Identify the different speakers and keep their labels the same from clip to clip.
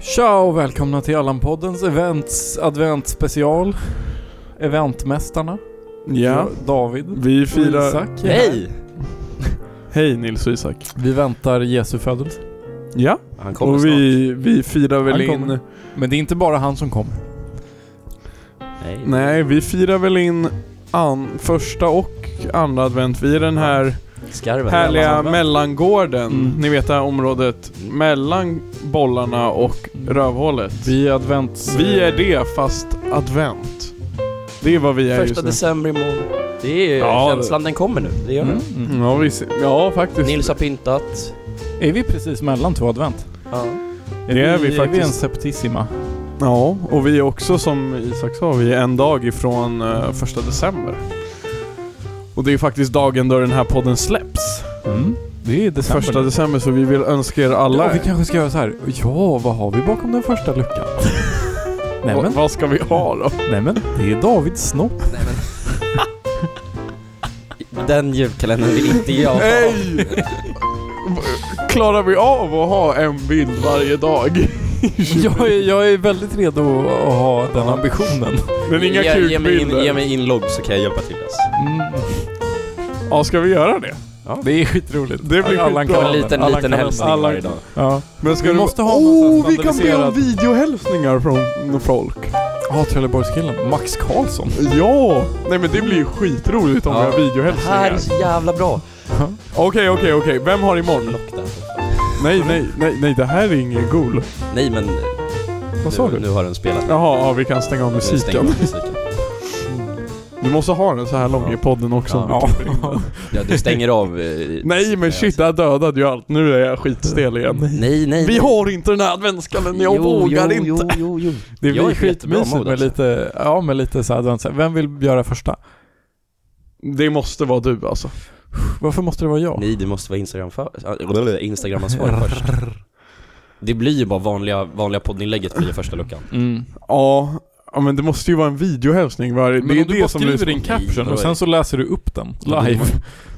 Speaker 1: Tja och välkomna till Allan-poddens events adventspecial. Eventmästarna.
Speaker 2: Ja,
Speaker 1: David.
Speaker 2: vi
Speaker 1: och
Speaker 2: firar...
Speaker 1: Isak.
Speaker 3: Hej!
Speaker 2: Hej Nils och Isak.
Speaker 1: Vi väntar Jesu födelse.
Speaker 2: Ja,
Speaker 3: Han kommer
Speaker 2: och vi, vi firar väl
Speaker 1: Han
Speaker 2: in...
Speaker 1: kommer. Men det är inte bara han som kommer.
Speaker 3: snart. Nej.
Speaker 2: Nej, vi firar väl in an, första och andra advent. Vi är den här
Speaker 3: Skarven.
Speaker 2: härliga
Speaker 3: Mellan-
Speaker 2: mellangården.
Speaker 1: Mm.
Speaker 2: Ni vet det här området mellan bollarna och rövhålet. Vi,
Speaker 1: Vi är advents...
Speaker 2: är det, fast advent. Det är vad vi är
Speaker 3: Första
Speaker 2: just nu.
Speaker 3: december imorgon. Det är ju
Speaker 2: Ja,
Speaker 3: känslan, den kommer nu. Det gör den.
Speaker 1: Mm. Mm.
Speaker 2: Ja, vi ser. ja, faktiskt.
Speaker 3: Nils har pyntat.
Speaker 1: Är vi precis mellan två advent?
Speaker 3: Ja.
Speaker 2: Det är vi
Speaker 1: Är vi
Speaker 2: faktiskt.
Speaker 1: en septissima?
Speaker 2: Ja, och vi är också som Isak sa, vi är en dag ifrån eh, första december. Och det är faktiskt dagen då den här podden släpps.
Speaker 1: Mm. Det är december.
Speaker 2: Första december, så vi vill önska er alla...
Speaker 1: Ja, vi kanske ska göra så här. Ja, vad har vi bakom den första luckan? nej,
Speaker 2: Va-
Speaker 1: men,
Speaker 2: Vad ska vi ha då?
Speaker 1: nej men, det är Davids snopp.
Speaker 3: Nej, men. den julkalendern vill inte jag ha.
Speaker 2: Nej! Klarar vi av att ha en bild varje dag?
Speaker 1: jag, är, jag är väldigt redo att ha den ambitionen.
Speaker 2: Men inga
Speaker 3: Ge- ge, mig in,
Speaker 2: kukbilder.
Speaker 3: ge mig inlogg så kan jag hjälpa till. Alltså.
Speaker 1: Mm.
Speaker 2: Ja, ska vi göra det?
Speaker 1: Det är skitroligt.
Speaker 2: Det blir
Speaker 1: Allan
Speaker 2: skitbra.
Speaker 1: kan-
Speaker 3: En liten,
Speaker 1: Allan
Speaker 3: liten
Speaker 1: kan-
Speaker 3: hälsning
Speaker 1: Allan-
Speaker 3: varje dag.
Speaker 1: Ja.
Speaker 2: Men ska
Speaker 1: Vi
Speaker 2: du...
Speaker 1: måste ha någonstans
Speaker 2: oh, vi kan be om
Speaker 1: standardiserat.
Speaker 2: videohälsningar från folk.
Speaker 1: Ja, Trelleborgskillen. Max Karlsson.
Speaker 2: Ja! Nej men det blir ju skitroligt om vi
Speaker 3: Ja.
Speaker 2: har
Speaker 3: Det här är
Speaker 2: videohälsningar.
Speaker 3: så jävla bra.
Speaker 2: Okej, okej, okej. Vem har imorgon?
Speaker 3: Lockdown.
Speaker 2: Nej, nej, nej, nej. Det här är ingen gol.
Speaker 3: Nej men
Speaker 1: Vad sa
Speaker 3: nu,
Speaker 1: du?
Speaker 3: nu har den spelat.
Speaker 2: Jaha, ja, vi kan stänga av
Speaker 3: Stäng
Speaker 2: musiken.
Speaker 3: av musiken.
Speaker 2: Du måste ha den så här lång i podden också. om du
Speaker 1: Ja.
Speaker 2: klipper in den.
Speaker 3: Ja, du stänger av... eh,
Speaker 2: Nej men shit, det här dödade ju allt. Nu är jag skitstel igen.
Speaker 3: Nej, nej.
Speaker 2: Vi
Speaker 3: nej.
Speaker 2: har inte den här adventskalendern, jag
Speaker 3: Jo,
Speaker 2: vågar
Speaker 3: jo,
Speaker 2: inte.
Speaker 3: Jo, jo, jo.
Speaker 1: Det
Speaker 3: Jag
Speaker 1: blir
Speaker 3: är på jättebra
Speaker 1: skitmysigt
Speaker 3: mode
Speaker 1: med
Speaker 3: också.
Speaker 1: lite, ja med lite så här, advents- vem vill göra första?
Speaker 2: Det måste vara du alltså.
Speaker 1: Varför måste det vara jag?
Speaker 3: Nej, det måste vara Instagram för, Instagram-ansvarig först. Det blir ju bara vanliga, vanliga poddinlägget blir ju första luckan.
Speaker 1: Mm.
Speaker 2: Ja, ja, men det måste ju vara en videohälsning. varje-
Speaker 1: Men
Speaker 2: det är
Speaker 1: om du
Speaker 2: det
Speaker 1: bara
Speaker 2: som
Speaker 1: skriver
Speaker 2: blir-
Speaker 1: din caption
Speaker 3: Nej,
Speaker 1: och sen så läser du upp den
Speaker 3: Ja, det-
Speaker 1: live.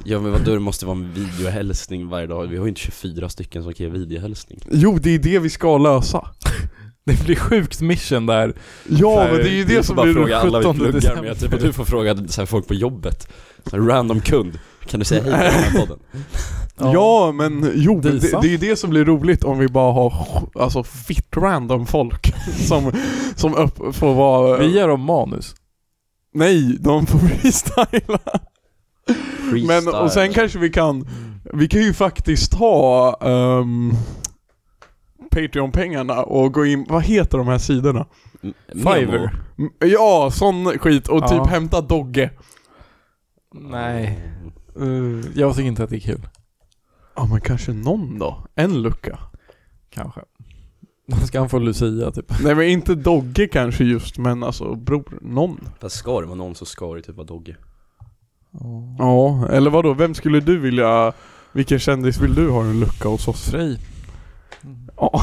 Speaker 3: Ja men vadå, det måste vara en videohälsning varje dag. Vi har ju inte 24 stycken som kan ge videohälsning.
Speaker 2: Jo, det är det vi ska lösa.
Speaker 1: Det blir sjukt mission där.
Speaker 2: Ja,
Speaker 1: Nej,
Speaker 2: men det är ju
Speaker 1: det är
Speaker 2: det
Speaker 3: Så
Speaker 2: som
Speaker 3: bara
Speaker 2: blir
Speaker 3: fråga alla vi
Speaker 1: 17
Speaker 3: pluggar
Speaker 1: december.
Speaker 3: med, typ att du får fråga så här folk på jobbet. Så här, random kund. Kan du säga hej till den här podden?
Speaker 1: Ja.
Speaker 2: Ja men jo, men
Speaker 1: Disa.
Speaker 2: det, det är ju det som blir roligt om vi bara har sj- alltså fitt random folk som, som upp, får vara...
Speaker 1: Vi ger dem manus.
Speaker 2: Nej, de får freestyla. Men och sen kanske vi kan, vi kan ju faktiskt ta ehm, Patreon-pengarna och gå in, vad heter de här sidorna?
Speaker 3: M- Memo.
Speaker 1: Fiverr.
Speaker 2: M- Ja, sån skit och
Speaker 1: Ja.
Speaker 2: typ hämta Dogge.
Speaker 1: Nej. Uh, jag tycker inte att det är kul.
Speaker 2: Ja men kanske någon då? En lucka?
Speaker 1: Kanske. Då ska han få Lucia typ.
Speaker 2: Nej men inte Dogge kanske just, men alltså bror, någon.
Speaker 3: Fast ska det vara någon så ska det typ vara Dogge.
Speaker 2: Ja, eller vadå? Vem skulle du vilja... Vilken kändis vill du ha en lucka hos oss?
Speaker 1: Frej. Mm.
Speaker 2: Ja,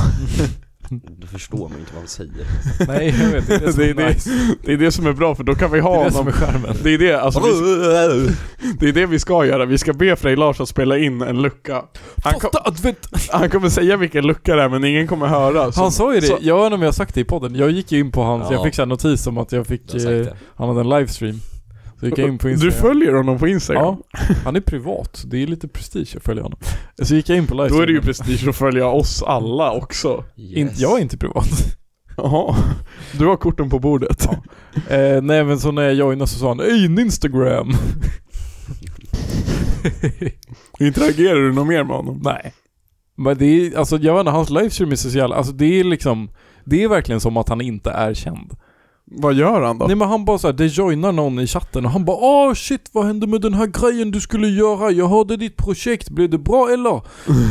Speaker 3: Då förstår man ju inte vad han säger.
Speaker 1: Nej, jag vet. Det är det som
Speaker 2: Det
Speaker 1: är,
Speaker 2: är det-
Speaker 1: nice.
Speaker 2: det är det som är bra för då kan vi
Speaker 1: Det
Speaker 2: ha
Speaker 1: är det som är
Speaker 2: honom.
Speaker 1: skärmen.
Speaker 2: Det är det, alltså, vi, det är det vi ska göra. Vi ska be Frej Larsson spela in en lucka. Han, kom, Alltså,
Speaker 1: advent!
Speaker 2: han kommer säga vilken lucka det är men ingen kommer höra. Så,
Speaker 1: Han sa ju det,
Speaker 2: så-
Speaker 1: jag vet inte om jag har sagt det i podden. Jag gick ju in på hans,
Speaker 3: Ja.
Speaker 1: jag fick så här notis om att jag fick,
Speaker 3: Du har sagt
Speaker 1: eh,
Speaker 3: det.
Speaker 1: han hade en livestream. Så gick jag in på
Speaker 2: du
Speaker 1: Instagram.
Speaker 2: följer honom på Instagram?
Speaker 1: Ja, han är privat. Det är lite prestige att följa honom. Så gick jag in på livestreamen.
Speaker 2: Då är det ju prestige att följa oss alla också.
Speaker 1: In,
Speaker 3: Yes.
Speaker 1: jag är inte privat.
Speaker 2: Jaha. Du har korten på bordet.
Speaker 1: eh, nej men så när jag joinade så sa han 'Ey, en Instagram'
Speaker 2: Interagerar du något mer med honom?
Speaker 1: Nej. Men det är, alltså jag vet inte, hans livestream är så jävla, alltså det är liksom, det är verkligen som att han inte är känd.
Speaker 2: Vad gör han då?
Speaker 1: Nej men han bara såhär, det joinar någon i chatten och han bara åh shit vad hände med den här grejen du skulle göra? Jag hörde ditt projekt, blev det bra eller?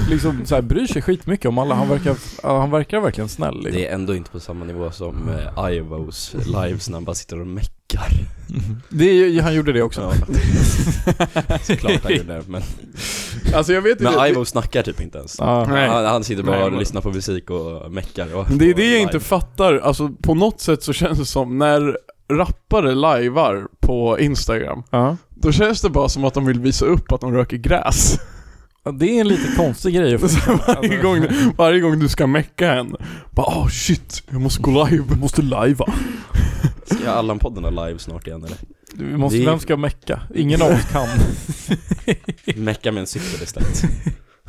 Speaker 1: liksom såhär bryr sig skitmycket om alla, han verkar, ja, han verkar verkligen snäll liksom.
Speaker 3: Det är ändå inte på samma nivå som
Speaker 2: Mm.
Speaker 3: eh, Ivos lives när han bara sitter och meckar.
Speaker 1: det är, ju- han gjorde det också.
Speaker 3: Såklart han gjorde det, men
Speaker 2: Alltså jag vet inte.
Speaker 3: Men Ivo snackar typ inte ens.
Speaker 1: Ja.
Speaker 2: Nej.
Speaker 3: Han, han sitter bara
Speaker 2: Nej,
Speaker 3: och
Speaker 2: men-
Speaker 3: lyssnar på musik och meckar och
Speaker 2: Det är det jag
Speaker 3: live.
Speaker 2: inte fattar, alltså på något sätt så känns det som när rappare lajvar på Instagram,
Speaker 1: Ja.
Speaker 2: då känns det bara som att de vill visa upp att de röker gräs.
Speaker 1: Ja, Det är en lite konstig grej att
Speaker 2: Så varje,
Speaker 1: Alltså-
Speaker 2: gång, varje gång du ska mecka en, bara oh shit, jag måste gå live. Måste livea.
Speaker 3: Ska Allan-podden ha live snart igen eller?
Speaker 1: Vi måste,
Speaker 3: Det är-
Speaker 1: Vem ska mecka? Ingen av oss kan.
Speaker 3: Mecka med en cykel istället.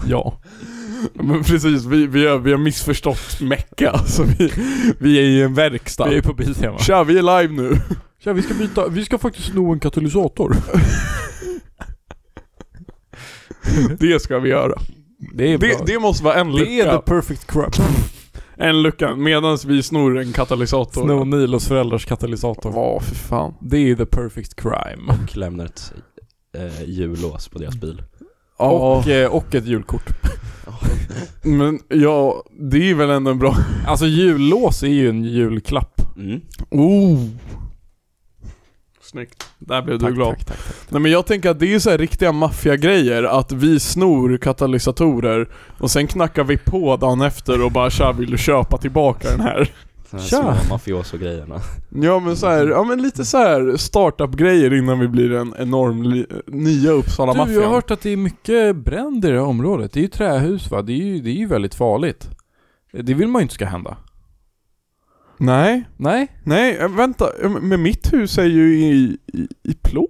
Speaker 2: Ja. Men precis, vi, vi, har, vi har missförstått mecka. Alltså vi, vi är i en verkstad.
Speaker 1: Vi är på Biltema.
Speaker 2: Tja, vi är live nu.
Speaker 1: Tja, vi ska byta, vi ska faktiskt sno en katalysator.
Speaker 2: Det ska vi göra.
Speaker 1: Det är
Speaker 2: Det,
Speaker 1: bra.
Speaker 2: det måste vara en lucka.
Speaker 1: Det är the perfect crap.
Speaker 2: En lucka, medan vi snor en katalysator.
Speaker 1: Sno Nilos föräldrars katalysator.
Speaker 2: Ja, för fan.
Speaker 1: Det är the perfect crime.
Speaker 3: Och lämnar ett eh, jullås på deras bil.
Speaker 2: Ja.
Speaker 1: Och, eh, och ett julkort.
Speaker 2: Men ja, det är väl ändå en bra...
Speaker 1: Alltså jullås är ju en julklapp.
Speaker 3: Mm.
Speaker 2: Oh! Snyggt. Där blev du
Speaker 1: Tack,
Speaker 2: glad.
Speaker 1: tack, tack, tack.
Speaker 2: Nej men jag tänker att det är så här riktiga maffiagrejer, att vi snor katalysatorer och sen knackar vi på dagen efter och bara tja, vill du köpa tillbaka den här?
Speaker 3: De här
Speaker 1: Tja.
Speaker 3: små mafioso-grejerna.
Speaker 2: Ja men så här, ja men lite så här startup-grejer innan vi blir en enorm li- nya
Speaker 1: Du, jag har
Speaker 2: Uppsala-maffian.
Speaker 1: hört att det är mycket bränder i det här området. Det är ju trähus va? Det är ju, det är ju väldigt farligt. Det vill man ju inte ska hända.
Speaker 2: Nej.
Speaker 1: Nej?
Speaker 2: Nej, äh, vänta. Äh, Men mitt hus är ju i, i, i plåt.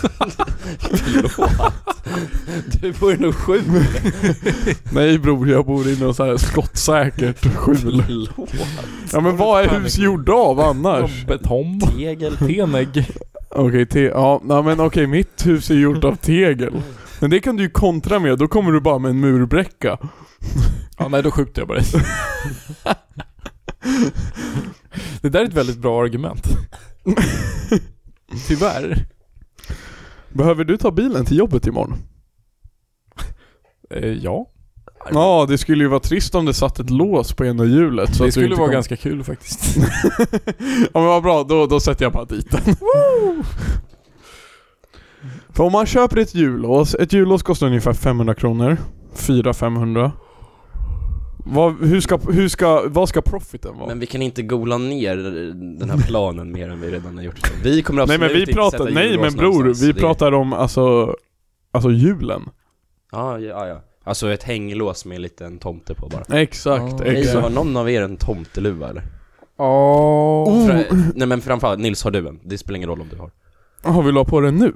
Speaker 3: Förlåt. Du vore nog sjuk.
Speaker 2: Nej bror, jag bor i något så här skottsäkert skjul.
Speaker 3: Förlåt.
Speaker 2: Ja men vad är hus gjorda av annars?
Speaker 1: Betong?
Speaker 3: Tegel.
Speaker 1: Tenägg?
Speaker 2: Okej, te- ja, nej, men okej, mitt hus är gjort av tegel. Men det kan du ju kontra med, då kommer du bara med en murbräcka.
Speaker 1: Ja, nej då skjuter jag bara dig. Det där är ett väldigt bra argument. Tyvärr.
Speaker 2: Behöver du ta bilen till jobbet imorgon?
Speaker 1: Eh, ja.
Speaker 2: Ja, det skulle ju vara trist om det satt ett lås på ena hjulet.
Speaker 1: det
Speaker 2: Så att du
Speaker 1: skulle
Speaker 2: inte
Speaker 1: vara
Speaker 2: kom-
Speaker 1: ganska kul faktiskt.
Speaker 2: ja men vad bra, då, då sätter jag bara dit den. För om man köper ett jullås, ett jullås kostar ungefär 500 kronor. 400-500. Vad, hur ska, hur ska, vad ska profiten vara?
Speaker 3: Men vi kan inte gola ner den här planen mer än vi redan har gjort. Vi kommer
Speaker 2: nej
Speaker 3: absolut
Speaker 2: men vi
Speaker 3: inte
Speaker 2: pratar,
Speaker 3: sätta
Speaker 2: nej
Speaker 3: jullås
Speaker 2: men bror,
Speaker 3: någonstans.
Speaker 2: vi
Speaker 3: Det-
Speaker 2: pratar om alltså, alltså julen.
Speaker 3: Ja, ja, ja. Alltså ett hänglås med en liten tomte på bara.
Speaker 2: Exakt,
Speaker 1: Ja.
Speaker 3: Nej,
Speaker 2: exakt.
Speaker 3: har någon av er en tomteluva eller?
Speaker 1: Oh.
Speaker 3: Fra- Nej men framförallt, Nils har du en? Det spelar ingen roll om du har.
Speaker 2: Har vi la på den nu?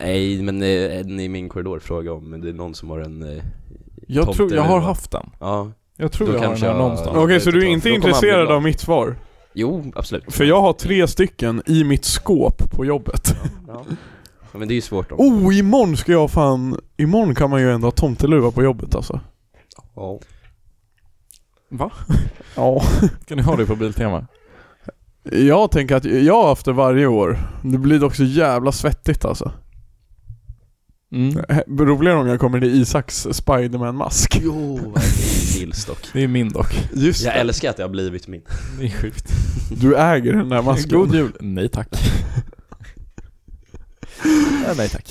Speaker 3: Nej men eh, en i min korridor frågar om det är någon som har en, eh,
Speaker 1: Jag
Speaker 3: Tomte
Speaker 1: tror, jag
Speaker 3: eller
Speaker 1: har
Speaker 3: vad?
Speaker 1: haft den.
Speaker 3: ja.
Speaker 1: Jag tror
Speaker 3: Då
Speaker 1: jag har den
Speaker 3: kanske
Speaker 1: här
Speaker 3: jag-
Speaker 1: någonstans.
Speaker 2: Okej,
Speaker 3: det
Speaker 2: så
Speaker 3: vet
Speaker 2: du är
Speaker 3: jag.
Speaker 2: inte
Speaker 3: Då kommer han bli
Speaker 2: intresserad
Speaker 3: glad.
Speaker 2: av mitt svar?
Speaker 3: Jo, absolut.
Speaker 2: För jag har tre stycken i mitt skåp på jobbet.
Speaker 3: Ja. Ja, Men det är ju svårt då.
Speaker 2: Oh, imorgon ska jag fan... Imorgon kan man ju ändå ha tomteluva på jobbet alltså.
Speaker 3: Ja.
Speaker 1: Va?
Speaker 2: Ja.
Speaker 1: Kan ni ha det på Biltema?
Speaker 2: Jag tänker att jag har haft det varje år. Det blir dock så jävla svettigt alltså.
Speaker 1: Mm.
Speaker 2: Roligare om jag kommer i Isaks Spiderman-mask.
Speaker 3: Jo, det är Nils dock.
Speaker 1: Det är min dock.
Speaker 2: Just
Speaker 3: Jag
Speaker 2: det.
Speaker 3: älskar att det har blivit min.
Speaker 1: Det är sjukt.
Speaker 2: Du äger den där masken.
Speaker 1: God jul. Nej tack. Ja, nej tack.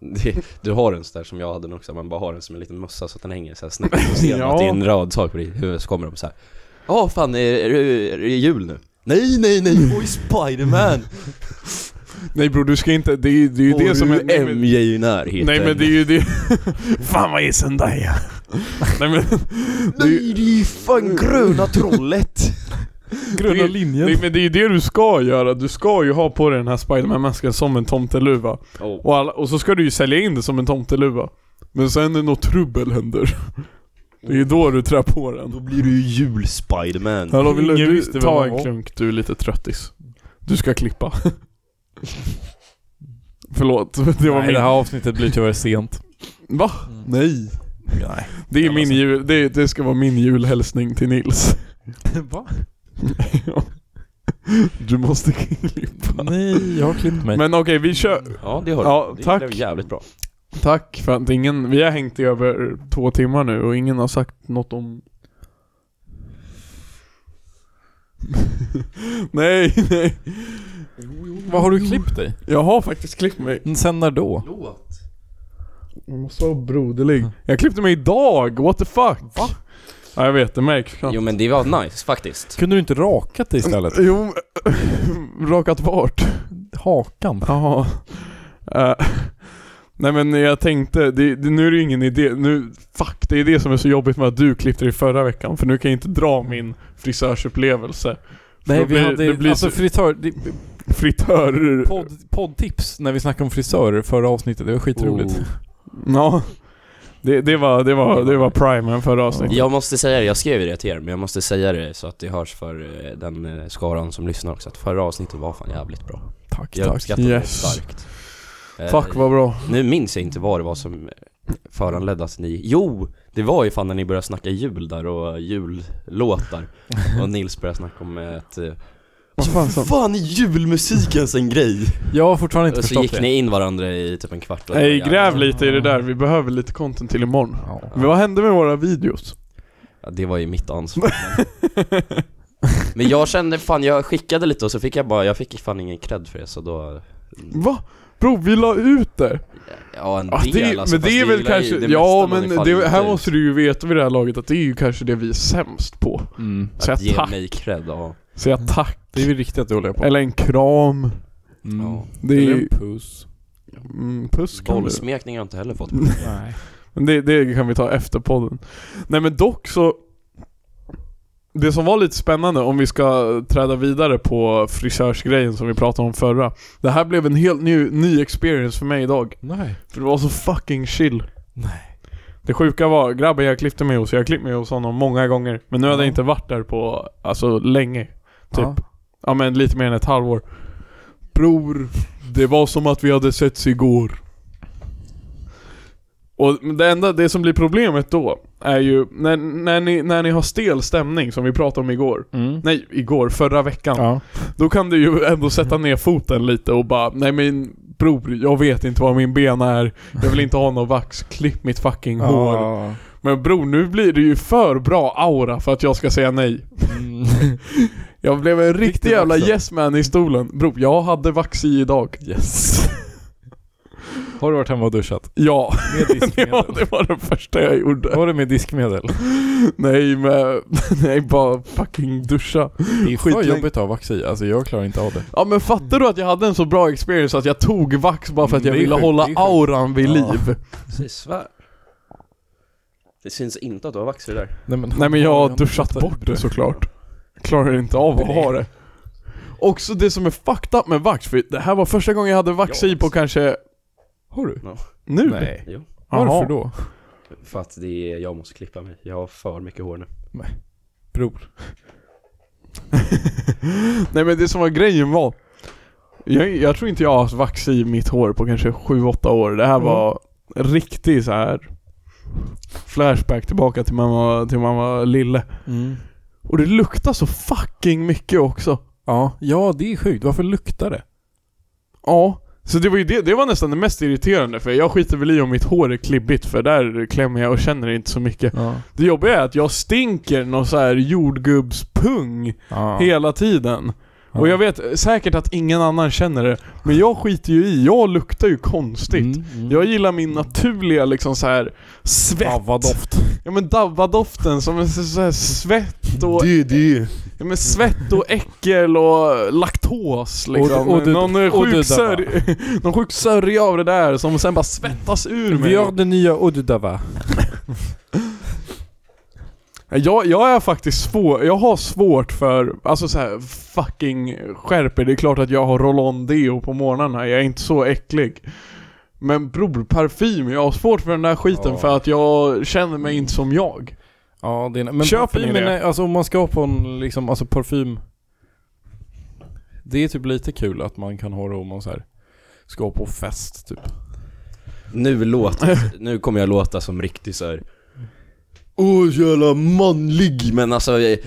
Speaker 3: Det, du har en sån där som jag hade också, man bara har den som en liten mössa så att den hänger så här snett. Och ser
Speaker 2: Ja.
Speaker 3: ja. att det är en röd sak på ditt huvud så kommer de så här. Ja fan, är, är, är det jul nu? Nej nej nej, oj Spiderman!
Speaker 2: Nej bror, du ska inte... Det är, det är ju
Speaker 3: Och
Speaker 2: det som
Speaker 3: hur
Speaker 2: är... nej, men-
Speaker 3: MJ är i närheten.
Speaker 2: Nej men det är ju det... fan vad är Zendaya? nej men... det är ju-
Speaker 3: Nej det är ju fan gröna trollet!
Speaker 1: Gröna
Speaker 2: Det-
Speaker 1: linjen.
Speaker 2: Nej men det är ju det du ska göra, du ska ju ha på dig den här Spiderman-masken som en tomteluva.
Speaker 3: Oh.
Speaker 2: Och, alla, och så ska du ju sälja in det som en tomteluva. Men sen när något trubbel händer, det är ju då du trär på
Speaker 3: Då
Speaker 2: den.
Speaker 3: blir du ju jul-Spiderman.
Speaker 2: Hallå, vill
Speaker 1: Ingen
Speaker 2: du
Speaker 1: visste vem
Speaker 2: ta
Speaker 1: han
Speaker 2: en
Speaker 1: var.
Speaker 2: klunk? Du är lite tröttis. Du ska klippa. Förlåt, det var
Speaker 1: Nej, det
Speaker 2: min...
Speaker 1: här avsnittet blir tyvärr sent.
Speaker 2: Va? Nej.
Speaker 1: Nej.
Speaker 2: Det, är min jul, det, det ska vara min julhälsning till Nils.
Speaker 1: Va?
Speaker 2: du måste klippa.
Speaker 1: Nej, jag har klippt mig.
Speaker 2: Men okej, vi kör.
Speaker 3: Ja det har du.
Speaker 2: Ja,
Speaker 3: det
Speaker 2: tack.
Speaker 3: blev jävligt bra.
Speaker 2: Tack för att ingen, vi har hängt i över två timmar nu och ingen har sagt något om... nej, nej.
Speaker 1: Vad har du klippt dig?
Speaker 2: Jag har faktiskt klippt mig.
Speaker 1: Sen när då?
Speaker 3: Låt.
Speaker 2: Jag måste vara broderlig. Jag klippte mig idag, what the fuck? Va? Ja, jag vet, det märks knappt.
Speaker 3: Jo men det var nice faktiskt.
Speaker 1: Kunde du inte rakat dig istället?
Speaker 2: Jo, rakat vart?
Speaker 1: Hakan?
Speaker 2: Jaha. Eh, nej men jag tänkte, det, det, nu är det ju ingen idé. Nu, fuck, det är det som är så jobbigt med att du klippte dig förra veckan. För nu kan jag inte dra min frisörsupplevelse. För
Speaker 1: Nej
Speaker 2: då
Speaker 1: vi
Speaker 2: blir,
Speaker 1: hade,
Speaker 2: det blir
Speaker 1: alltså
Speaker 2: alltså,
Speaker 1: frisör, det,
Speaker 2: fritörer.
Speaker 1: podd, poddtips när vi snackade om frisörer förra avsnittet, det var skitroligt.
Speaker 3: Oh.
Speaker 2: Ja. Det, det var, det var, det var primen förra avsnittet.
Speaker 3: Jag måste säga det, jag skrev ju det till er, men jag måste säga det så att det hörs för eh, den eh, skaran som lyssnar också, att förra avsnittet var fan jävligt bra.
Speaker 1: Tack
Speaker 3: Jag
Speaker 1: tack.
Speaker 3: uppskattar det
Speaker 2: Yes.
Speaker 3: starkt. Eh,
Speaker 2: Fuck vad bra.
Speaker 3: Nu minns jag inte vad det var som eh, föranledde att ni... Jo! Det var ju fan när ni började snacka jul där och jullåtar och Nils började snacka om ett... eh,
Speaker 2: Vad fan som...
Speaker 3: Fan är julmusik ens en grej?
Speaker 1: Jag har fortfarande inte
Speaker 3: Och så
Speaker 1: förstått
Speaker 3: gick
Speaker 1: det.
Speaker 3: ni in varandra i typ en kvart och det var
Speaker 2: Nej,
Speaker 3: jävligt-
Speaker 2: gräv lite i det där. Vi behöver lite content till imorgon.
Speaker 1: Ja.
Speaker 2: Men vad hände med våra videos?
Speaker 3: Ja, det var ju mitt ansvar men- Men jag kände fan, jag skickade lite och så fick jag bara, jag fick fan ingen cred för det så då
Speaker 2: Va? Bro, vi la ut det!
Speaker 3: Ja en del
Speaker 2: Ah, det
Speaker 3: alltså,
Speaker 2: men
Speaker 3: fast
Speaker 2: det är väl
Speaker 3: gillar ju
Speaker 2: kanske,
Speaker 3: det
Speaker 2: ja
Speaker 3: mesta man
Speaker 2: men
Speaker 3: fan
Speaker 2: det,
Speaker 3: inte
Speaker 2: här
Speaker 3: ut.
Speaker 2: måste du ju veta vid det här laget att det är ju kanske det vi är sämst på.
Speaker 1: Mm.
Speaker 2: Säga
Speaker 3: Att ge
Speaker 2: tack,
Speaker 3: mig Mm. cred, ja,
Speaker 2: säga tack,
Speaker 1: Det är vi riktigt dåliga på.
Speaker 2: eller en kram.
Speaker 1: Mm.
Speaker 3: ja.
Speaker 2: Det är
Speaker 1: Eller en
Speaker 2: ju,
Speaker 1: puss.
Speaker 2: mm, puss kan du.
Speaker 3: Bollsmekning har jag inte heller fått
Speaker 1: Nej.
Speaker 2: Men det, det kan vi ta efter podden. Nej men dock så, det som var lite spännande om vi ska träda vidare på frisörsgrejen som vi pratade om förra. Det här blev en helt ny, ny experience för mig idag.
Speaker 1: Nej.
Speaker 2: För det var så fucking chill.
Speaker 1: Nej.
Speaker 2: Det sjuka var, grabben jag klippte mig hos, jag klippte mig hos honom många gånger. Men nu hade jag
Speaker 1: Ja.
Speaker 2: inte varit där på, alltså länge. Typ.
Speaker 1: Ja.
Speaker 2: Ja. men lite mer än ett halvår. Bror, det var som att vi hade setts igår. Och det enda, det som blir problemet då är ju när, när, ni, när ni har stel stämning som vi pratade om igår.
Speaker 1: Mm.
Speaker 2: Nej, igår, förra veckan.
Speaker 1: Ja.
Speaker 2: Då kan du ju ändå sätta ner foten lite och bara Nej men bror, jag vet inte vad min bena är. Jag vill inte ha någon vax. Klipp mitt fucking hår.
Speaker 1: Ja.
Speaker 2: Men bror, nu blir det ju för bra aura för att jag ska säga nej.
Speaker 1: Mm.
Speaker 2: Jag blev en riktig
Speaker 1: Riktig
Speaker 2: jävla
Speaker 1: vaxad.
Speaker 2: yes man i stolen. Bror, jag hade vax i idag.
Speaker 1: Yes. Har du varit hemma och duschat?
Speaker 2: Ja,
Speaker 1: Med
Speaker 2: det var, det var det första jag gjorde.
Speaker 1: Var det med diskmedel?
Speaker 2: Nej men, nej bara fucking duscha.
Speaker 1: Det är för
Speaker 2: Skitlänge.
Speaker 1: jobbigt att ha vax i, alltså jag klarar inte av det.
Speaker 2: Ja men fattar du att jag hade en så bra experience att jag tog vax bara för att jag
Speaker 1: Det är
Speaker 2: ville
Speaker 1: sjukt,
Speaker 2: hålla
Speaker 1: det är sjukt.
Speaker 2: auran vid
Speaker 1: Ja.
Speaker 2: liv.
Speaker 3: Precis, svär Det syns inte att du har vax i det där
Speaker 1: Nej men,
Speaker 2: Nej men jag har duschat bort det såklart. Jag klarar inte av att
Speaker 1: Nej.
Speaker 2: ha det. Också det som är fucked up med vax, för det här var första gången jag hade vax
Speaker 3: Ja.
Speaker 2: i på kanske
Speaker 1: Har du?
Speaker 2: nu.
Speaker 1: Nej.
Speaker 3: Jo,
Speaker 1: Varför
Speaker 2: Jaha.
Speaker 1: då?
Speaker 3: för att det är, jag måste klippa mig, jag har för mycket hår nu
Speaker 1: Bror.
Speaker 2: Nej men det som var grejen var Jag, jag tror inte jag har haft vax i mitt hår på kanske 7-8 år. Det här
Speaker 1: Mm.
Speaker 2: var riktig så här Flashback tillbaka till man var, till man var lille.
Speaker 3: Mm.
Speaker 2: Och det luktar så fucking mycket också.
Speaker 1: Ja, ja det är sjukt. Varför luktar det?
Speaker 2: Ja. Så det var ju det, det var nästan det mest irriterande för jag skiter väl i om mitt hår är klibbigt för där klämmer jag och känner inte så mycket.
Speaker 1: Ja.
Speaker 2: Det jobbiga är att jag stinker någon så här jordgubbspung hela tiden.
Speaker 1: Ja.
Speaker 2: Och jag vet säkert att ingen annan känner det, men jag skiter ju i, jag luktar ju konstigt.
Speaker 1: Mm, mm.
Speaker 2: Jag gillar min naturliga liksom så här svett.
Speaker 1: Fan, vad doft.
Speaker 2: Ja men davvadoften som är så så här svett och... Det, det. Ja men svett och äckel och laktos liksom.
Speaker 1: Och- och det-
Speaker 2: någon, eh,
Speaker 1: och det
Speaker 2: sjuk
Speaker 1: där,
Speaker 2: sörj, någon sjuk sörja av det där som sen bara svettas ur
Speaker 1: Vi
Speaker 2: mig.
Speaker 1: gör det nya Uddava.
Speaker 2: Jag, jag är faktiskt svår, jag har svårt för, alltså så här, fucking skärper. Det är klart att jag har roll-on deo på morgnarna, jag är inte så äcklig. Men bror, parfym, jag har svårt för den där skiten
Speaker 3: Ja.
Speaker 2: för att jag känner mig inte som jag.
Speaker 1: Ja, det är, men
Speaker 2: Köper ni
Speaker 1: parfymen
Speaker 2: det?
Speaker 1: är, alltså om man ska ha på en liksom, alltså parfym. Det är typ lite kul att man kan ha det om man så här ska ha på fest typ.
Speaker 3: Nu låter, nu kommer jag låta som riktigt såhär Åh så jävla manlig Men alltså jag,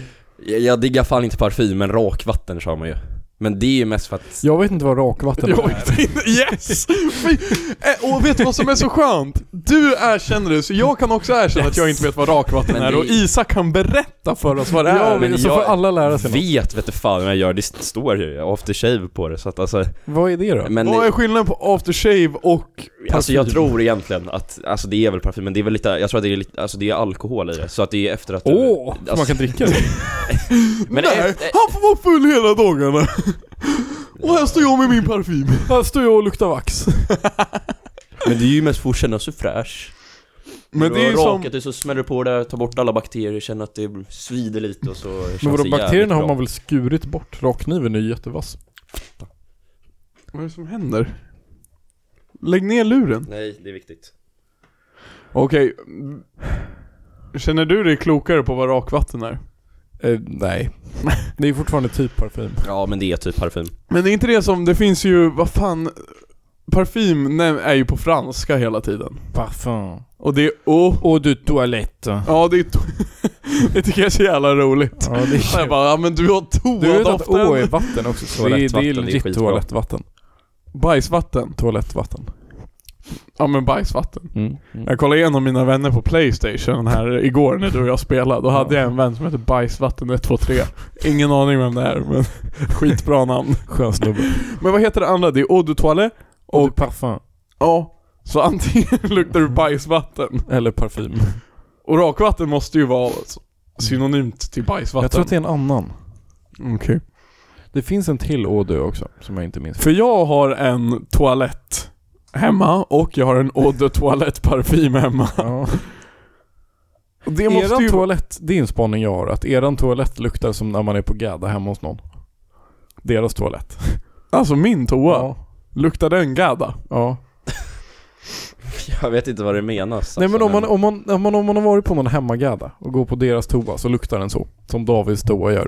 Speaker 3: jag, jag diggar fan inte parfym men rakvatten kör man ju Men det är ju mest för att
Speaker 1: Jag vet inte vad rakvatten
Speaker 2: Jag
Speaker 1: är.
Speaker 2: åkte in, yes! Fy- eh, Och vet du vad som är så skönt? Du erkänner det, så jag kan också erkänna att jag inte vet vad rakvatten
Speaker 3: Men
Speaker 2: är
Speaker 3: det-
Speaker 2: och Isak kan berätta
Speaker 1: berätta för oss vad det är,
Speaker 3: Ja, men
Speaker 1: så
Speaker 3: jag
Speaker 1: får alla lära sig något.
Speaker 3: Vet vet du fan vad jag gör, det står ju after shave på det så att alltså
Speaker 1: Vad är det då?
Speaker 3: Men
Speaker 2: Vad är skillnaden på aftershave och
Speaker 3: alltså jag
Speaker 2: parfym?
Speaker 3: tror egentligen att, alltså det är väl parfym men det är väl lite, jag tror att det är lite, alltså det är alkohol i det så att det är efter att du-
Speaker 1: Åh!
Speaker 3: alltså,
Speaker 1: man kan dricka det?
Speaker 3: Men eh,
Speaker 2: Nej,
Speaker 3: efter,
Speaker 2: han får vara full hela dagarna! Och här står jag med min parfym.
Speaker 1: Här står jag och luktar vax.
Speaker 3: men det är ju mest för att känna sig fräsch
Speaker 2: Men det är ju
Speaker 3: Du har
Speaker 2: som...
Speaker 3: rakat dig så smäller du på det, tar bort alla bakterier, känner att det svider lite och så känns
Speaker 1: Men
Speaker 3: det
Speaker 1: vadå,
Speaker 3: jävligt
Speaker 1: bakterierna har
Speaker 3: bra.
Speaker 1: man väl skurit bort? Rakkniven är ju jättevass.
Speaker 2: Vad är det som händer? Lägg ner luren.
Speaker 3: Nej, det är viktigt
Speaker 2: Okej. Känner du dig klokare på vad rakvatten är?
Speaker 1: Eh, nej. Det är fortfarande typ parfym.
Speaker 3: Ja men det är typ parfym
Speaker 2: Men är inte det som, det finns ju, vad fan Parfym nej, är ju på franska hela tiden
Speaker 1: Parfum.
Speaker 2: Och det är oh
Speaker 1: Och du toalett. Ja,
Speaker 2: Ja det är to- Det tycker jag är så jävla roligt
Speaker 1: det är
Speaker 2: Jag bara, ja, men du har
Speaker 1: Du vet att Å är
Speaker 2: toadoften
Speaker 1: vatten också? Så det, är- det är
Speaker 3: Toalettvatten, det är
Speaker 1: legit
Speaker 3: skitbra.
Speaker 1: toalettvatten.
Speaker 2: Bajsvatten
Speaker 1: Toalettvatten.
Speaker 2: Ja men bajsvatten
Speaker 1: Mm.
Speaker 2: Jag kollade igenom mina vänner på Playstation här igår när du och jag spelade Då hade
Speaker 1: Ja.
Speaker 2: jag en vän som hette Bajsvatten123 Ingen aning vem det är men skitbra namn
Speaker 1: Skön snubbe.
Speaker 2: Men vad heter det andra? Det är Eau de Toilette
Speaker 1: Och,
Speaker 2: Och-
Speaker 1: du parfym.
Speaker 2: Ja Så antingen luktar
Speaker 1: Mm.
Speaker 2: du bajsvatten
Speaker 1: Eller parfym.
Speaker 2: Och rakvatten måste ju vara alltså synonymt till bajsvatten.
Speaker 1: Jag tror att det är en annan.
Speaker 2: Okej.
Speaker 1: Det finns en till Å du också, som jag inte minns.
Speaker 2: För jag har en toalett hemma och jag har en eau de toilette parfym hemma.
Speaker 1: Ja.
Speaker 2: Och Det måste
Speaker 1: Eran
Speaker 2: ju vara...
Speaker 1: toalett, det är en spaning jag har, att eran toalett luktar som när man är på gädda hemma hos någon. Deras toalett.
Speaker 2: Alltså min toa.
Speaker 1: Ja.
Speaker 2: Luktar den gada?
Speaker 1: ja.
Speaker 3: Jag vet inte vad det menas
Speaker 1: Nej men
Speaker 3: alltså,
Speaker 1: om man, om, man, om, man, om man har varit på någon hemmagädda och går på deras toa så luktar den så. Som Davids toa gör.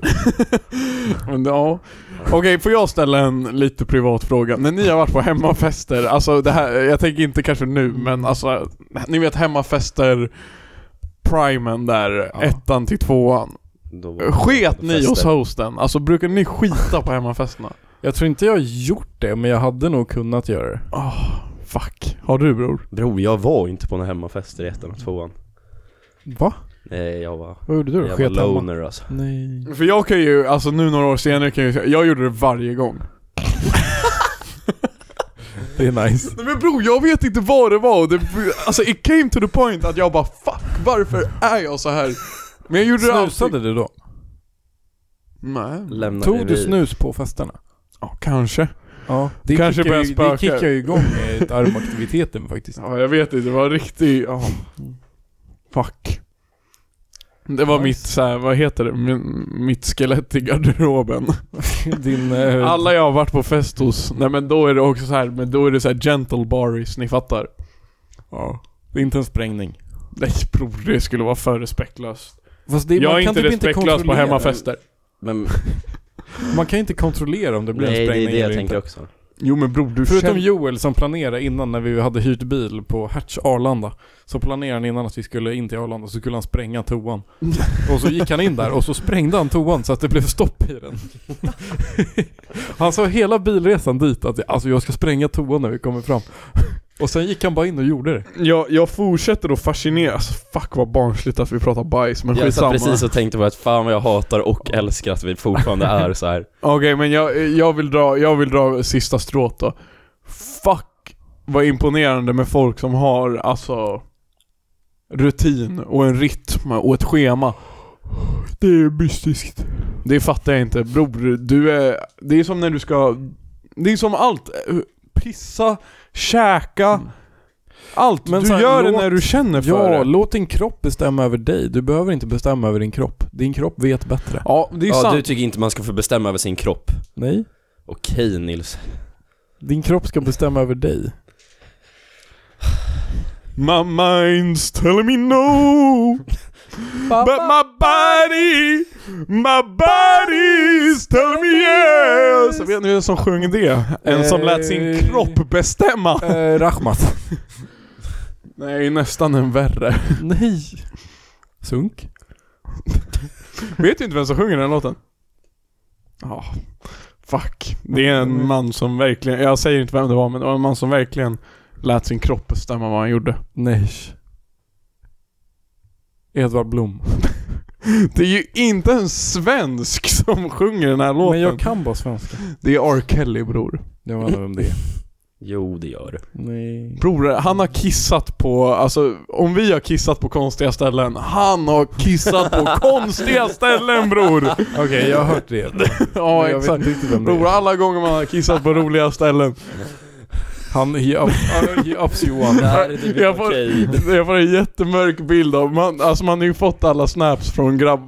Speaker 2: Men Ja. Okej, får jag ställa en lite privat fråga? När ni har varit på hemmafester, alltså det här, jag tänker inte kanske nu men alltså, ni vet hemmafester primen där,
Speaker 1: Ja.
Speaker 2: ettan till tvåan.
Speaker 3: då-
Speaker 2: Sket ni
Speaker 3: fester.
Speaker 2: hos hosten? Alltså brukar ni skita på hemmafesterna?
Speaker 1: Jag tror inte jag har gjort det, men jag hade nog kunnat göra det.
Speaker 2: Fuck. Har du bror?
Speaker 3: Bror, jag var inte på några hemmafester i ettan och tvåan
Speaker 1: Va?
Speaker 3: Nej, jag var...
Speaker 1: Vad gjorde du?
Speaker 3: Jag var
Speaker 1: Sket hemma?
Speaker 3: loner alltså
Speaker 1: Nej.
Speaker 2: För jag kan ju, alltså nu några år senare kan jag ju säga, jag gjorde det varje gång.
Speaker 1: Det är nice.
Speaker 2: Nej men bror, jag vet inte vad det var. Det, alltså it came to the point att jag bara fuck, varför är jag så här? Men jag gjorde det
Speaker 1: Snusade du då?
Speaker 2: Nej.
Speaker 3: Lämnade
Speaker 1: Tog du
Speaker 3: vi-
Speaker 1: snus på festerna?
Speaker 2: Ja, kanske.
Speaker 1: Ja. Det
Speaker 2: Kanske
Speaker 1: kickar
Speaker 2: börjar
Speaker 1: ju, det
Speaker 2: spöka.
Speaker 1: kickar ju igång eh, armaktiviteten faktiskt.
Speaker 2: Ja, jag vet inte. Det var riktigt, ja. Fuck. Det var
Speaker 1: Nice.
Speaker 2: mitt så här, vad heter det? Min, mitt skelett i garderoben.
Speaker 1: Din... Eh,
Speaker 2: Alla jag har varit på fest hos, nej men då är det också så här, men då är det så här gentle baris, ni fattar?
Speaker 1: Ja. Det är inte en sprängning.
Speaker 2: Nej Typ, bror, det skulle vara för respektlöst.
Speaker 1: Fast det,
Speaker 2: jag
Speaker 1: man
Speaker 2: är
Speaker 1: kan
Speaker 2: inte
Speaker 1: typ
Speaker 2: respektlös på
Speaker 1: kontrollera-
Speaker 2: hemmafester.
Speaker 3: Men,
Speaker 1: Man kan ju inte kontrollera om det blir en
Speaker 3: nej det
Speaker 1: sprängning
Speaker 3: är det jag
Speaker 1: eller
Speaker 3: tänker
Speaker 1: inte.
Speaker 3: också
Speaker 2: Jo men bror, du
Speaker 1: Förutom
Speaker 2: känner-
Speaker 1: Joel som planerade innan när vi hade hyrt bil på Hertz Arlanda Så planerade han innan att vi skulle in till Arlanda så skulle han spränga toan Och så gick han in där och så sprängde han toan så att det blev stopp i den Han sa hela bilresan dit att alltså jag ska spränga toan när vi kommer fram Och sen gick han bara in och gjorde det
Speaker 2: jag, jag fortsätter att fascineras, fuck vad barnsligt att vi pratar bajs men
Speaker 3: Jag
Speaker 2: skitsamma.
Speaker 3: satt precis och tänkte på att fan vad jag hatar och älskar att vi fortfarande är så här.
Speaker 2: Okej men jag, jag, vill dra, jag vill dra sista strået då. Fuck vad imponerande med folk som har alltså rutin och en rytm och ett schema. Det är mystiskt. Det fattar jag inte. Bror, du är... Det är som när du ska... Det är som allt. Pissa, käka. Allt.
Speaker 1: Mm. Men
Speaker 2: du
Speaker 1: så här,
Speaker 2: gör det
Speaker 1: låt-
Speaker 2: när du känner för
Speaker 1: Ja,
Speaker 2: det.
Speaker 1: låt din kropp bestämma över dig Du behöver inte bestämma över din kropp Din kropp vet bättre
Speaker 2: Ja, det är
Speaker 3: Ja,
Speaker 2: sant.
Speaker 3: du tycker inte man ska få bestämma över sin kropp
Speaker 1: Nej,
Speaker 3: Okej Nils
Speaker 1: din kropp ska bestämma över dig
Speaker 2: My mind's telling me no. But my body, my body's telling me yes. Jag vet ni vem som sjöng det? En som lät sin
Speaker 1: Eh.
Speaker 2: kropp bestämma.
Speaker 1: eh, Rahmat
Speaker 2: Nej, nästan en värre.
Speaker 1: Nej. Sunk.
Speaker 2: Vet du inte vem som sjunger den låten? Ja, fuck. Det är
Speaker 1: Mm.
Speaker 2: en man som verkligen, jag säger inte vem det var, men det var en man som verkligen lät sin kropp bestämma vad han gjorde.
Speaker 1: Nej. Edvard Blom.
Speaker 2: Det är ju inte en svensk som sjunger den här låten.
Speaker 1: Men jag kan bara svenska.
Speaker 2: Det är R. Kelly bror.
Speaker 1: Jag vet inte vem det är.
Speaker 3: Jo, det gör det.
Speaker 1: Nej.
Speaker 2: Bror, han har kissat på, alltså om vi har kissat på konstiga ställen, han har kissat på konstiga ställen bror!
Speaker 1: Okej, jag har hört det. Men jag
Speaker 2: Ja
Speaker 1: vet
Speaker 2: exakt.
Speaker 1: inte riktigt vem det
Speaker 2: Bror,
Speaker 1: är.
Speaker 2: alla gånger man har kissat på roliga ställen.
Speaker 1: Han, he, up, uh, he ups Johan.
Speaker 3: Det här är typ
Speaker 2: Jag får-
Speaker 3: okej.
Speaker 2: Jag får en jättemörk bild av, man, alltså man har ju fått alla snaps från grabb...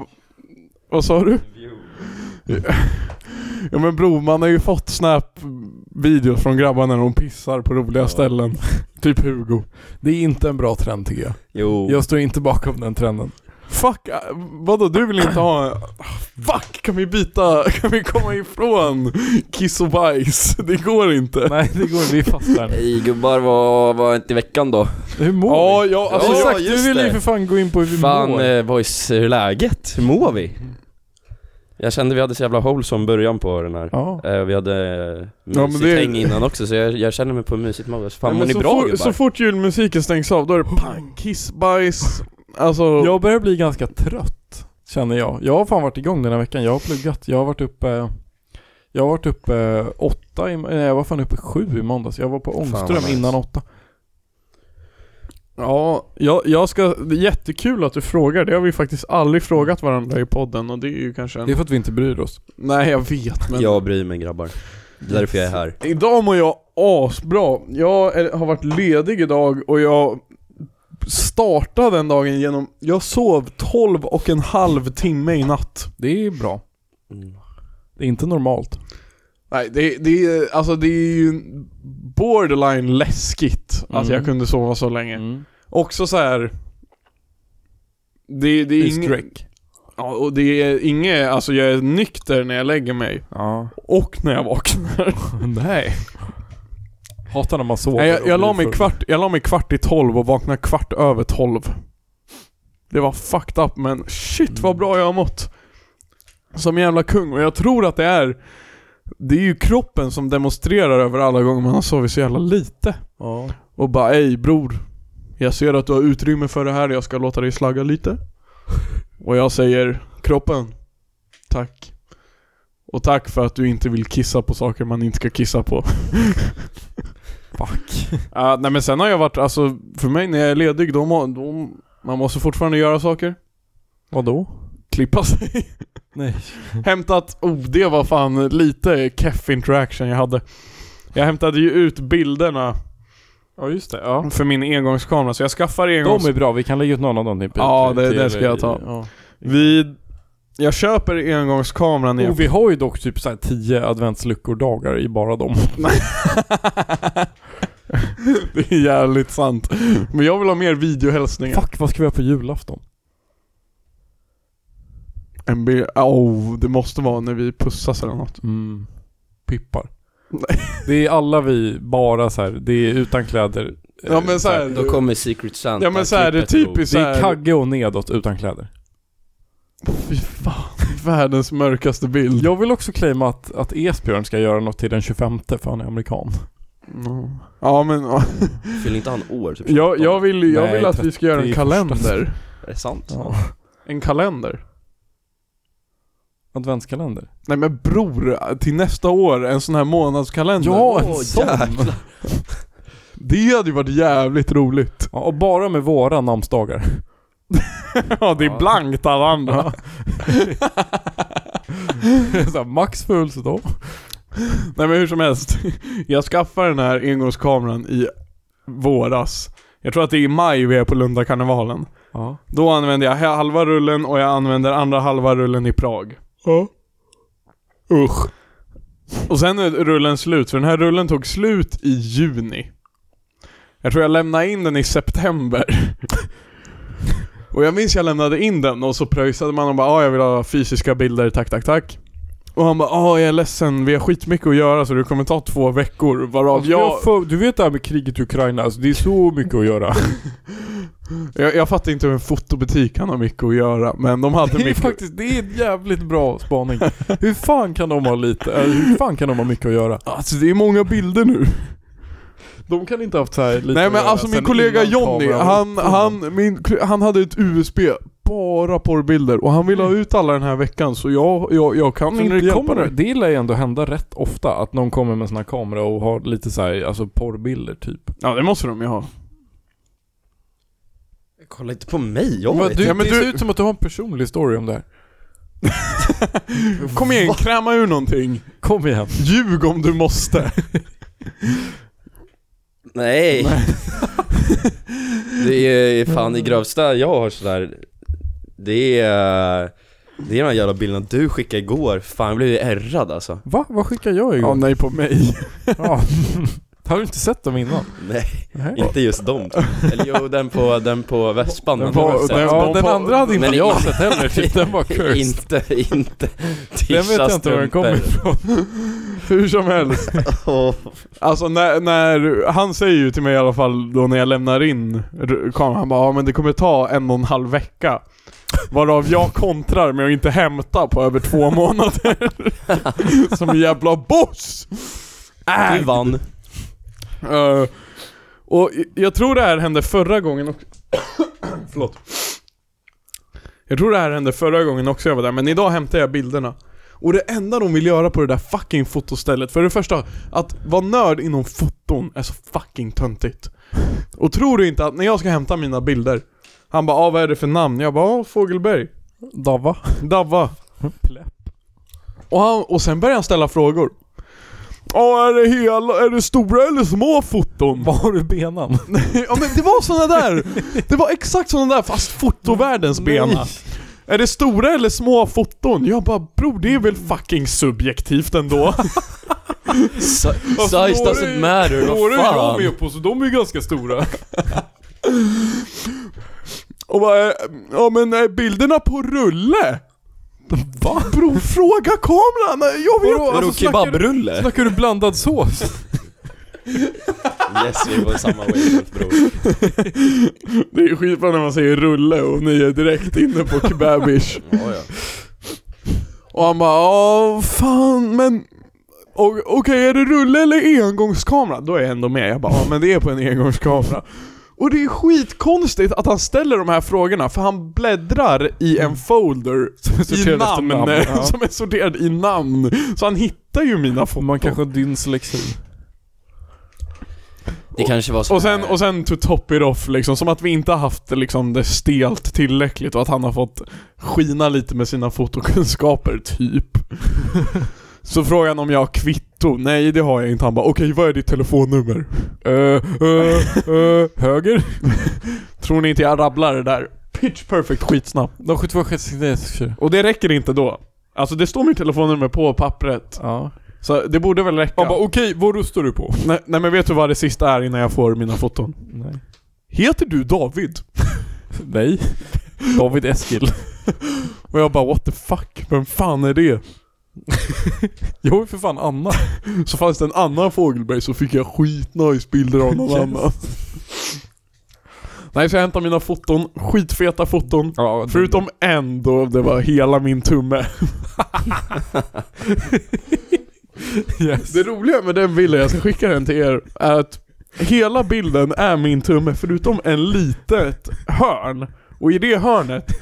Speaker 2: Vad sa du? Ja men bror, man har ju fått snap-videos från grabbar när de pissar på roliga
Speaker 3: Ja.
Speaker 2: ställen. Typ Hugo.
Speaker 1: Det är inte en bra trend tycker jag.
Speaker 3: Jo.
Speaker 1: Jag står inte bakom den trenden.
Speaker 2: Fuck, äh, vadå du vill inte ha en... Ah, Fuck, kan vi byta, kan vi komma ifrån kiss och bajs? Det går inte.
Speaker 1: Nej, det går inte. Vi är fast där.
Speaker 3: Hej gubbar, vad var inte i veckan då?
Speaker 1: Hur mår
Speaker 2: Ja,
Speaker 1: vi?
Speaker 2: ja,
Speaker 1: Alltså,
Speaker 2: alltså,
Speaker 1: exakt,
Speaker 3: ja,
Speaker 1: du
Speaker 3: just
Speaker 1: ville ju
Speaker 3: det.
Speaker 1: för fan gå in på hur vi
Speaker 3: Fan
Speaker 1: mår.
Speaker 3: eh, boys, hur är läget? Hur mår vi? Jag kände vi hade så jävla hole som början på den här.
Speaker 1: Ja.
Speaker 3: Eh, Vi hade eh, mysigt
Speaker 2: men det-
Speaker 3: häng innan också så jag, jag känner mig på mysigt mode. Så Fan
Speaker 2: Nej,
Speaker 3: mår
Speaker 2: men
Speaker 3: ni
Speaker 2: så,
Speaker 3: bra
Speaker 2: fort,
Speaker 3: gubbar?
Speaker 2: så fort julmusiken stängs av, då är det pang, kiss, bajs. Alltså,
Speaker 1: Jag börjar bli ganska trött, känner jag. Jag har fan varit igång den här veckan. Jag har pluggat. Jag har varit uppe... Jag har varit uppe åtta i, Nej, jag var fan uppe sju i måndags. Jag var på
Speaker 3: Fan, vad
Speaker 1: Ångström
Speaker 3: nice.
Speaker 1: innan åtta.
Speaker 2: ja, jag, jag ska, det är jättekul att du frågar. Det har vi faktiskt aldrig frågat varandra i podden och det är ju kanske en...
Speaker 1: Det är för att vi inte bryr oss.
Speaker 2: Nej jag vet men...
Speaker 3: Jag bryr mig grabbar. Det är därför jag är här.
Speaker 2: Idag mår jag asbra. Jag är, har varit ledig idag och jag startade den dagen genom... Jag sov 12 och en halv timme i natt.
Speaker 1: Det är bra.
Speaker 3: Mm.
Speaker 1: Det är inte normalt.
Speaker 2: Nej, det, det, är- alltså det är ju borderline läskigt att
Speaker 1: Mm.
Speaker 2: jag kunde sova så länge. Också så här. Det, det
Speaker 1: Det
Speaker 2: är
Speaker 1: är
Speaker 2: inget...
Speaker 1: streck.
Speaker 2: Ja, och det är inget... Alltså jag är nykter när jag lägger mig.
Speaker 1: Ja.
Speaker 2: Och när jag vaknar.
Speaker 1: Nej. Hatar när man sover.
Speaker 2: Nej, jag,
Speaker 1: och
Speaker 2: jag,
Speaker 1: blir
Speaker 2: la mig
Speaker 1: full.
Speaker 2: kvart, jag la mig kvart i tolv och vaknade kvart över tolv. Det var fucked up men shit vad bra jag har mått. Som en jävla kung och jag tror att det är Det är ju kroppen som demonstrerar över alla gånger man har sovit så jävla lite.
Speaker 1: Ja.
Speaker 2: Och bara ej bror. Jag ser att du har utrymme för det här, jag ska låta dig slagga lite. Och jag säger kroppen. Tack. Och tack för att du inte vill kissa på saker man inte ska kissa på.
Speaker 1: Fuck.
Speaker 2: Ja, nej men sen har jag varit, alltså för mig när jag är ledig då, må, då man måste fortfarande göra saker.
Speaker 1: Vadå?
Speaker 2: Klippa sig.
Speaker 1: Nej.
Speaker 2: Hämtat, oh det var fan lite keff interaction jag hade. Jag hämtade ju ut bilderna
Speaker 1: Ja just det, ja.
Speaker 2: för min engångskamera så jag skaffar engångs...
Speaker 1: De är bra, vi kan lägga ut någon av dem typ.
Speaker 2: Ja,
Speaker 1: till-
Speaker 2: det- det
Speaker 1: till-
Speaker 2: ska jag ta.
Speaker 1: Ja.
Speaker 2: Vi... Jag köper engångskameran igen.
Speaker 1: Och vi har ju dock typ såhär 10 adventsluckor dagar i bara dem.
Speaker 2: det är jävligt sant. Men jag vill ha mer videohälsningar.
Speaker 1: Fuck, vad ska vi göra på julafton?
Speaker 2: En bild, oh, det måste vara när vi pussas eller något.
Speaker 1: Mm. Pippar.
Speaker 2: Nej.
Speaker 1: Det är alla vi, bara så här. det är utan kläder.
Speaker 2: Ja men
Speaker 1: så här,
Speaker 2: såhär...
Speaker 3: Då kommer Secret Santa typ
Speaker 2: Ja men såhär, det är typ-
Speaker 3: klippet ihop.
Speaker 2: typiskt
Speaker 1: Det är
Speaker 2: såhär...
Speaker 1: kagge och nedåt utan kläder.
Speaker 2: Fy fan, världens mörkaste bild.
Speaker 1: Jag vill också claima att, att Esbjörn ska göra något till den 25 för han är amerikan.
Speaker 2: Mm. Ja men, ja.
Speaker 3: Fyller inte han år typ?
Speaker 2: jag, jag vill, jag
Speaker 1: Nej,
Speaker 2: vill att vi ska göra en
Speaker 1: 31.
Speaker 2: kalender.
Speaker 3: Är det sant?
Speaker 2: En kalender?
Speaker 1: Adventskalender.
Speaker 2: Nej men bror, till nästa år, en sån här månadskalender.
Speaker 1: Ja, en
Speaker 3: Åh,
Speaker 1: sån!
Speaker 3: jäklar.
Speaker 2: Det hade ju varit jävligt roligt.
Speaker 1: Ja, och bara med våra namnsdagar.
Speaker 2: ja, det är
Speaker 3: Ja.
Speaker 2: blankt alla andra.
Speaker 1: så här, Max födelsedag.
Speaker 2: Nej men hur som helst. Jag skaffade den här engångskameran i våras. Jag tror att det är i maj vi är på Lundakarnevalen.
Speaker 1: Ja.
Speaker 2: Då använder jag halva rullen och jag använder andra halva rullen i Prag.
Speaker 1: Ja.
Speaker 2: Usch. Och sen är rullen slut, för den här rullen tog slut i juni. Jag tror jag lämnade in den i september. och jag minns jag lämnade in den och så pröjsade man och bara ah, jag vill ha fysiska bilder, tack tack tack. Och han bara ah, jag är ledsen, vi har skitmycket att göra så det kommer ta två veckor varav
Speaker 1: Alltså,
Speaker 2: jag...
Speaker 1: jag för, du vet det här med kriget i Ukraina, alltså, det är så mycket att göra.
Speaker 2: Jag, jag fattar inte hur en fotobutik kan ha mycket att göra, men de hade
Speaker 1: Det är
Speaker 2: mycket...
Speaker 1: faktiskt, det är en jävligt bra spaning. Hur fan kan de ha lite, eller hur fan kan de ha mycket att göra?
Speaker 2: Alltså det är många bilder nu.
Speaker 1: De kan inte ha haft så här lite
Speaker 2: Nej
Speaker 1: att
Speaker 2: men
Speaker 1: göra
Speaker 2: alltså min
Speaker 1: sen
Speaker 2: kollega
Speaker 1: innan
Speaker 2: Jonny,
Speaker 1: kameran.
Speaker 2: han, han, min, han hade ett USB bara porrbilder och han vill ha ut alla den här veckan så jag, jag, jag kan
Speaker 1: Så
Speaker 2: inte
Speaker 1: när det,
Speaker 2: hjälpa
Speaker 1: kommer,
Speaker 2: dig.
Speaker 1: det lär ju ändå hända rätt ofta att någon kommer med sån här kamera och har lite så här, alltså porrbilder typ.
Speaker 2: Ja det måste de ju ha.
Speaker 3: Kolla inte på mig, jag
Speaker 1: Men
Speaker 3: vet
Speaker 1: du,
Speaker 2: Ja,
Speaker 3: inte.
Speaker 2: men
Speaker 1: det
Speaker 2: du-
Speaker 1: ser ut som att du har en personlig story om det här.
Speaker 2: Kom igen, kräma ur någonting.
Speaker 1: Kom igen.
Speaker 2: Ljug om du måste.
Speaker 3: Nej! det är fan det grövsta jag har sådär Det är... Det är de här jävla bilderna du skickade igår, fan jag blev ju ärrad alltså
Speaker 1: Va? Vad skickar jag
Speaker 2: Ja
Speaker 1: igår?
Speaker 2: nej på mig.
Speaker 1: Ja. Har du inte sett dem innan?
Speaker 3: Nej,
Speaker 1: Nej.
Speaker 3: inte just dem Eller jo, den på, den på vespan
Speaker 2: Den
Speaker 3: men det
Speaker 2: var-
Speaker 3: var så här-
Speaker 2: den-
Speaker 1: Ja,
Speaker 2: de
Speaker 1: den
Speaker 2: på-
Speaker 1: andra hade inte
Speaker 3: Men-
Speaker 1: jag sett heller, typ den var cursed.
Speaker 3: Inte, inte
Speaker 1: Den vet jag inte var den kommer ifrån.
Speaker 2: Hur som helst.
Speaker 3: Åh,
Speaker 2: Alltså när, när, han säger ju till mig i alla fall då när jag lämnar in r- kameran, han bara ja men det kommer ta en och en halv vecka. Varav jag kontrar med att inte hämta på över två månader. Som en jävla boss!
Speaker 3: Du vann
Speaker 2: Eh, och i- jag tror det här hände förra gången också. Förlåt. Jag tror det här hände förra gången också jag var där, men idag hämtar jag bilderna. Och det enda de vill göra på det där fucking fotostället, för det första, att vara nörd inom foton är så fucking töntigt. Och tror du inte att när jag ska hämta mina bilder, han bara ah, 'Vad är det för namn?' Jag bara ah, 'Fågelberg'
Speaker 1: Dava.
Speaker 2: Davva. Och, han, och sen börjar han ställa frågor. Ja, är det hela, är det stora eller små foton?
Speaker 1: Vad har du i benan?
Speaker 2: ja men det var såna där! Det var exakt såna där fast fotovärldens bena. Är det stora eller små foton? Jag bara bror det är väl fucking subjektivt ändå.
Speaker 3: Size
Speaker 2: Vad får
Speaker 3: doesn't
Speaker 2: du-
Speaker 3: matter,
Speaker 2: Några
Speaker 3: vad
Speaker 2: är jag
Speaker 3: fan
Speaker 2: med på så de är ju ganska stora. Och bara, eh, ja men är bilderna på rulle? Va? Bror fråga kameran, jag vet
Speaker 1: Vadå?
Speaker 3: Vadå
Speaker 1: Alltså, snackar du-
Speaker 3: kebabrulle?
Speaker 1: Snackar du blandad sås?
Speaker 3: Yes, vi är på samma wavelength bror
Speaker 2: Det är skitbra när man säger rulle och ni är direkt inne på kebabish.
Speaker 3: Ja, ja.
Speaker 2: Och han bara Åh, fan men och- Okej, är det rulle eller engångskamera? Då är jag ändå med. Jag bara, ja men det är på en engångskamera. Och det är skitkonstigt att han ställer de här frågorna för han bläddrar i en folder i
Speaker 1: sorterad efter
Speaker 2: namn,
Speaker 1: namn, ja.
Speaker 2: som är sorterad i namn. Så han hittar ju mina foton.
Speaker 1: Man kanske har dyslexi.
Speaker 3: Det kanske var så
Speaker 2: Och sen, och sen to top it off liksom, som att vi inte har haft liksom, det stelt tillräckligt och att han har fått skina lite med sina fotokunskaper, typ. Så frågar han om jag har kvitto. Nej det har jag inte. Han bara okej vad är ditt telefonnummer?
Speaker 1: Eh, eh, eh, höger?
Speaker 2: Tror ni inte jag rabblar det där? Pitch perfect skitsnabbt.
Speaker 1: De 72 69
Speaker 2: Och det räcker inte då. Alltså det står mitt telefonnummer på pappret.
Speaker 1: Ja.
Speaker 2: Så det borde väl räcka.
Speaker 1: Man bara okej, vad rustar du på?
Speaker 2: nej, nej men vet du vad det sista är innan jag får mina foton?
Speaker 1: Nej.
Speaker 2: Heter du David?
Speaker 1: Nej. David Eskil.
Speaker 2: Och jag bara what the fuck? Vem fan är det?
Speaker 1: Jag är för fan Anna.
Speaker 2: Så fanns det en annan fågelberg så fick jag skitnice bilder av någon
Speaker 1: Yes.
Speaker 2: annan. Nej så jag hämtade mina foton, skitfeta foton.
Speaker 1: Ja,
Speaker 2: Förutom en då det var hela min tumme.
Speaker 1: Yes.
Speaker 2: Det roliga med den bilden, jag ska skicka den till er, är att hela bilden är min tumme förutom en litet hörn. Och i det hörnet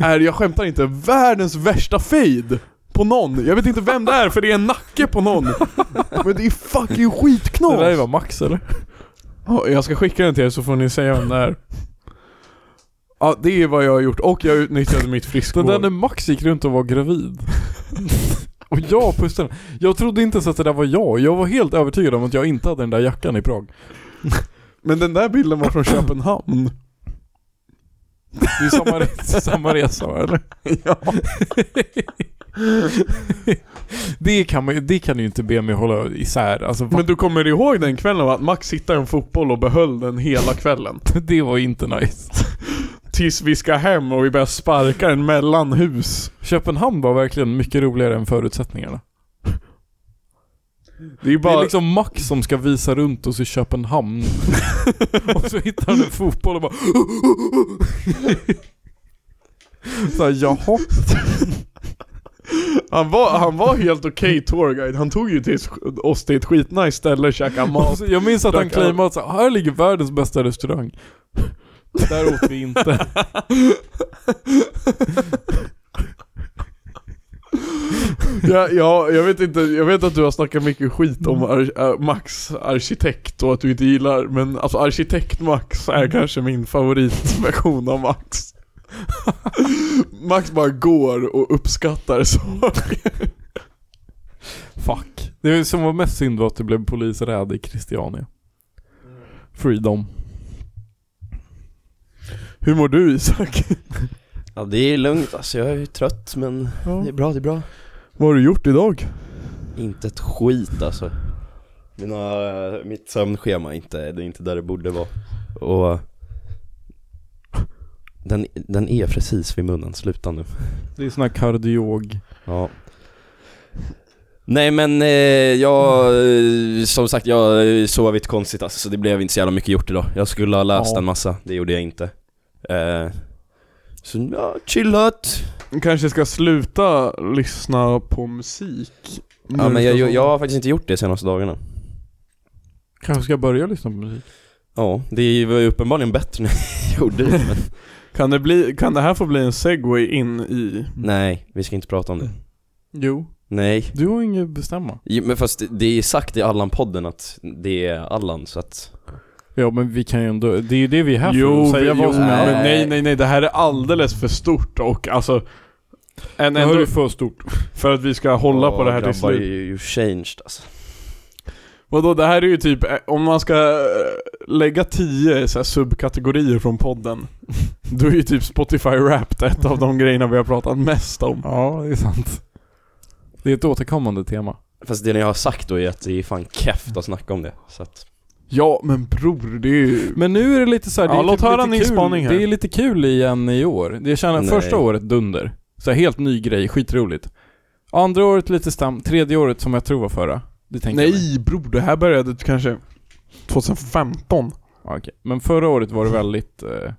Speaker 2: är, jag skämtar inte, världens värsta fade på någon. Jag vet inte vem det är för det är en nacke på någon. Men det är fucking skitknas.
Speaker 1: Det där var Max eller?
Speaker 2: Ja, jag ska skicka den till er så får ni säga vem det är. Ja, det är vad jag har gjort och jag utnyttjade mitt
Speaker 1: Den
Speaker 2: friskvård.
Speaker 1: där när Max gick runt och var gravid. och jag pustade. Jag trodde inte ens att det där var jag. Jag var helt övertygad om att jag inte hade den där jackan i Prag.
Speaker 2: Men den där bilden var från Köpenhamn.
Speaker 1: Det är samma, re- samma resa va, eller?
Speaker 2: Ja.
Speaker 1: Det kan, man, ju- det kan du ju inte be mig hålla isär. Alltså, va?
Speaker 2: Men du kommer ihåg den kvällen va? Att Max hittade en fotboll och behöll den hela kvällen.
Speaker 1: det var inte nice.
Speaker 2: Tills vi ska hem och vi börjar sparka den mellan hus.
Speaker 1: Köpenhamn var verkligen mycket roligare än förutsättningarna.
Speaker 2: Det är
Speaker 1: Det
Speaker 2: bara...
Speaker 1: är liksom Max som ska visa runt oss i Köpenhamn. och så hittar han en fotboll och bara... Såhär, liksom jaha.
Speaker 2: han, var, han var helt okej tourguide. Han tog ju till oss till ett skitnice ställe och käkade
Speaker 1: Och
Speaker 2: mat.
Speaker 1: så- Jag minns att han
Speaker 2: Drack
Speaker 1: claimade att så här, här ligger världens bästa restaurang. Där åt vi inte.
Speaker 2: Ja, ja, jag vet inte, jag vet att du har snackat mycket skit om ar äh, Max arkitekt och att du inte gillar, men alltså arkitekt Max är kanske min favoritversion av Max. Max bara går och uppskattar saker.
Speaker 1: Fuck. Det som var mest synd var att det blev polisräd i Christiania. Freedom.
Speaker 2: Hur mår du Isak?
Speaker 3: Ja det är lugnt alltså, jag är ju trött men det är bra, det är bra.
Speaker 2: Vad har du gjort idag?
Speaker 3: Inte ett skit alltså. Mina, eh, mitt sömnschema är inte, det är inte där det borde vara. Och den, den är precis vid munnen, sluta nu.
Speaker 1: Det är sån här kardiog.
Speaker 3: Ja. Nej men eh, jag, eh, som sagt jag har sovit konstigt alltså, så det blev inte så jävla mycket gjort idag. Jag skulle ha läst
Speaker 1: Ja.
Speaker 3: en massa, det gjorde jag inte. Eh, så ja, chillat.
Speaker 2: Du kanske ska sluta lyssna på musik?
Speaker 3: Ja men jag, jag, jag har faktiskt inte gjort det de senaste dagarna.
Speaker 1: Kanske ska jag börja lyssna på musik?
Speaker 3: Ja, det var ju uppenbarligen bättre när jag gjorde det men
Speaker 2: Mm. Kan det, bli, kan det här få bli en segway in i...
Speaker 3: nej, vi ska inte prata om det.
Speaker 1: Jo.
Speaker 3: Nej.
Speaker 1: Du har inget att bestämma.
Speaker 3: Jo, Men fast det- det är sagt i Allan-podden att det är Allan så att
Speaker 1: Ja men vi kan ju ändå, det är ju det vi är här för.
Speaker 2: Jo,
Speaker 1: att säga
Speaker 2: vi- jo
Speaker 1: vad som
Speaker 3: är
Speaker 2: men
Speaker 3: här.
Speaker 2: nej nej nej, det här är alldeles för stort och alltså... En,
Speaker 1: Det här
Speaker 2: ändå,
Speaker 1: är för stort.
Speaker 2: för att vi ska hålla på det här till
Speaker 3: grabbar,
Speaker 2: slut.
Speaker 3: you, you changed alltså.
Speaker 2: Vadå, det här är ju typ, eh, om man ska eh, lägga tio så här, subkategorier från podden, då är ju typ Spotify Wrapped ett av de grejerna vi har pratat mest om.
Speaker 1: Ja, det är sant. Det är ett återkommande tema.
Speaker 3: Fast det jag har sagt då är att det är fan keft att snacka om det så att
Speaker 2: Ja, men bror, det är ju...
Speaker 1: Men nu är det lite så här, det
Speaker 2: Ja,
Speaker 1: är
Speaker 2: låt
Speaker 1: typ
Speaker 2: höra
Speaker 1: lite
Speaker 2: Nils
Speaker 1: kul.
Speaker 2: spaning här.
Speaker 1: Det är lite kul igen i år. Jag känner
Speaker 3: Nej.
Speaker 1: första året dunder. Så här, helt ny grej, skitroligt. Andra året lite stam, tredje året som jag tror var förra. Det tänker jag mig.
Speaker 2: Nej bror, det här började kanske 2015.
Speaker 1: Ja, okej. Men förra året var det väldigt, eh,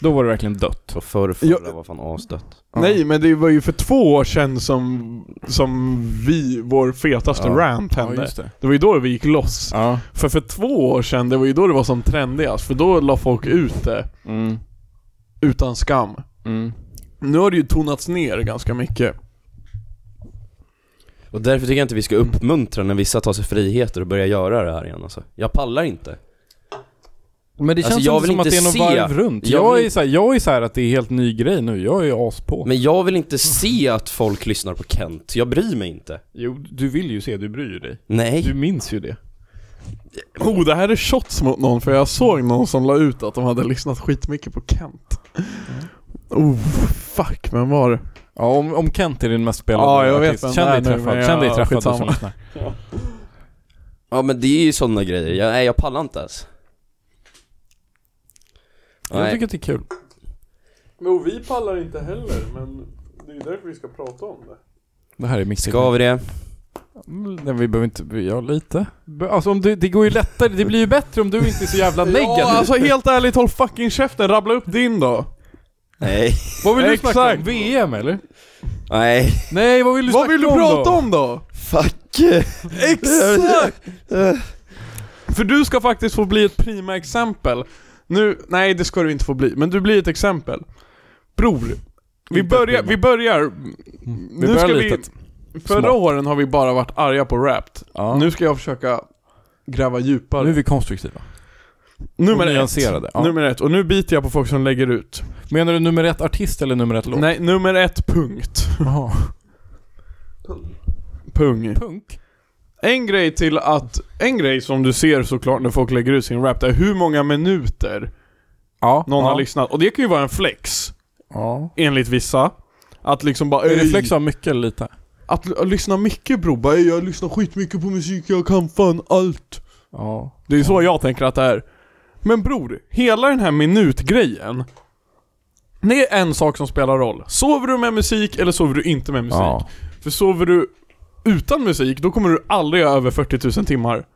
Speaker 1: då var det verkligen dött.
Speaker 3: så förr förra
Speaker 2: Ja.
Speaker 3: var fan asdött.
Speaker 1: Ja.
Speaker 2: Nej, men det var ju för två år sedan som, som vi, vår fetaste
Speaker 3: Ja.
Speaker 2: rant
Speaker 1: Ja,
Speaker 2: hände.
Speaker 1: just det.
Speaker 2: det var ju då vi gick loss.
Speaker 1: Ja.
Speaker 2: För för två år sedan, det var ju då det var som trendigast, för då la folk ut det
Speaker 1: Mm.
Speaker 2: utan skam.
Speaker 1: Mm.
Speaker 2: Nu har det ju tonats ner ganska mycket.
Speaker 3: Och därför tycker jag inte vi ska uppmuntra när vissa tar sig friheter och börjar göra det här igen alltså. Jag pallar inte.
Speaker 1: Men det
Speaker 3: Alltså,
Speaker 1: känns
Speaker 3: jag
Speaker 1: inte
Speaker 3: vill
Speaker 1: som att
Speaker 3: inte
Speaker 1: det är någon
Speaker 3: se.
Speaker 1: varv runt.
Speaker 3: Jag
Speaker 1: Jag,
Speaker 3: vill
Speaker 1: är så här, jag är så här att det är helt ny grej nu, jag är as på.
Speaker 3: Men jag vill inte se att folk lyssnar på Kent, jag bryr mig inte.
Speaker 1: Jo, du vill ju se, du bryr dig.
Speaker 3: Nej.
Speaker 1: Du minns ju det.
Speaker 2: Oh, det här är shots mot någon för jag såg någon som la ut att de hade lyssnat skitmycket på Kent. Oh, fuck, men var det?
Speaker 1: Ja, om, om Kent är din mest spelade
Speaker 2: Ja, jag vet
Speaker 1: artist.
Speaker 2: vem
Speaker 1: Känn
Speaker 2: det är
Speaker 1: dig
Speaker 2: nu, men
Speaker 1: träffad,
Speaker 2: jag-
Speaker 1: känn dig träffad du som
Speaker 2: skitsamma.
Speaker 1: lyssnar.
Speaker 3: Ja men det är ju sådana grejer, jag, nej jag pallar inte ens.
Speaker 1: Jag
Speaker 3: Nej.
Speaker 1: tycker att det är kul.
Speaker 2: Jo, vi pallar inte heller, men det är därför vi ska prata om det.
Speaker 1: Det här är mitt
Speaker 3: Ska vi det?
Speaker 1: Mm, Nej, vi behöver inte, vi- ja lite. Be- Alltså om du, det går ju lättare, det blir ju bättre om du inte är så jävla negativ.
Speaker 2: Ja, alltså helt ärligt, håll fucking käften, rabbla upp din då.
Speaker 3: Nej.
Speaker 1: vad vill du snacka om?
Speaker 2: exakt.
Speaker 1: VM eller?
Speaker 3: Nej.
Speaker 1: Nej, vad vill du
Speaker 2: Vad
Speaker 1: snacka
Speaker 2: vill du
Speaker 1: om
Speaker 2: prata
Speaker 1: då?
Speaker 2: om då?
Speaker 3: Fuck.
Speaker 2: Exakt! För du ska faktiskt få bli ett prima exempel. Nu, nej det ska du inte få bli, men du blir ett exempel. Bror, vi
Speaker 1: Inte
Speaker 2: börjar,
Speaker 1: prima.
Speaker 2: vi börjar...
Speaker 1: Mm. Vi
Speaker 2: nu
Speaker 1: börjar
Speaker 2: ska
Speaker 1: litet.
Speaker 2: vi... Förra
Speaker 1: Smått.
Speaker 2: åren har vi bara varit arga på Wrapped.
Speaker 1: Ja. Nu,
Speaker 2: Nu ska jag försöka gräva djupare.
Speaker 1: är vi konstruktiva.
Speaker 2: nummer
Speaker 1: och
Speaker 2: ett.
Speaker 1: nyanserade, ja.
Speaker 2: Nummer ett. Och nu biter jag på folk som lägger ut.
Speaker 1: Menar du nummer ett artist eller nummer ett låt?
Speaker 2: Nej, nummer ett, punkt.
Speaker 1: Jaha.
Speaker 2: Pung.
Speaker 1: Punk?
Speaker 2: En grej till att... En grej som du ser såklart när folk lägger ut sin rap, det är hur många minuter
Speaker 1: Ja.
Speaker 2: någon
Speaker 1: ja.
Speaker 2: har lyssnat. Och det kan ju vara en flex.
Speaker 1: Ja.
Speaker 2: enligt vissa. Att liksom bara
Speaker 1: Är det
Speaker 2: "Ey,
Speaker 1: flex av mycket eller lite?
Speaker 2: Att, l- att lyssna mycket bro, bara, "Ey, jag lyssnar skitmycket på musik, jag kan fan allt.
Speaker 1: Ja.
Speaker 2: Det är så jag tänker att det är. Men bror, hela den här minutgrejen. Det är en sak som spelar roll. Sover du med musik eller sover du inte med musik?
Speaker 1: Ja.
Speaker 2: För sover du utan musik, då kommer du aldrig över 40 000 timmar.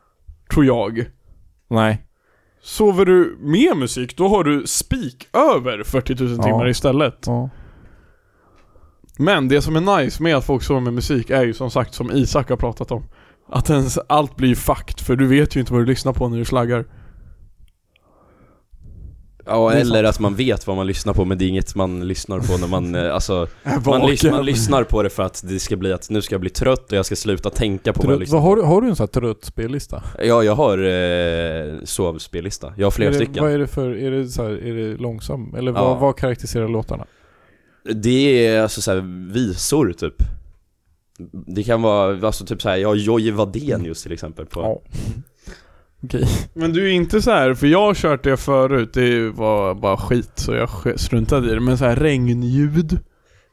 Speaker 2: Tror jag.
Speaker 1: Nej.
Speaker 2: Sover du med musik, då har du spik över 40 000 timmar
Speaker 1: Ja.
Speaker 2: istället.
Speaker 1: Ja.
Speaker 2: Men det som är nice med att folk sover med musik är ju som sagt som Isak har pratat om Att ens allt blir fakt för du vet ju inte vad du lyssnar på när du slaggar
Speaker 3: Ja,
Speaker 2: Det är
Speaker 3: eller
Speaker 2: sant.
Speaker 3: att man vet vad man lyssnar på men det är inget man lyssnar på när man, eh, alltså man,
Speaker 2: Vaken.
Speaker 3: lys- man lyssnar på det för att det ska bli att nu ska jag bli trött och jag ska sluta tänka på vad jag
Speaker 1: Trött,
Speaker 3: lyssnar
Speaker 1: vad har, du, har du en sån här trött spellista?
Speaker 3: på. Ja, jag har eh, sovspellista. Jag har flera
Speaker 1: är det,
Speaker 3: stycken.
Speaker 1: Vad är det för, är det så här, är det långsam? Eller
Speaker 3: Ja.
Speaker 1: vad, vad karaktäriserar låtarna?
Speaker 3: Det är alltså så här visor typ. Det kan vara, alltså typ såhär, jag har Jojje Wadenius till exempel på
Speaker 1: Okej.
Speaker 2: Men du är inte så här, för jag har kört det förut, det var bara skit så jag sk- struntade i det. Men så här regnljud.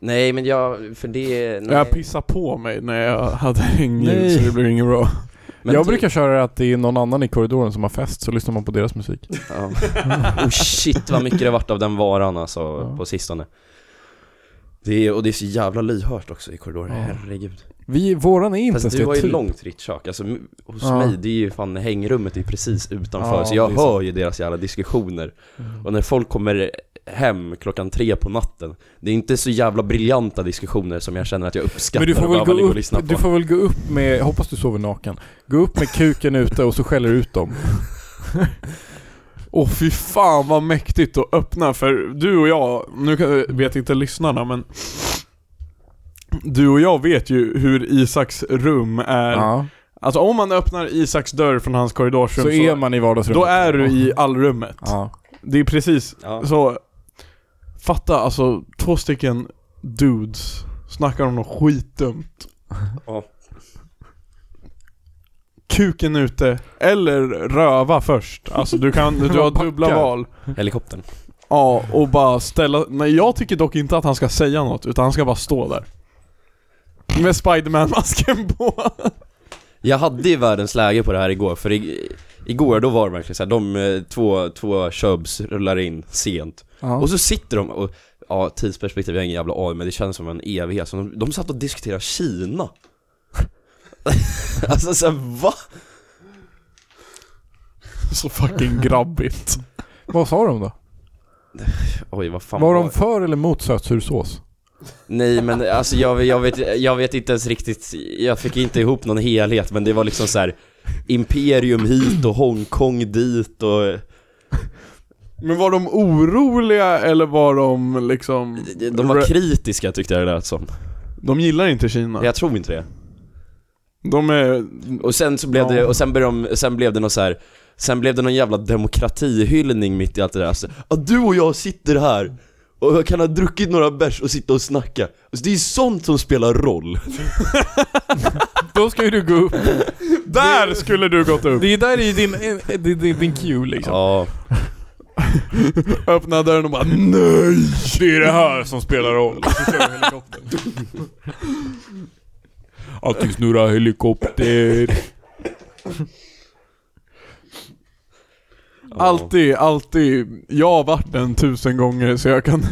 Speaker 3: Nej men jag, för det, nej.
Speaker 2: Jag pissade på mig när jag hade regnljud
Speaker 1: Nej.
Speaker 2: så det blev inget bra.
Speaker 3: Men
Speaker 1: jag
Speaker 3: det-
Speaker 1: brukar köra att det är någon annan i korridoren som har fest, så lyssnar man på deras musik.
Speaker 3: typ- Ja. Oh shit vad mycket det vart av den varan alltså
Speaker 1: Ja.
Speaker 3: på sistone. Det är, och det är så jävla lyhört också i korridoren,
Speaker 1: Ja.
Speaker 3: herregud.
Speaker 1: Vi, våran är inte
Speaker 3: Fast
Speaker 1: ens
Speaker 3: du
Speaker 1: det
Speaker 3: har ju
Speaker 1: typ.
Speaker 3: långt ditt kök, alltså m- hos
Speaker 1: Ja.
Speaker 3: mig det är ju fan hängrummet är precis utanför
Speaker 1: Ja,
Speaker 3: så jag
Speaker 1: det är sant.
Speaker 3: hör ju deras jävla diskussioner. Och när folk kommer hem klockan tre på natten, det är inte så jävla briljanta diskussioner som jag känner att jag uppskattar
Speaker 1: Men du får,
Speaker 3: och
Speaker 1: väl
Speaker 3: behöver ligga
Speaker 1: gå
Speaker 3: och lyssna
Speaker 1: upp,
Speaker 3: på.
Speaker 1: du får väl gå upp med, jag hoppas du sover naken, gå upp med kuken ute och så skäller du ut dem.
Speaker 2: Åh fy fan vad mäktigt att öppna för du och jag, nu kan- vet inte lyssnarna men Du och jag vet ju hur Isaks rum är.
Speaker 1: Ja.
Speaker 2: Alltså om man öppnar Isaks dörr från hans korridorsrum
Speaker 1: Så är man i vardagsrummet.
Speaker 2: då är du i allrummet.
Speaker 1: Ja.
Speaker 2: Det är precis
Speaker 3: Ja.
Speaker 2: så. Fatta alltså två stycken dudes snackar om något skitdumt.
Speaker 3: Ja.
Speaker 2: Kuken ute, eller röva först. Alltså du kan, du har dubbla
Speaker 1: Backa.
Speaker 2: val.
Speaker 3: Helikoptern.
Speaker 2: Ja, och bara ställa... Nej, jag tycker dock inte att han ska säga något, utan han ska bara stå där. Med Spiderman-masken på.
Speaker 3: Jag hade ju världens läge på det här igår, för i, igår då var det verkligen såhär, de eh, två, två chubbs rullar in sent
Speaker 1: Ja.
Speaker 3: Och så sitter de och, ja tidsperspektiv, jag har ingen jävla aning men det känns som en evighet, så de, de satt och diskuterade Kina Alltså såhär va?
Speaker 2: Så fucking grabbigt.
Speaker 1: Vad sa de då?
Speaker 3: Oj vad fan
Speaker 1: Var de för eller emot sötsursås?
Speaker 3: Nej men alltså jag, jag, vet, jag vet inte ens riktigt, jag fick inte ihop någon helhet men det var liksom så här. Imperium hit och Hongkong dit och
Speaker 2: Men var de oroliga eller var de liksom...
Speaker 3: De var kritiska tyckte jag det lät som
Speaker 2: De gillar inte Kina.
Speaker 3: Jag tror inte det
Speaker 2: De är...
Speaker 3: Och sen så blev
Speaker 2: Ja.
Speaker 3: det, och sen, började de, sen blev det någon så här. Sen blev det någon jävla demokratihyllning mitt i allt det där alltså, ah, du och jag sitter här och jag kan ha druckit några bärs och sitta och snacka alltså, Det är ju sånt som spelar roll
Speaker 1: Då ska ju du gå upp.
Speaker 2: Där skulle du gått upp!
Speaker 1: Det är där i din, eh, din, din, din cue liksom.
Speaker 3: Ja,
Speaker 2: Öppna dörren och bara NEJ!
Speaker 1: Det är det här som spelar roll. Allting snurrar helikopter.
Speaker 2: Alltid, alltid. Jag har varit den tusen gånger så jag kan,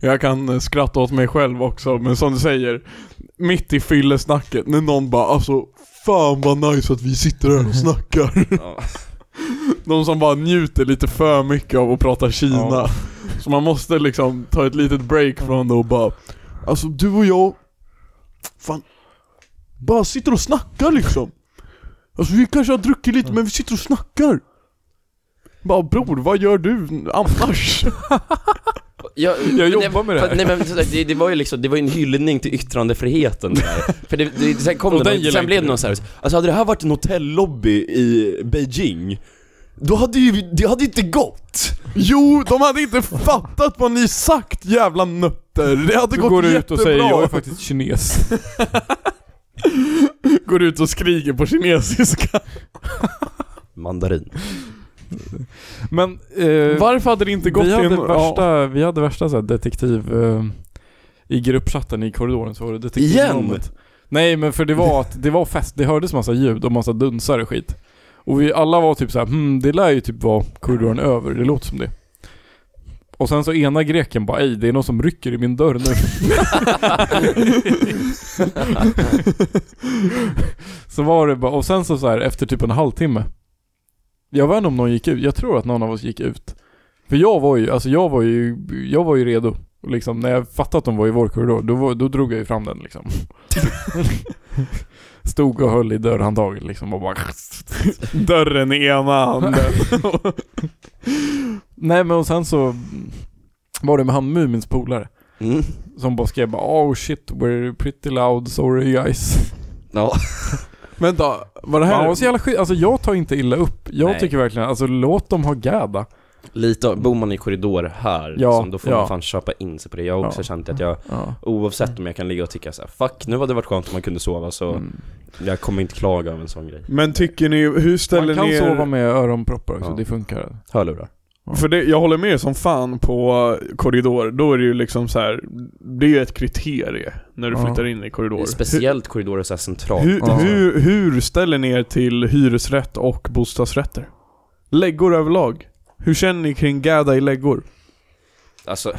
Speaker 2: jag kan skratta åt mig själv också. Men som du säger, mitt i fyllesnacket när någon bara alltså Fan vad nice att vi sitter här och snackar.
Speaker 3: ja.
Speaker 2: De som bara njuter lite för mycket av att prata Kina.
Speaker 1: Ja.
Speaker 2: Så man måste liksom ta ett litet break från det och bara Alltså du och jag, fan, bara sitter och snackar liksom. Alltså vi kanske har druckit lite men vi sitter och snackar. Bara bror, vad gör du annars?
Speaker 3: Jag,
Speaker 1: Jag
Speaker 3: men
Speaker 1: jobbar med det
Speaker 3: för-
Speaker 1: här.
Speaker 3: Nej, men, så där, det, det var ju liksom, det var ju en hyllning till yttrandefriheten det där. För det, det, sen kom
Speaker 1: Och
Speaker 3: det
Speaker 1: den
Speaker 3: någon,
Speaker 1: gillar
Speaker 3: sen
Speaker 1: inte
Speaker 3: blev
Speaker 1: du.
Speaker 3: det någon så här, alltså hade det här varit en hotellobby i Beijing Då hade ju, det hade inte gått!
Speaker 2: jo, de hade inte fattat vad ni sagt jävla nötter. Det hade
Speaker 1: Du
Speaker 2: gått
Speaker 1: går
Speaker 2: jättebra.
Speaker 1: ut och säger jag är faktiskt kines.
Speaker 2: går ut och skriker på kinesiska.
Speaker 3: Mandarin
Speaker 1: Men eh,
Speaker 2: Varför hade det inte gått
Speaker 1: vi, hade
Speaker 2: till en-
Speaker 1: värsta, vi hade värsta så här, detektiv eh, i gruppchatten i korridoren så var det detektiv
Speaker 3: Igen?
Speaker 1: rummet. Nej men för det var att det var fest, det hördes massa ljud och massa dunsar och skit. Och vi alla var typ så här, hmm, det lär ju typ vara korridoren över, det låter som det. Och sen så ena greken bara, ej det är någon som rycker i min dörr nu. så var det bara, och sen så, så här efter typ en halvtimme. Jag vet inte om någon gick ut, jag tror att någon av oss gick ut. För jag var ju, alltså jag var ju, jag var ju redo. Och Liksom, när jag fattade att de var i vår korridor, då, var, då drog jag ju fram den liksom. Stod och höll i dörrhandtaget liksom och bara
Speaker 2: Dörren i ena handen.
Speaker 1: Nej men och sen så var det med han Mumins polare.
Speaker 3: Mm.
Speaker 1: Som bara skrev bara, oh shit we're pretty loud, sorry guys.
Speaker 3: Ja.
Speaker 2: Vänta, var det
Speaker 1: Men Han
Speaker 2: här...
Speaker 1: var så jävla skit. Alltså jag tar inte illa upp. Jag
Speaker 3: Nej.
Speaker 1: tycker verkligen, alltså låt dem ha gäda.
Speaker 3: Lite, av- bor man i korridor här,
Speaker 1: Ja,
Speaker 3: liksom, då får
Speaker 1: ja.
Speaker 3: man fan köpa in sig på det. Jag har också
Speaker 1: Ja.
Speaker 3: känt att jag,
Speaker 1: Ja.
Speaker 3: oavsett om jag kan ligga och tycka så här, fuck nu hade det varit skönt om man kunde sova så
Speaker 1: Mm.
Speaker 3: jag kommer inte klaga över en sån grej.
Speaker 2: Men tycker ni, hur ställer
Speaker 1: Man kan
Speaker 2: ni er...
Speaker 1: sova med öronproppar också,
Speaker 3: Ja.
Speaker 1: det funkar.
Speaker 3: Hörlurar.
Speaker 2: För det, jag håller med er som fan på eh, korridor, då är det ju liksom så här. Det är ju ett kriterie när du
Speaker 1: Ja.
Speaker 2: flyttar in i korridor.
Speaker 3: Speciellt korridorer såhär centralt. Alltså,
Speaker 2: Hur,
Speaker 1: Ja.
Speaker 2: hur, hur ställer ni er till hyresrätt och bostadsrätter? Läggor överlag. Hur känner ni kring gädda i läggor?
Speaker 3: Alltså,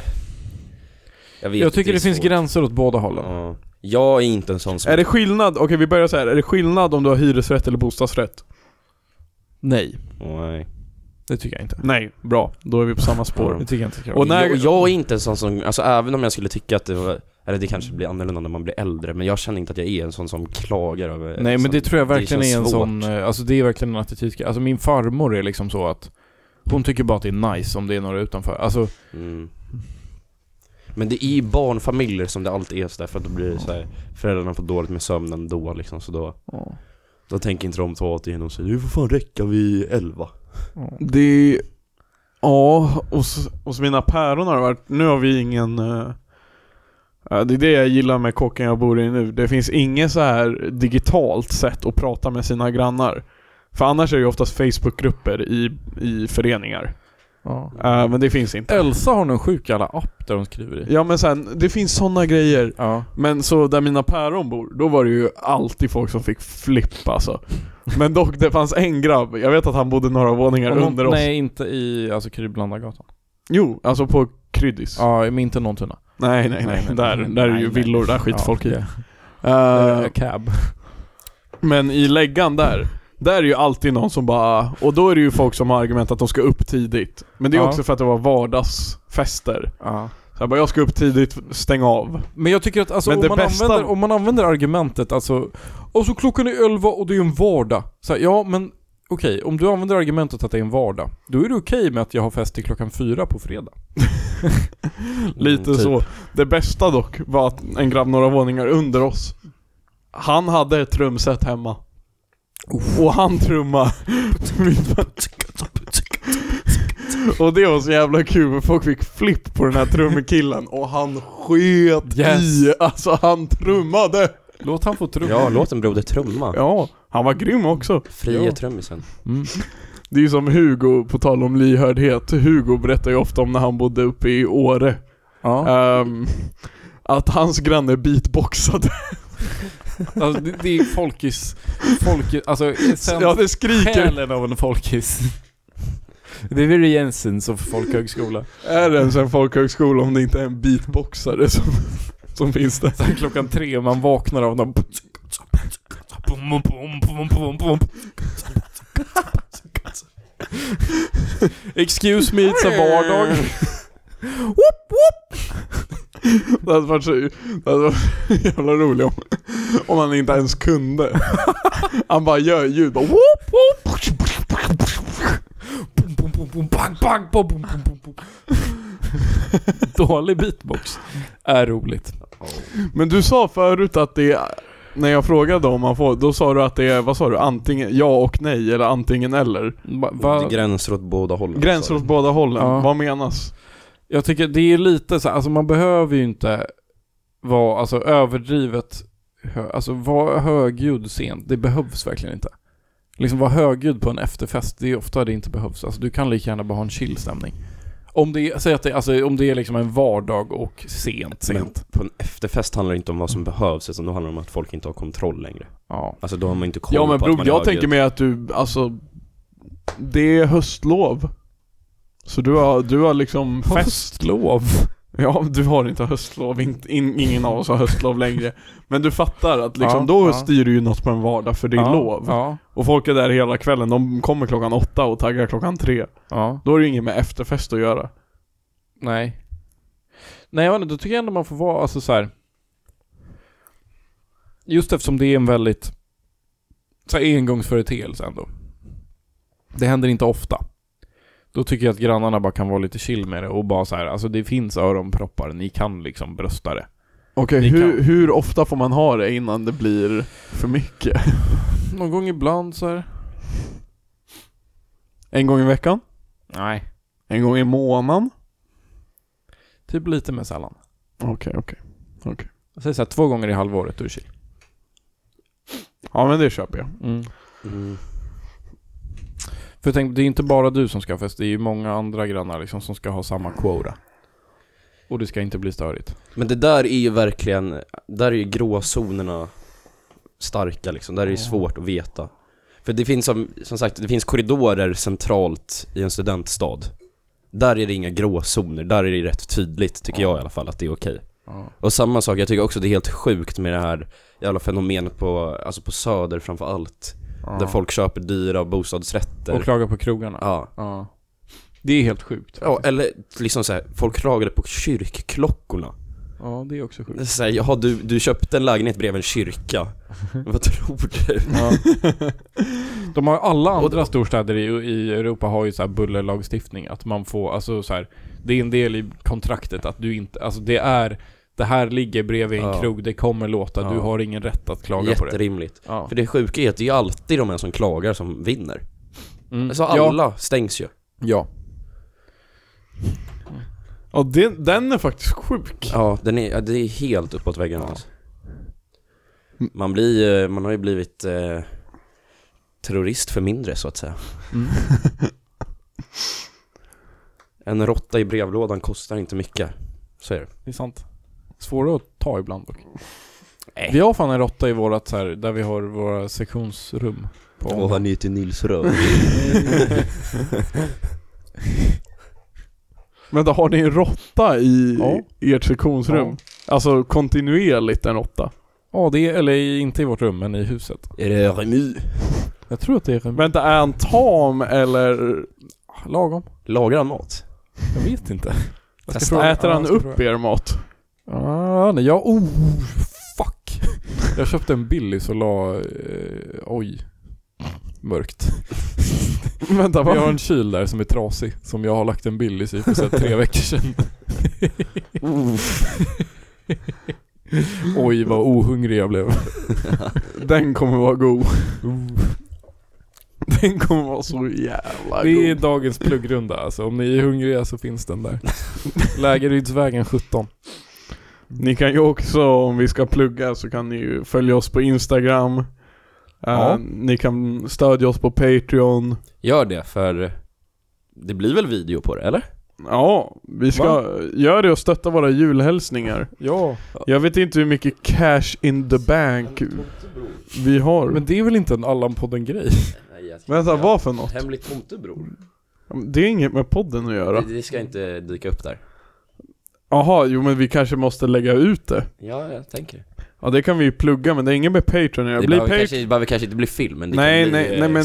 Speaker 3: jag vet
Speaker 1: Jag tycker
Speaker 3: är
Speaker 1: det finns
Speaker 3: svårt.
Speaker 1: gränser åt båda hållen.
Speaker 3: Ja. Jag är inte en sån som...
Speaker 2: Är det skillnad, okej vi börjar så här. är det skillnad om du har hyresrätt eller bostadsrätt?
Speaker 1: Nej,
Speaker 3: Nej.
Speaker 1: det tycker jag inte.
Speaker 2: Nej, bra. Då är vi på samma spår.
Speaker 1: Det tycker jag inte ska vara.
Speaker 2: Och när-
Speaker 3: jag, jag är inte en sån som, alltså även om jag skulle tycka att det var, eller det kanske blir annorlunda när man blir äldre, men jag känner inte att jag är en sån som klagar över
Speaker 1: Nej men
Speaker 3: liksom,
Speaker 1: Eh, det tror jag verkligen
Speaker 3: känns
Speaker 1: är en
Speaker 3: svårt.
Speaker 1: sån, eh, alltså det är verkligen en attityd. Alltså min farmor är liksom så att hon tycker bara att det är nice om det är några utanför. Alltså,
Speaker 3: Mm. Men det är ju barnfamiljer som det alltid är sådär, för att då blir det såhär, föräldrarna får dåligt med sömn ändå liksom, så då, då tänker inte de ta åt igen och säger du får fan räcka vid 11.
Speaker 2: Det... Ja, hos, hos mina päron har det varit... Nu har vi ingen... eh, eh, det är det jag gillar med kåken jag bor i nu. Det finns inget så här digitalt sätt att prata med sina grannar. För annars är det ju oftast Facebookgrupper i, i föreningar.
Speaker 1: ja.
Speaker 2: Eh, men det finns inte.
Speaker 1: Elsa har någon sjuk jävla app där hon skriver i.
Speaker 2: Ja men sen, det finns sådana grejer.
Speaker 1: Ja.
Speaker 2: Men så där mina päron bor, då var det ju alltid folk som fick flippa alltså. Men dock, det fanns en grabb, jag vet att han bodde några våningar
Speaker 1: Och någon-
Speaker 2: under oss.
Speaker 1: Nej, inte i alltså Kryblandagatan.
Speaker 2: Jo, alltså på Kryddis.
Speaker 1: Ja, men inte Nåntuna.
Speaker 2: Nej, nej, nej.
Speaker 1: Nej, men-
Speaker 2: Där, där är
Speaker 1: nej,
Speaker 2: ju
Speaker 1: nej.
Speaker 2: villor, där skiter
Speaker 1: Ja,
Speaker 2: folk i.
Speaker 1: okej.
Speaker 2: Eh,
Speaker 1: Eh, cab.
Speaker 2: men i läggan där, där är ju alltid någon som bara... Och då är det ju folk som har argument att de ska upp tidigt. Men det är
Speaker 1: Ja.
Speaker 2: också för att det var vardagsfester.
Speaker 1: Ja.
Speaker 2: Så jag bara, jag ska upp tidigt, stäng av.
Speaker 1: Men jag tycker att alltså,
Speaker 2: Men
Speaker 1: om,
Speaker 2: det
Speaker 1: man
Speaker 2: bästa-
Speaker 1: använder, om man använder argumentet alltså, alltså klockan är 11 och det är en vardag. Så här, ja men okej, om du använder argumentet att det är en vardag, då är det okej med att jag har fest till klockan 4 på fredag. Mm,
Speaker 2: Lite
Speaker 3: typ.
Speaker 2: så. Det bästa dock var att en grabb några våningar under oss, han hade ett trumset hemma. Och han trumma. och det var så jävla kul för folk fick flipp på den här trummekillen och han sket i.
Speaker 1: Yes.
Speaker 2: Alltså han trummade.
Speaker 1: Låt han få tro.
Speaker 3: Ja, låt en broder trumma.
Speaker 2: Ja, han var grym också.
Speaker 3: Frie
Speaker 1: Ja.
Speaker 3: trummisen.
Speaker 1: Mm.
Speaker 2: Det är ju som Hugo, på tal om lyhördhet. Hugo berättar ju ofta om när han bodde uppe i Åre.
Speaker 1: Ja.
Speaker 2: Ehm, att hans granne beatboxade.
Speaker 1: Alltså, det, det är folkis, folkis, alltså sen
Speaker 2: ja det skriker.
Speaker 1: själen av en folkis. Det är väl Jensens och folkhögskola.
Speaker 2: Är det ens en folkhögskola om det inte är en beatboxare som, som finns där?
Speaker 1: Sen klockan tre, man vaknar av någon... Excuse me, it's a vardag.
Speaker 2: Det hade varit så det hade varit jävla roligt om, om han inte ens kunde. Han bara gör ljud bara, "Whoop."
Speaker 1: Bum, bum, bum, bum, bang, bang, bum, bum, bum, bum, bum. Dålig beatbox är roligt.
Speaker 2: Men du sa förut att det är- när jag frågade om man får, då sa du att det är, vad sa du, antingen ja och nej eller antingen eller?
Speaker 1: Va,
Speaker 3: Det
Speaker 1: va,
Speaker 3: är Gränser åt båda hållen. alltså.
Speaker 2: Gränser åt
Speaker 3: sa
Speaker 2: båda hållen,
Speaker 1: Ja.
Speaker 2: vad menas?
Speaker 1: jag tycker det är lite så här, alltså man behöver ju inte vara alltså, överdrivet, hö, alltså vara högljudd sent, det behövs verkligen inte. Liksom vara högljudd på en efterfest, det är ofta det inte behövs. Alltså du kan lika gärna bara ha en chill stämning. Om det, är- säg att det, alltså, om det är liksom en vardag och sent,
Speaker 3: du.
Speaker 1: sent.
Speaker 3: Men På en efterfest handlar det inte om vad som behövs, utan då handlar det om att folk inte har kontroll längre.
Speaker 1: Ja.
Speaker 3: Alltså då har man inte koll
Speaker 2: Ja men
Speaker 3: på att
Speaker 2: bror,
Speaker 3: man är
Speaker 2: jag tänker
Speaker 3: högljudd.
Speaker 2: mer att du, alltså Det är höstlov Så du har, du har liksom fest
Speaker 1: Festlov.
Speaker 2: Ja, du har inte höstlov, inte, in, ingen av oss har höstlov längre Men du fattar att liksom,
Speaker 1: Ja,
Speaker 2: då
Speaker 1: ja.
Speaker 2: styr du ju något på en vardag för det är
Speaker 1: ja,
Speaker 2: lov
Speaker 1: Ja.
Speaker 2: Och folk är där hela kvällen, de kommer klockan åtta och taggar klockan tre
Speaker 1: Ja.
Speaker 2: Då är det ju inget med efterfest att göra
Speaker 1: Nej. Nej, jag vet inte, då tycker jag ändå man får vara, alltså så här. Just eftersom det är en väldigt, så här, engångsföreteelse ändå. Det händer inte ofta. Då tycker jag att grannarna bara kan vara lite chill med det och bara så här, alltså det finns öronproppar, ni kan liksom brösta det.
Speaker 2: Okej,
Speaker 1: Ni
Speaker 2: hur,
Speaker 1: kan.
Speaker 2: hur ofta får man ha det innan det blir för mycket?
Speaker 1: Någon gång ibland så här.
Speaker 2: En gång i veckan?
Speaker 1: Nej.
Speaker 2: En gång i månaden?
Speaker 1: Typ lite med sällan.
Speaker 2: Okej, okej.
Speaker 1: Jag säger så här, två gånger i halvåret, du är chill.
Speaker 2: Ja men det köper jag.
Speaker 3: Mm.
Speaker 1: För tänk, det är inte bara du som ska ha fest, det är ju många andra grannar liksom som ska ha samma quota. Och det ska inte bli störigt.
Speaker 3: Men det där är ju verkligen, där är ju gråzonerna starka liksom, där är det
Speaker 1: Ja.
Speaker 3: svårt att veta. För det finns som, som sagt, det finns korridorer centralt i en studentstad. Där är det inga gråzoner, där är det rätt tydligt tycker jag i alla fall att det är okej.
Speaker 1: Ja.
Speaker 3: Och samma sak, jag tycker också det är helt sjukt med det här jävla fenomenet på, alltså på söder framför allt. Där folk köper dyra bostadsrätter.
Speaker 1: Och klagar på krogarna.
Speaker 3: ja.
Speaker 1: Ja. Det är helt sjukt.
Speaker 3: ja, eller liksom så här, folk klagade på kyrkklockorna.
Speaker 1: Ja, det är också sjukt.
Speaker 3: Så här, jaha, du, du köpte en lägenhet bredvid en kyrka. Vad tror du?
Speaker 1: Ja. De har alla andra storstäder i, i Europa har ju så här bullerlagstiftning att man får, alltså så här, det är en del i kontraktet att du inte, alltså det är, det här ligger bredvid en
Speaker 3: Ja.
Speaker 1: krog, det kommer låta, du
Speaker 3: Ja.
Speaker 1: har ingen rätt att klaga på det.
Speaker 3: Jätterimligt.
Speaker 1: Ja.
Speaker 3: För det sjuka är att det är ju alltid de här som klagar som vinner.
Speaker 1: Mm.
Speaker 3: Alltså
Speaker 1: ja.
Speaker 3: alla stängs ju.
Speaker 1: ja.
Speaker 2: Ja den, den är faktiskt sjuk.
Speaker 3: Ja, den är, ja, det är helt uppåt väggarna
Speaker 1: Ja.
Speaker 3: alltså. Man blir eh, man har ju blivit eh, terrorist för mindre så att säga.
Speaker 1: Mm.
Speaker 3: En råtta i brevlådan kostar inte mycket. Så är det.
Speaker 1: Det är sant. Svårare att ta ibland dock.
Speaker 3: Nej.
Speaker 1: Vi har fan en råtta i vårat så här, där vi har våra sektionsrum. På Ånge.
Speaker 3: är till Nils röv.
Speaker 2: Vänta, har ni en råtta i
Speaker 1: Ja.
Speaker 2: ert sektionsrum? Alltså kontinuerligt en råtta?
Speaker 1: Ja, det är, eller i- inte i vårt rum, men i huset.
Speaker 3: är det Remy?
Speaker 1: Jag tror att det är Ah,
Speaker 2: Vänta, är han tam eller
Speaker 1: lagom.
Speaker 3: Lagar han mat?
Speaker 1: Jag vet inte. Jag ska
Speaker 3: Testa.
Speaker 1: fråga-
Speaker 2: äter
Speaker 1: ja,
Speaker 2: han
Speaker 1: jag ska
Speaker 2: upp
Speaker 1: fråga.
Speaker 2: er mat?
Speaker 1: Ah, nej, jag... Oh, fuck. Jag köpte en billig så la... Eh, oj. Mörkt.
Speaker 2: Vänta,
Speaker 1: Vi har
Speaker 2: vad?
Speaker 1: en kyl där som är trasig, som jag har lagt en Billys i för så här tre veckor sedan. Oj vad ohungrig jag blev.
Speaker 2: Den kommer vara god. Den kommer vara så jävla
Speaker 1: Det är
Speaker 2: god.
Speaker 1: dagens pluggrunda alltså. Om ni är hungriga så finns den där. Lägerydsvägen 17.
Speaker 2: Ni kan ju också, om vi ska plugga, så kan ni ju följa oss på Instagram. Eh,
Speaker 1: Ja.
Speaker 2: Ni kan stödja oss på Patreon.
Speaker 3: Gör det för det blir väl video på det eller?
Speaker 2: Ja, vi ska göra det och stötta våra julhälsningar.
Speaker 1: Ja.
Speaker 2: Jag vet inte hur mycket cash in the bank vi har.
Speaker 1: Men det är väl inte en Allan-podden-grej?
Speaker 2: Vänta, vad för något?
Speaker 3: Hemlig tomtebror?
Speaker 2: Det är inget med podden att göra.
Speaker 3: Det ska inte dyka upp där.
Speaker 2: Jaha, jo men vi kanske måste lägga ut det.
Speaker 3: Ja, jag tänker det.
Speaker 2: Ja det kan vi ju plugga men det är inget med Patreon att göra.
Speaker 3: Det
Speaker 2: Bli
Speaker 3: behöver
Speaker 2: pa-
Speaker 3: kanske, det behöver kanske inte bli film, men det
Speaker 2: Nej,
Speaker 3: kan bli
Speaker 2: nej,
Speaker 3: eh,
Speaker 2: nej, men-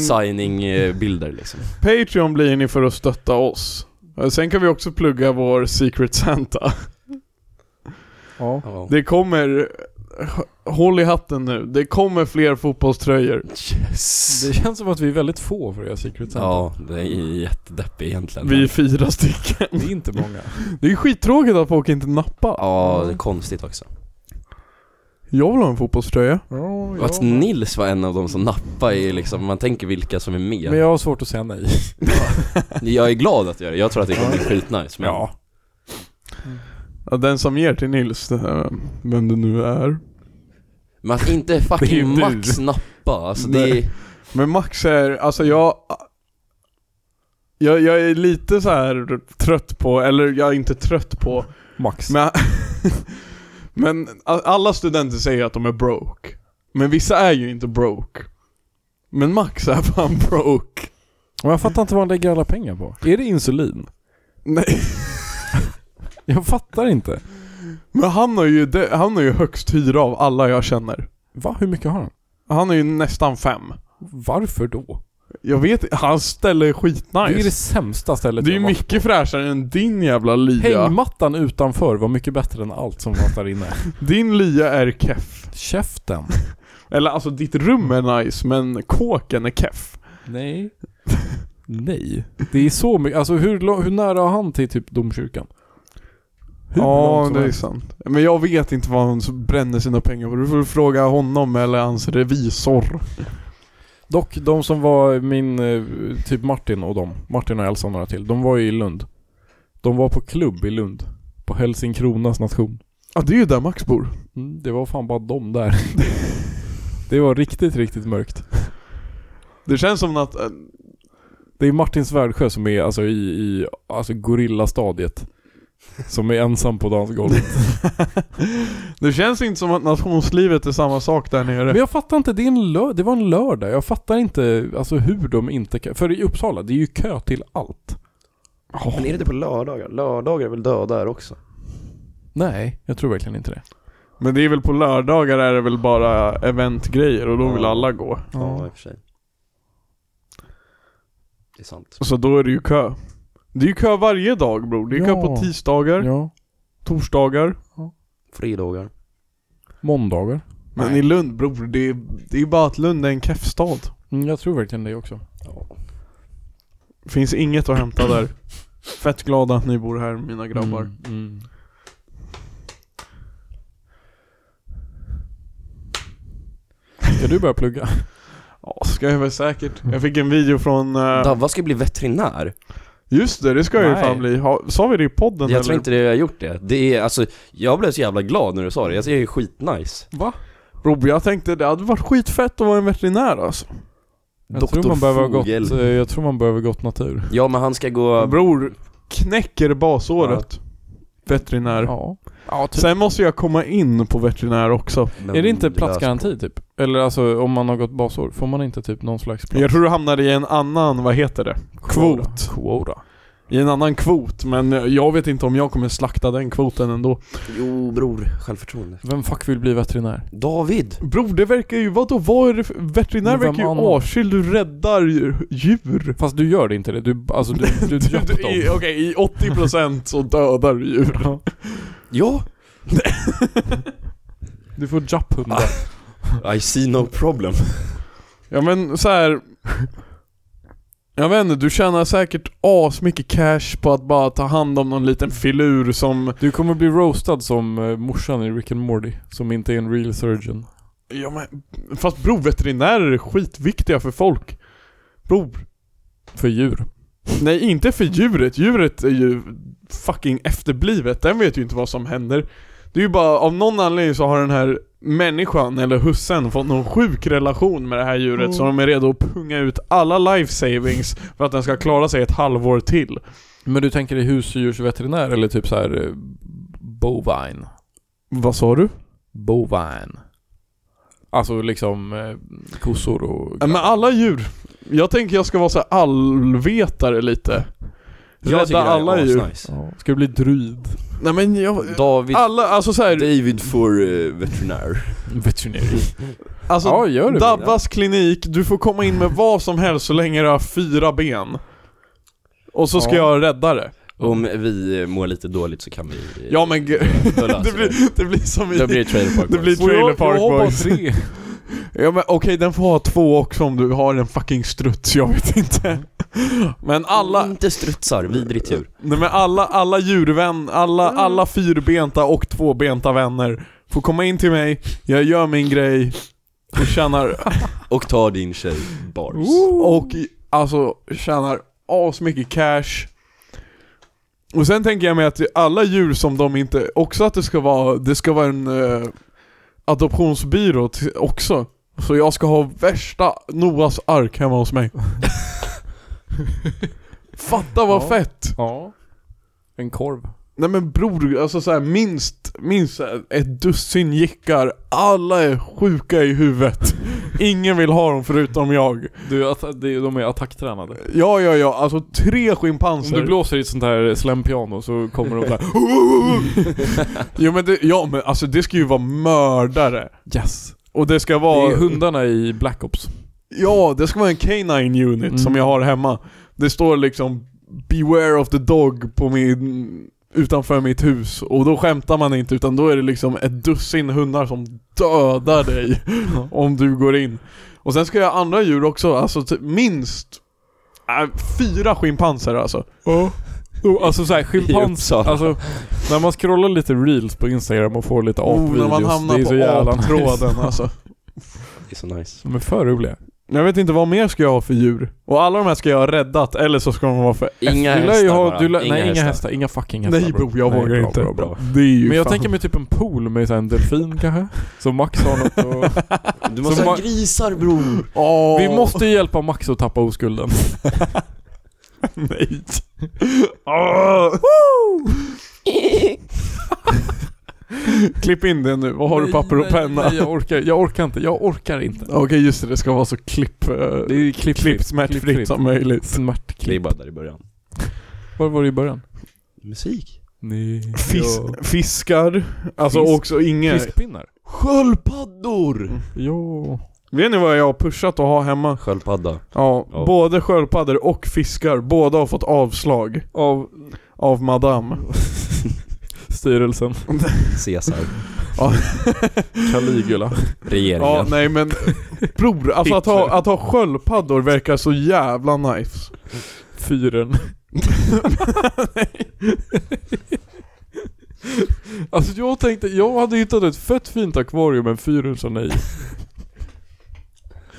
Speaker 3: signing-bilder liksom.
Speaker 2: Patreon blir ni för att stötta oss. Eh, Sen kan vi också plugga vår Secret Santa.
Speaker 1: Ja.
Speaker 3: Ja.
Speaker 2: Det kommer... h- Håll i hatten nu. Det kommer fler fotbollströjor.
Speaker 3: Yes.
Speaker 1: Det känns som att vi är väldigt få för att göra Secret Santa.
Speaker 3: Ja, det är jättedeppigt egentligen.
Speaker 2: Vi är fyra stycken.
Speaker 1: Det är inte många.
Speaker 2: Det är skittråkigt att folk inte nappar.
Speaker 3: Ja, det är konstigt också.
Speaker 2: Jag vill ha en fotbollströja.
Speaker 1: Ja,
Speaker 3: Och
Speaker 1: ja.
Speaker 3: att Nils var en av de som nappade är liksom, man tänker vilka som är med.
Speaker 1: Men jag har svårt att säga nej.
Speaker 3: Jag är glad att göra det, jag tror att det kommer bli skitnice men...
Speaker 2: Ja, den som ger till Nils, eh, vem det nu är.
Speaker 3: Men att inte
Speaker 1: Det är ju
Speaker 3: fucking
Speaker 1: du.
Speaker 3: Max nappa, alltså det
Speaker 2: Nej.
Speaker 3: är...
Speaker 2: Men Max är, alltså jag... Jag, jag är lite så här trött på, eller jag är inte trött på,
Speaker 1: Max.
Speaker 2: men... men a- alla studenter säger att de är broke. Men vissa är ju inte broke. Men Max är fan broke.
Speaker 1: Men jag fattar inte vad han lägger alla pengar på. Är det insulin?
Speaker 2: Nej,
Speaker 1: Jag fattar inte.
Speaker 2: men han har ju, de- han har ju högst hyra av alla jag känner.
Speaker 1: Va? Hur mycket har han?
Speaker 2: Han är ju nästan fem.
Speaker 1: Varför då?
Speaker 2: Jag vet hans ställe är
Speaker 1: Det är det
Speaker 2: skitnice.
Speaker 1: sämsta
Speaker 2: Det är,
Speaker 1: stället
Speaker 2: ju
Speaker 1: jag varit
Speaker 2: mycket fräschare än din jävla
Speaker 1: på.
Speaker 2: lya.
Speaker 1: Hängmattan utanför var mycket bättre än allt som fanns där inne.
Speaker 2: Din lya är keff.
Speaker 1: Käften.
Speaker 2: Eller alltså ditt rum är nice men kåken är keff.
Speaker 1: Nej. Nej. Det är så mycket. Alltså hur, lång- hur nära har han till typ domkyrkan? Hur
Speaker 2: Ja,
Speaker 1: långt
Speaker 2: det
Speaker 1: som
Speaker 2: är
Speaker 1: helst.
Speaker 2: sant. Men jag vet inte vad han bränner sina pengar på. Du får fråga honom eller hans revisor.
Speaker 1: Dock, de som var min, eh, typ Martin och dem, Martin och Elsa och några till, de var ju i Lund. De var på klubb i Lund. På Helsingkronas nation.
Speaker 2: Ja, det är ju där Max bor.
Speaker 1: Mm, det var fan bara de där. det var riktigt, riktigt mörkt.
Speaker 2: Det känns som att... eh,
Speaker 1: Det är Martin Svärdsjö som är alltså i, i alltså gorillastadiet. Som är ensam på dansgolvet.
Speaker 2: Det känns inte som att nationslivet är samma sak där
Speaker 1: Men
Speaker 2: nere.
Speaker 1: jag fattar inte, det, är en lör, det var en lördag. Jag fattar inte alltså hur de inte kan... För i Uppsala, det är ju kö till allt.
Speaker 4: Men är det inte på lördagar? Lördagar är väl döda där också?
Speaker 1: Nej, jag tror verkligen inte det.
Speaker 2: Men det är väl på lördagar är det väl bara eventgrejer och då vill alla gå.
Speaker 4: Ja.
Speaker 3: i och för sig. Det är sant.
Speaker 2: Så då är det ju kö. Det är ju kö varje dag bror. Det är kö
Speaker 1: Ja.
Speaker 2: på tisdagar,
Speaker 1: Ja.
Speaker 2: torsdagar.
Speaker 4: Fredagar.
Speaker 1: Måndagar.
Speaker 2: Men i Lund bror, det är, det är bara att Lund är en keffstad.
Speaker 1: Mm, jag tror verkligen det också.
Speaker 2: Finns inget att hämta där. Fett glad att ni bor här mina grabbar.
Speaker 1: Mm, mm. Ska du börja plugga?
Speaker 2: Ja, ska jag väl säkert. Jag fick en video från... eh,
Speaker 3: Davva ska bli veterinär.
Speaker 2: just det, det ska jag ju
Speaker 1: Nej.
Speaker 2: fan bli. Ha, sa vi det i podden
Speaker 3: Jag tror inte det jag har gjort det. Det är alltså, jag blev så jävla glad när du sa det. Jag tycker det är skitnice.
Speaker 1: Va?
Speaker 2: Rob, jag tänkte det hade varit skitfett att vara en veterinär alltså.
Speaker 1: Jag
Speaker 3: Doktor
Speaker 1: tror, man behöver gott,
Speaker 3: Fogel.
Speaker 1: eh, jag tror man behöver gott natur.
Speaker 3: Ja men han ska gå...
Speaker 2: Bror, knäcker basåret. Veterinär.
Speaker 1: Ja. ja typ.
Speaker 2: Sen måste jag komma in på veterinär också.
Speaker 3: Men
Speaker 1: Är det inte
Speaker 3: löser
Speaker 1: platsgaranti typ? Eller alltså om man har gått basår, får man inte typ någon slags plats?
Speaker 2: Jag tror du hamnar i en annan, vad heter det? Kvot.
Speaker 1: Quota.
Speaker 2: I en annan kvot, men jag vet inte om jag kommer slakta den kvoten ändå.
Speaker 3: på. Jo bror, självförtroende.
Speaker 1: Vem fuck vill bli veterinär?
Speaker 3: David!
Speaker 2: Bror, det verkar ju, vadå, vad är det för, veterinär
Speaker 1: Men vem
Speaker 2: verkar ju
Speaker 1: annan?
Speaker 2: avskydd, du räddar ju djur.
Speaker 1: Fast du gör det inte det, du, alltså du, du,
Speaker 2: Du,
Speaker 1: döpt
Speaker 2: du, i,
Speaker 1: dem.
Speaker 2: okej, i 80% så dödar du djur.
Speaker 3: Ja!
Speaker 1: Du får japphundar.
Speaker 3: I see no problem.
Speaker 2: Ja men så här. Jag vet inte, du tjänar säkert asmycket cash på att bara ta hand om någon liten filur som...
Speaker 1: Du kommer bli roastad som eh, morsan i Rick and Morty, som inte är en real surgeon.
Speaker 2: Ja men, fast bror, veterinärer är skitviktiga för folk. Bror.
Speaker 1: För djur.
Speaker 2: Nej, inte för djuret. Djuret är ju fucking efterblivet. Den vet ju inte vad som händer. Det är ju bara, av någon anledning så har den här människan eller hussen fått någon sjuk relation med det här djuret så
Speaker 3: Mm.
Speaker 2: de är redo att punga ut alla life savings för att den ska klara sig ett halvår till.
Speaker 1: Men du tänker dig husdjursveterinär eller typ så här eh, bovine?
Speaker 2: Vad sa du?
Speaker 1: Bovine. Alltså liksom eh, kossor och...
Speaker 2: Men alla djur. Jag tänker jag ska vara så här allvetare lite.
Speaker 3: Jag tycker
Speaker 2: Rädda
Speaker 3: det här är
Speaker 2: alla djur.
Speaker 3: asnice.
Speaker 1: Ja. Ska du bli druid?
Speaker 2: Nej men jag...
Speaker 3: David,
Speaker 2: Alla, alltså såhär,
Speaker 3: David för eh, veterinär.
Speaker 1: Veterinär.
Speaker 2: alltså
Speaker 1: ja, gör det.
Speaker 2: Dabbas klinik, du får komma in med vad som helst så länge du har fyra ben. Och så ska
Speaker 1: Ja.
Speaker 2: jag rädda det.
Speaker 3: Om vi eh, mår lite dåligt så kan vi... eh,
Speaker 2: Ja men g-
Speaker 3: då löser
Speaker 2: det, blir, det blir som i...
Speaker 3: Då blir det Trailer Park
Speaker 2: Det
Speaker 3: Boys.
Speaker 2: blir Trailer
Speaker 1: jag,
Speaker 2: Park
Speaker 1: jag har bara
Speaker 2: Boys.
Speaker 1: tre.
Speaker 2: Ja men okej, den får ha två också om du har en fucking struts, jag vet inte. Men alla,
Speaker 3: Mm. Inte strutsar, vidrigt djur.
Speaker 2: Nej men alla, alla djurvän, alla, alla fyrbenta och tvåbenta vänner får komma in till mig, jag gör min grej och tjänar,
Speaker 3: Och ta din tjej, Bars.
Speaker 2: och alltså tjänar asmycket cash. Och sen tänker jag mig att alla djur som de inte, också att det ska vara, det ska vara en eh, adoptionsbyrå till, också. Så jag ska ha värsta Noas ark hemma hos mig. Fatta vad
Speaker 1: Ja.
Speaker 2: fett!
Speaker 1: Ja. En korv.
Speaker 2: Nej men bror, alltså så här, minst, minst så här, ett dussin jickar, alla är sjuka i huvudet. Ingen vill ha dem förutom jag.
Speaker 1: Du, att- det- de är attacktränade.
Speaker 2: Ja, ja, ja, alltså tre
Speaker 1: Om
Speaker 2: schimpanser.
Speaker 1: du blåser i ett sånt här slämpiano så kommer de där
Speaker 2: jo men det, ja men alltså det ska ju vara mördare.
Speaker 1: Yes!
Speaker 2: Och det ska
Speaker 1: Det
Speaker 2: vara,
Speaker 1: är hundarna i Black Ops.
Speaker 2: ja det ska vara en canine unit
Speaker 1: Mm.
Speaker 2: som jag har hemma. Det står liksom 'Beware of the dog' på min, utanför mitt hus. Och då skämtar man inte utan då är det liksom ett dussin hundar som dödar dig. om du går in. Och sen ska jag ha andra djur också, alltså typ minst äh, fyra schimpanser alltså.
Speaker 1: Ja. Oh, alltså såhär schimpans...
Speaker 3: Uppsala.
Speaker 1: Alltså, när man scrollar lite reels på instagram och får lite
Speaker 2: Oh, när
Speaker 1: apvideos,
Speaker 2: man hamnar
Speaker 1: det är så
Speaker 2: på
Speaker 1: jävla nice.
Speaker 2: aptråden alltså.
Speaker 3: Det är så nice.
Speaker 1: De är för roliga.
Speaker 2: Jag vet inte vad mer ska jag ha för djur? Och alla de här ska jag ha räddat, eller så ska de vara för...
Speaker 3: Inga
Speaker 1: du lär
Speaker 3: hästar
Speaker 1: ju ha,
Speaker 3: bara.
Speaker 1: du lär, Nej, inga hästar. Inga fucking hästar.
Speaker 2: Nej bro, jag
Speaker 1: Nej,
Speaker 2: vågar
Speaker 1: bra,
Speaker 2: inte.
Speaker 1: Bra, bra.
Speaker 2: Det är ju
Speaker 1: Men jag
Speaker 2: fan-
Speaker 1: tänker mig typ en pool med så här en delfin kanske? Så Max har något att...
Speaker 3: Du måste
Speaker 1: Som
Speaker 3: ha
Speaker 1: bara-
Speaker 3: grisar bror!
Speaker 2: Åh.
Speaker 1: Vi måste ju hjälpa Max att tappa oskulden.
Speaker 2: Nej. Åh. Klipp in det nu, vad har du papper och
Speaker 1: Nej,
Speaker 2: penna?
Speaker 1: Nej, nej, jag orkar, jag orkar inte. Jag orkar inte.
Speaker 2: Okej just det, det ska vara så klipp... eh,
Speaker 1: Det är klipp,
Speaker 2: klipp smärtfritt som möjligt.
Speaker 3: Det är
Speaker 1: Smärtklipp.
Speaker 3: bara där i början.
Speaker 1: Var var det i början?
Speaker 3: Musik.
Speaker 1: Nej.
Speaker 2: Fis,
Speaker 1: Ja.
Speaker 2: fiskar, alltså
Speaker 1: Fisk-
Speaker 2: också inga...
Speaker 1: Fiskpinnar?
Speaker 3: Sköldpaddor!
Speaker 1: Jo.
Speaker 2: Vet ni vad jag har pushat att ha hemma?
Speaker 3: Sköldpadda.
Speaker 2: Ja,
Speaker 3: Ja.
Speaker 2: både sköldpaddor och fiskar, båda har fått avslag
Speaker 1: Av
Speaker 2: av madame.
Speaker 1: styrelsen.
Speaker 3: Caesar.
Speaker 1: Caligula.
Speaker 3: Regeringen.
Speaker 2: Ja, nej men bror, alltså att ha, att ha sköldpaddor verkar så jävla nice.
Speaker 1: Fyren. alltså jag tänkte, jag hade hittat ett fett fint akvarium med en fyren som nej.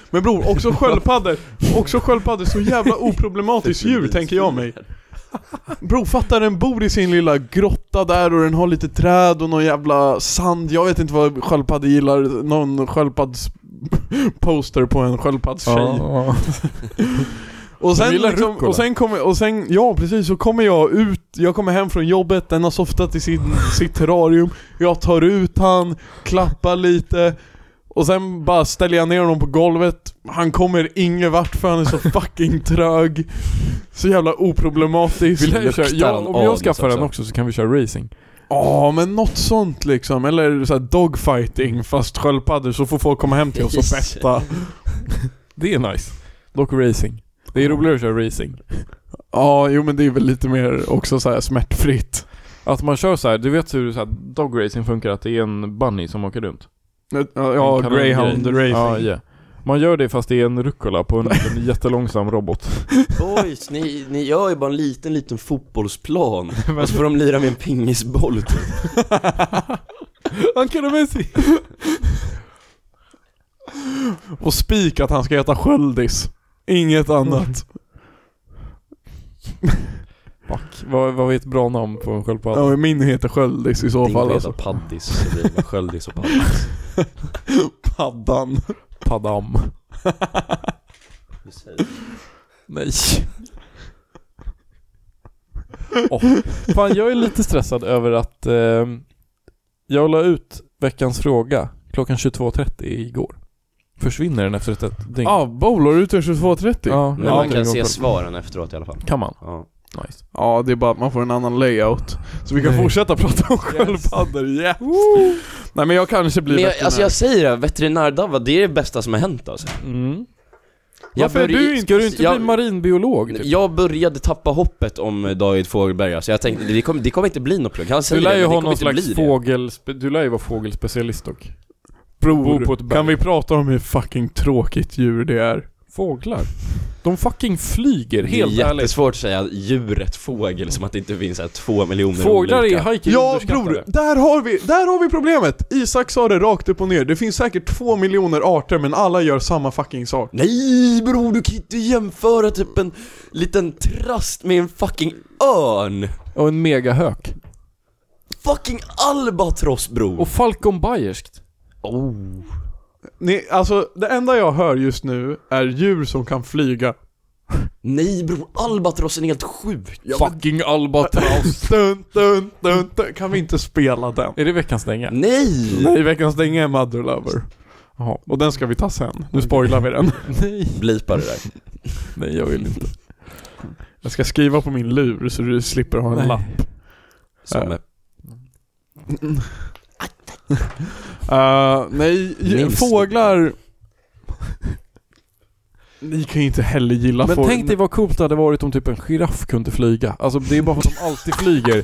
Speaker 2: Men bror, också sköldpaddor, också sköldpaddor, så jävla oproblematiskt djur tänker jag mig. Bror, fattar den bor i sin lilla grotta där och den har lite träd och någon jävla sand, jag vet inte vad sköldpaddor gillar, någon sköldpadds poster på en sköldpaddstjej. Och
Speaker 1: De
Speaker 2: sen,
Speaker 1: gillar
Speaker 2: liksom,
Speaker 1: rucola.
Speaker 2: och sen kommer, och sen, ja precis, så kommer jag ut, jag kommer hem från jobbet, den har softat i sin, sitt terrarium, jag tar ut han, klappar lite, och sen bara ställer jag ner honom på golvet, han kommer ingen vart för han är så fucking trög, så jävla oproblematisk.
Speaker 1: Vill jag köra,
Speaker 3: luktar
Speaker 1: ja,
Speaker 3: han liksom
Speaker 1: om jag
Speaker 3: anus
Speaker 1: skaffar den
Speaker 3: också.
Speaker 1: också så kan vi köra racing.
Speaker 2: Ja men något sånt liksom, eller så här dogfighting fast sköldpaddor så får folk komma hem till oss och betta.
Speaker 1: Det är nice. Dock racing. Det är roligare att köra racing.
Speaker 2: Ja, jo men det är väl lite mer också så här smärtfritt.
Speaker 1: Att man kör så här, du vet hur så här dog racing funkar? Att det är en bunny som åker runt.
Speaker 2: Ja,
Speaker 1: En kanongrej.
Speaker 2: greyhound racing.
Speaker 1: Ja, ja. Man gör det fast det är en rucola på en, en jättelångsam robot.
Speaker 3: Oj, så ni, ni gör ju bara en liten, liten fotbollsplan. Och så får de lira med en pingisboll typ.
Speaker 1: Han kunde med sig.
Speaker 2: Och spik att han ska heta Sköldis. Inget annat.
Speaker 1: Fuck. Vad, vad är ett bra namn på en sköldpadda?
Speaker 2: Ja, min heter Sköldis i så
Speaker 3: Din
Speaker 2: fall
Speaker 3: reda
Speaker 2: alltså.
Speaker 3: paddis, så blir det bara sköldis och paddis.
Speaker 2: Paddan.
Speaker 1: Padam. Nej. Åh, Fan, jag är lite stressad över att eh, jag la ut veckans fråga klockan 22.30 igår. Försvinner den efter ett, ett dygn?
Speaker 2: Ja, ah, bowlar ut till 22.30. Ja.
Speaker 1: ja,
Speaker 3: Men
Speaker 1: ja,
Speaker 3: man kan
Speaker 1: det går
Speaker 3: se
Speaker 1: på-
Speaker 3: svaren efteråt i alla fall.
Speaker 1: Kan man?
Speaker 3: Ja.
Speaker 1: Nice.
Speaker 2: det är bara att man får en annan layout. Så vi kan
Speaker 1: Nej.
Speaker 2: fortsätta prata om sköldpaddor, yes. Nej men jag kanske blir
Speaker 3: Men jag,
Speaker 2: veterinär.
Speaker 3: alltså jag säger det, här, veterinärdava, det är det bästa som har hänt alltså.
Speaker 1: Mm.
Speaker 3: Jag
Speaker 1: Varför är
Speaker 3: började-
Speaker 1: du inte, ska du inte
Speaker 3: jag-
Speaker 1: bli marinbiolog? Typ?
Speaker 3: Jag började tappa hoppet om eh, David Fogelberg, alltså jag tänkte det kommer, det kommer inte bli något plugg. Han
Speaker 1: Du
Speaker 3: säger
Speaker 1: lär
Speaker 3: det,
Speaker 1: ju
Speaker 3: men det
Speaker 1: ha
Speaker 3: kommer
Speaker 1: någon
Speaker 3: inte bli
Speaker 1: slags
Speaker 3: det.
Speaker 1: fågel... Du lär ju vara fågelspecialist dock. bo på ett
Speaker 2: Bror,
Speaker 1: berg.
Speaker 2: kan vi prata om hur fucking tråkigt djur det är?
Speaker 1: Fåglar? De fucking flyger,
Speaker 3: Det är
Speaker 1: helt ärligt.
Speaker 3: jättesvårt att säga djuret fågel som att det inte finns såhär två miljoner
Speaker 1: Fåglar
Speaker 3: olika.
Speaker 1: är hiking
Speaker 2: Ja bror, där har, vi, där har vi problemet! Isak sa det rakt upp och ner, det finns säkert två miljoner arter men alla gör samma fucking sak.
Speaker 3: Nej bror, du kan inte jämföra typ en liten trast med en fucking örn!
Speaker 1: Och en megahök.
Speaker 3: Fucking albatross bror!
Speaker 1: Och falconbayerskt.
Speaker 3: Oh.
Speaker 2: Ni, alltså det enda jag hör just nu är djur som kan flyga.
Speaker 3: Nej bror, albatrossen är helt sjuk!
Speaker 1: Fucking albatross.
Speaker 2: Dun, dun, dun, dun. Kan vi inte spela den?
Speaker 1: är det veckans dänga?
Speaker 3: Nej!
Speaker 2: Nej, veckans dänga är Mother Lover.
Speaker 1: Jaha.
Speaker 2: Och den ska vi ta sen. Nu spoilar vi den.
Speaker 1: Nej.
Speaker 3: Blipa det där.
Speaker 1: Nej, jag vill inte.
Speaker 2: Jag ska skriva på min lur så du slipper ha en
Speaker 1: Nej.
Speaker 2: lapp.
Speaker 3: Som
Speaker 2: Ja.
Speaker 3: är
Speaker 2: Eh, nej, dj-
Speaker 3: Nils.
Speaker 2: fåglar... Ni kan ju inte heller gilla
Speaker 1: Men
Speaker 2: folk.
Speaker 1: tänk dig vad coolt det hade varit om typ en giraff kunde flyga. Alltså det är bara för att de alltid flyger.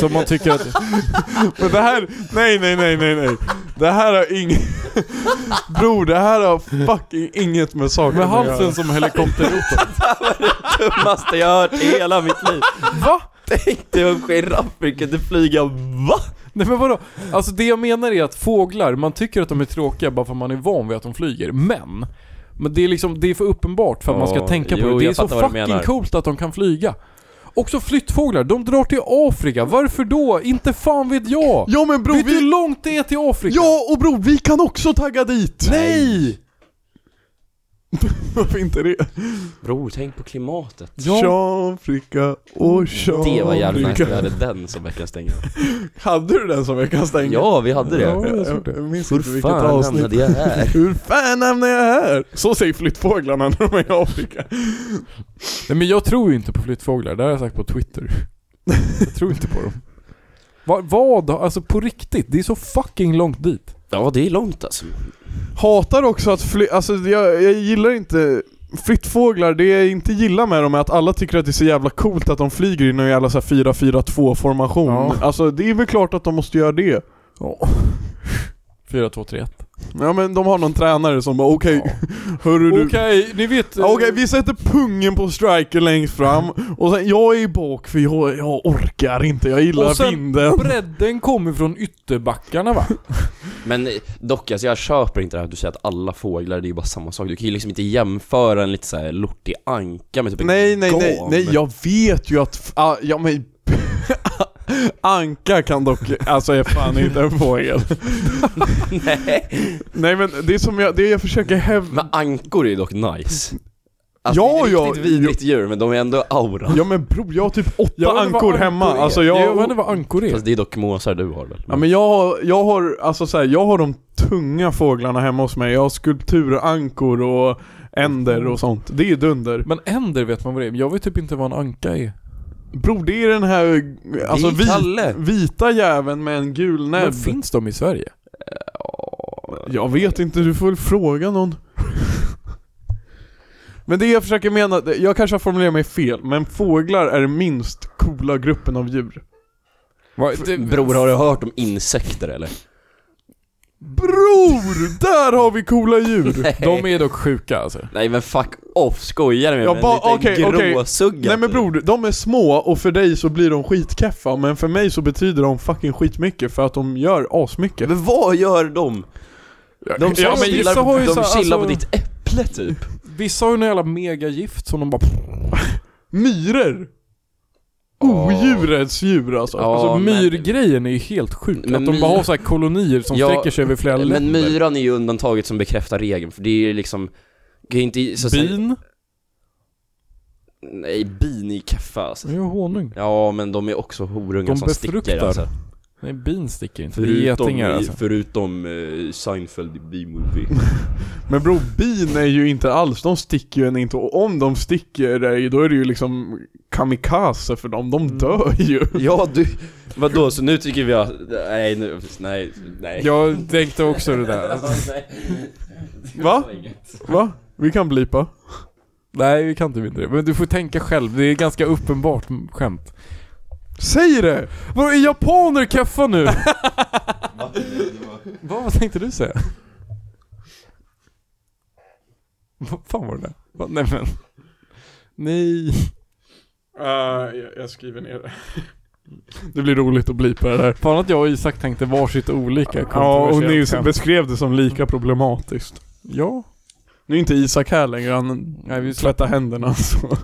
Speaker 1: Så man tycker att...
Speaker 2: Men det här, nej nej nej nej nej. Det här har inget... Bror det här har fucking inget med saken
Speaker 1: Med
Speaker 2: att
Speaker 1: halsen
Speaker 2: göra.
Speaker 1: som helikopterrotor.
Speaker 3: dummaste jag har hört i hela mitt liv.
Speaker 1: Va?
Speaker 3: Tänk dig om giraffer kunde flyga, va?
Speaker 1: Nej men vadå? Alltså det jag menar är att fåglar, man tycker att de är tråkiga bara för att man är van vid att de flyger. Men! Men det är liksom, det är för uppenbart för att man ska
Speaker 3: Ja,
Speaker 1: tänka på
Speaker 3: jo,
Speaker 1: det. Det är
Speaker 3: jag
Speaker 1: så
Speaker 3: fattar vad du
Speaker 1: fucking
Speaker 3: menar.
Speaker 1: coolt att de kan flyga. Också flyttfåglar, de drar till Afrika. Varför då? Inte fan vet jag!
Speaker 2: Ja men bror
Speaker 1: vet du hur
Speaker 2: vi...
Speaker 1: långt det är till Afrika?
Speaker 2: Ja och bror vi kan också tagga dit!
Speaker 1: Nej!
Speaker 2: Varför inte det?
Speaker 3: Bror, tänk på klimatet.
Speaker 1: Ja.
Speaker 2: Tjafrika och tjafrika.
Speaker 3: Det var jävligt nice, vi hade den som veckans stänga.
Speaker 2: Hade du den som veckans stängning?
Speaker 3: Ja, vi hade
Speaker 1: Ja.
Speaker 3: det.
Speaker 1: jag tror
Speaker 2: jag,
Speaker 1: det.
Speaker 2: jag minns
Speaker 3: Hur
Speaker 2: inte vilket
Speaker 3: fan
Speaker 2: avsnitt.
Speaker 3: hamnade jag här?
Speaker 2: Hur fan hamnade jag här? Så säger flyttfåglarna när de är i Afrika.
Speaker 1: Nej men jag tror ju inte på flyttfåglar, det har jag sagt på Twitter. jag tror inte på dem. Va, vad? Alltså på riktigt, det är så fucking långt dit.
Speaker 3: Ja, det är långt alltså.
Speaker 2: Hatar också att fly... Alltså jag, jag gillar inte... Flyttfåglar, det jag inte gillar med dem är att alla tycker att det är så jävla coolt att de flyger i någon jävla så här 4-4-2-formation.
Speaker 1: Ja.
Speaker 2: Alltså det är väl klart att de måste göra det.
Speaker 1: Ja. 4, 2, 3, 1.
Speaker 2: Ja men de har någon tränare som bara okej,
Speaker 1: Ja.
Speaker 2: hörru du.
Speaker 1: Okej, ni vet...
Speaker 2: Ja, Okej, vi sätter pungen på striker längst fram och sen jag är i bak för jag, jag orkar inte, jag gillar
Speaker 1: Och sen-
Speaker 2: vinden.
Speaker 1: eh, Bredden kommer från ytterbackarna va?
Speaker 3: Men eh, dock, alltså jag köper inte det här att du säger att alla fåglar, det är ju bara samma sak. Du kan ju liksom inte jämföra en lite såhär lortig anka med typ en
Speaker 2: Nej, nej, nej,
Speaker 3: gam.
Speaker 2: nej, jag vet ju att, f- ah, ja men Anka kan dock, alltså är fan inte en fågel.
Speaker 3: nej.
Speaker 2: Nej men det är som jag, det jag försöker hävda,
Speaker 3: Men ankor är ju dock nice. Alltså,
Speaker 2: Ja,
Speaker 3: det är
Speaker 2: ja,
Speaker 3: riktigt vidrigt djur, men de är ändå aura.
Speaker 2: ja men bro, jag har typ åtta
Speaker 1: Jag undrar vad
Speaker 2: ankor hemma.
Speaker 1: är.
Speaker 2: Alltså
Speaker 1: Jag undrar
Speaker 2: jag,
Speaker 1: vad ankor är.
Speaker 3: Fast det är dock måsar du har väl?
Speaker 2: ja, men jag, har- jag har, alltså så här, jag har de tunga fåglarna hemma hos mig. Jag har skulpturer, ankor och änder och sånt. Det är dunder.
Speaker 1: Men änder vet man vad det är, men jag vet typ inte vad en anka är.
Speaker 2: Bro, det är den här alltså,
Speaker 3: är Kalle.
Speaker 2: vit, vita jäveln med en gul
Speaker 1: Men
Speaker 2: näbb.
Speaker 1: finns de i Sverige?
Speaker 2: Jag vet inte, du får väl fråga någon. Men det jag försöker mena, jag kanske har formulerat mig fel, men fåglar är den minst coola gruppen av djur.
Speaker 1: Va, det,
Speaker 3: Bror, har du hört om insekter eller?
Speaker 2: Bror! Där har vi coola djur!
Speaker 1: de är dock sjuka alltså.
Speaker 3: Nej men fuck off, skojar du med
Speaker 2: Jag
Speaker 3: mig?
Speaker 2: bara-
Speaker 3: En liten
Speaker 2: okej, okej.
Speaker 3: gråsugga
Speaker 2: Nej men
Speaker 3: typ.
Speaker 2: bror, de är små och för dig så blir de skitkeffa, men för mig så betyder de fucking skitmycket för att de gör asmycket.
Speaker 3: Men vad gör de? De,
Speaker 1: Ja, men
Speaker 3: chillar,
Speaker 1: vissa
Speaker 3: på,
Speaker 1: har
Speaker 3: de
Speaker 1: ju så
Speaker 3: chillar
Speaker 1: här,
Speaker 3: på
Speaker 1: alltså-
Speaker 3: ditt äpple typ
Speaker 1: Vissa har ju någon jävla megagift som de bara...
Speaker 2: Myror! Odjurets djur alltså.
Speaker 3: Ja,
Speaker 1: alltså
Speaker 3: men-
Speaker 1: myrgrejen är ju helt sjuk.
Speaker 3: Men
Speaker 1: att de
Speaker 3: myr-
Speaker 1: bara har så här kolonier som
Speaker 3: Ja,
Speaker 1: sträcker sig över flera länder.
Speaker 3: Men myran är ju undantaget som bekräftar regeln, för det är ju liksom kan ju inte, så att säga-
Speaker 1: Bin?
Speaker 3: Nej, bin i keffa alltså.
Speaker 1: Det är ju honung.
Speaker 3: Ja men de är också horungar
Speaker 1: Mm. De
Speaker 3: som sticker
Speaker 1: befruktar.
Speaker 3: alltså.
Speaker 1: Nej, bin sticker inte. Det är
Speaker 3: Förutom,
Speaker 1: getingar
Speaker 3: i,
Speaker 1: alltså.
Speaker 3: förutom eh, Seinfeld i B-movie.
Speaker 2: Men bro, bin är ju inte alls, de sticker ju en inte och om de sticker dig då är det ju liksom kamikaze för dem, de dör ju.
Speaker 3: ja du, vadå så nu tycker vi att, nej nu, nej, nej.
Speaker 1: Jag tänkte också det där.
Speaker 3: Ja, nej.
Speaker 2: Va? Va? Vi kan blipa.
Speaker 1: Nej, vi kan typ inte det. Men du får tänka själv, det är ganska uppenbart m- skämt.
Speaker 2: Säg det!
Speaker 1: Vadå, är japaner keffa nu? Vad, vad tänkte du säga? Vad fan var det där? Va, nej men. Nej.
Speaker 2: Eh, jag, skriver ner det. Det blir roligt att blipa det där.
Speaker 1: Fan att jag och Isak tänkte varsitt olika
Speaker 2: Ja, och ni
Speaker 1: kontroversiellt skämt.
Speaker 2: beskrev det som lika problematiskt.
Speaker 1: Ja.
Speaker 2: Nu är inte Isak här längre, han
Speaker 1: Nej, vi
Speaker 2: tvättar händerna så.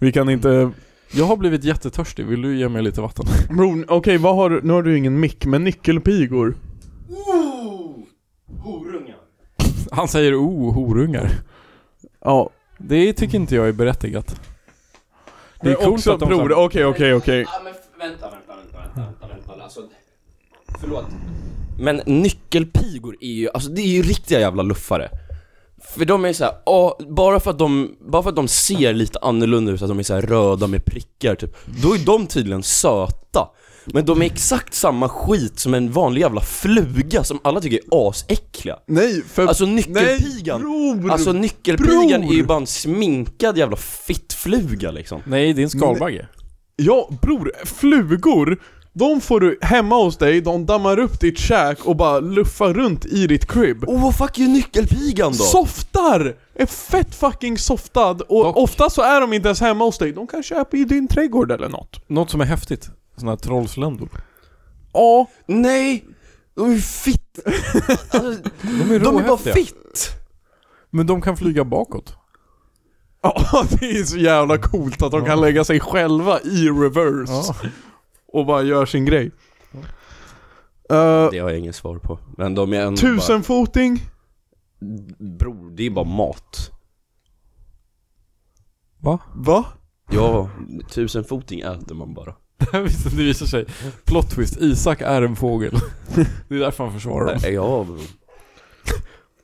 Speaker 2: Vi kan inte...
Speaker 1: Jag har blivit jättetörstig, vill du ge mig lite vatten?
Speaker 2: Bro, okej vad har du... Nu har du ju ingen mick, men nyckelpigor.
Speaker 1: Han säger oh, horungar.
Speaker 2: Ja,
Speaker 1: Det tycker inte jag är berättigat.
Speaker 2: det är coolt också, att de... Bror, okej okej okej.
Speaker 3: Ja, men f- vänta, vänta, vänta, vänta, vänta, vänta. Alltså, förlåt. Men nyckelpigor är ju, alltså det är ju riktiga jävla luffare. För de är såhär, ja, bara för att de, bara för att de ser lite annorlunda ut, att de är såhär röda med prickar typ, då är de tydligen söta. Men de är exakt samma skit som en vanlig jävla fluga som alla tycker är asäckliga.
Speaker 2: Nej, för...
Speaker 3: Alltså
Speaker 2: nej,
Speaker 3: nyckelpigan.
Speaker 2: bror!
Speaker 3: Alltså nyckelpigan
Speaker 2: Bror!
Speaker 3: är ju bara en sminkad jävla fittfluga liksom.
Speaker 1: Nej, det är en skalbagge.
Speaker 2: Ja, bror. Flugor, de får du hemma hos dig, de dammar upp ditt käk och bara luffar runt i ditt crib.
Speaker 3: Oh, vad fuck är nyckelpigan då?
Speaker 2: Softar! Är fett fucking softad och
Speaker 1: Dock-
Speaker 2: ofta så är de inte ens hemma hos dig, de kan köpa i din trädgård eller något.
Speaker 1: Något som är häftigt. Sådana här trollsländor.
Speaker 2: Ja,
Speaker 3: Nej! De är ju fitt... Alltså,
Speaker 1: De är
Speaker 3: de är bara
Speaker 1: råhäftiga.
Speaker 3: fitt!
Speaker 1: Men de kan flyga bakåt.
Speaker 2: ja det är så jävla coolt att de kan lägga sig själva i reverse
Speaker 1: Ja.
Speaker 2: och bara gör sin grej. Eh,
Speaker 3: Det har jag ingen svar på. Men de är ändå bara...
Speaker 2: tusenfoting?
Speaker 3: Bror, det är bara mat.
Speaker 1: Va?
Speaker 2: Va?
Speaker 3: Ja, tusenfoting äter man bara.
Speaker 1: Visst, det visar sig. Plot twist, Isak är en fågel. Det är därför han försvarar dem.
Speaker 3: Nej, ja,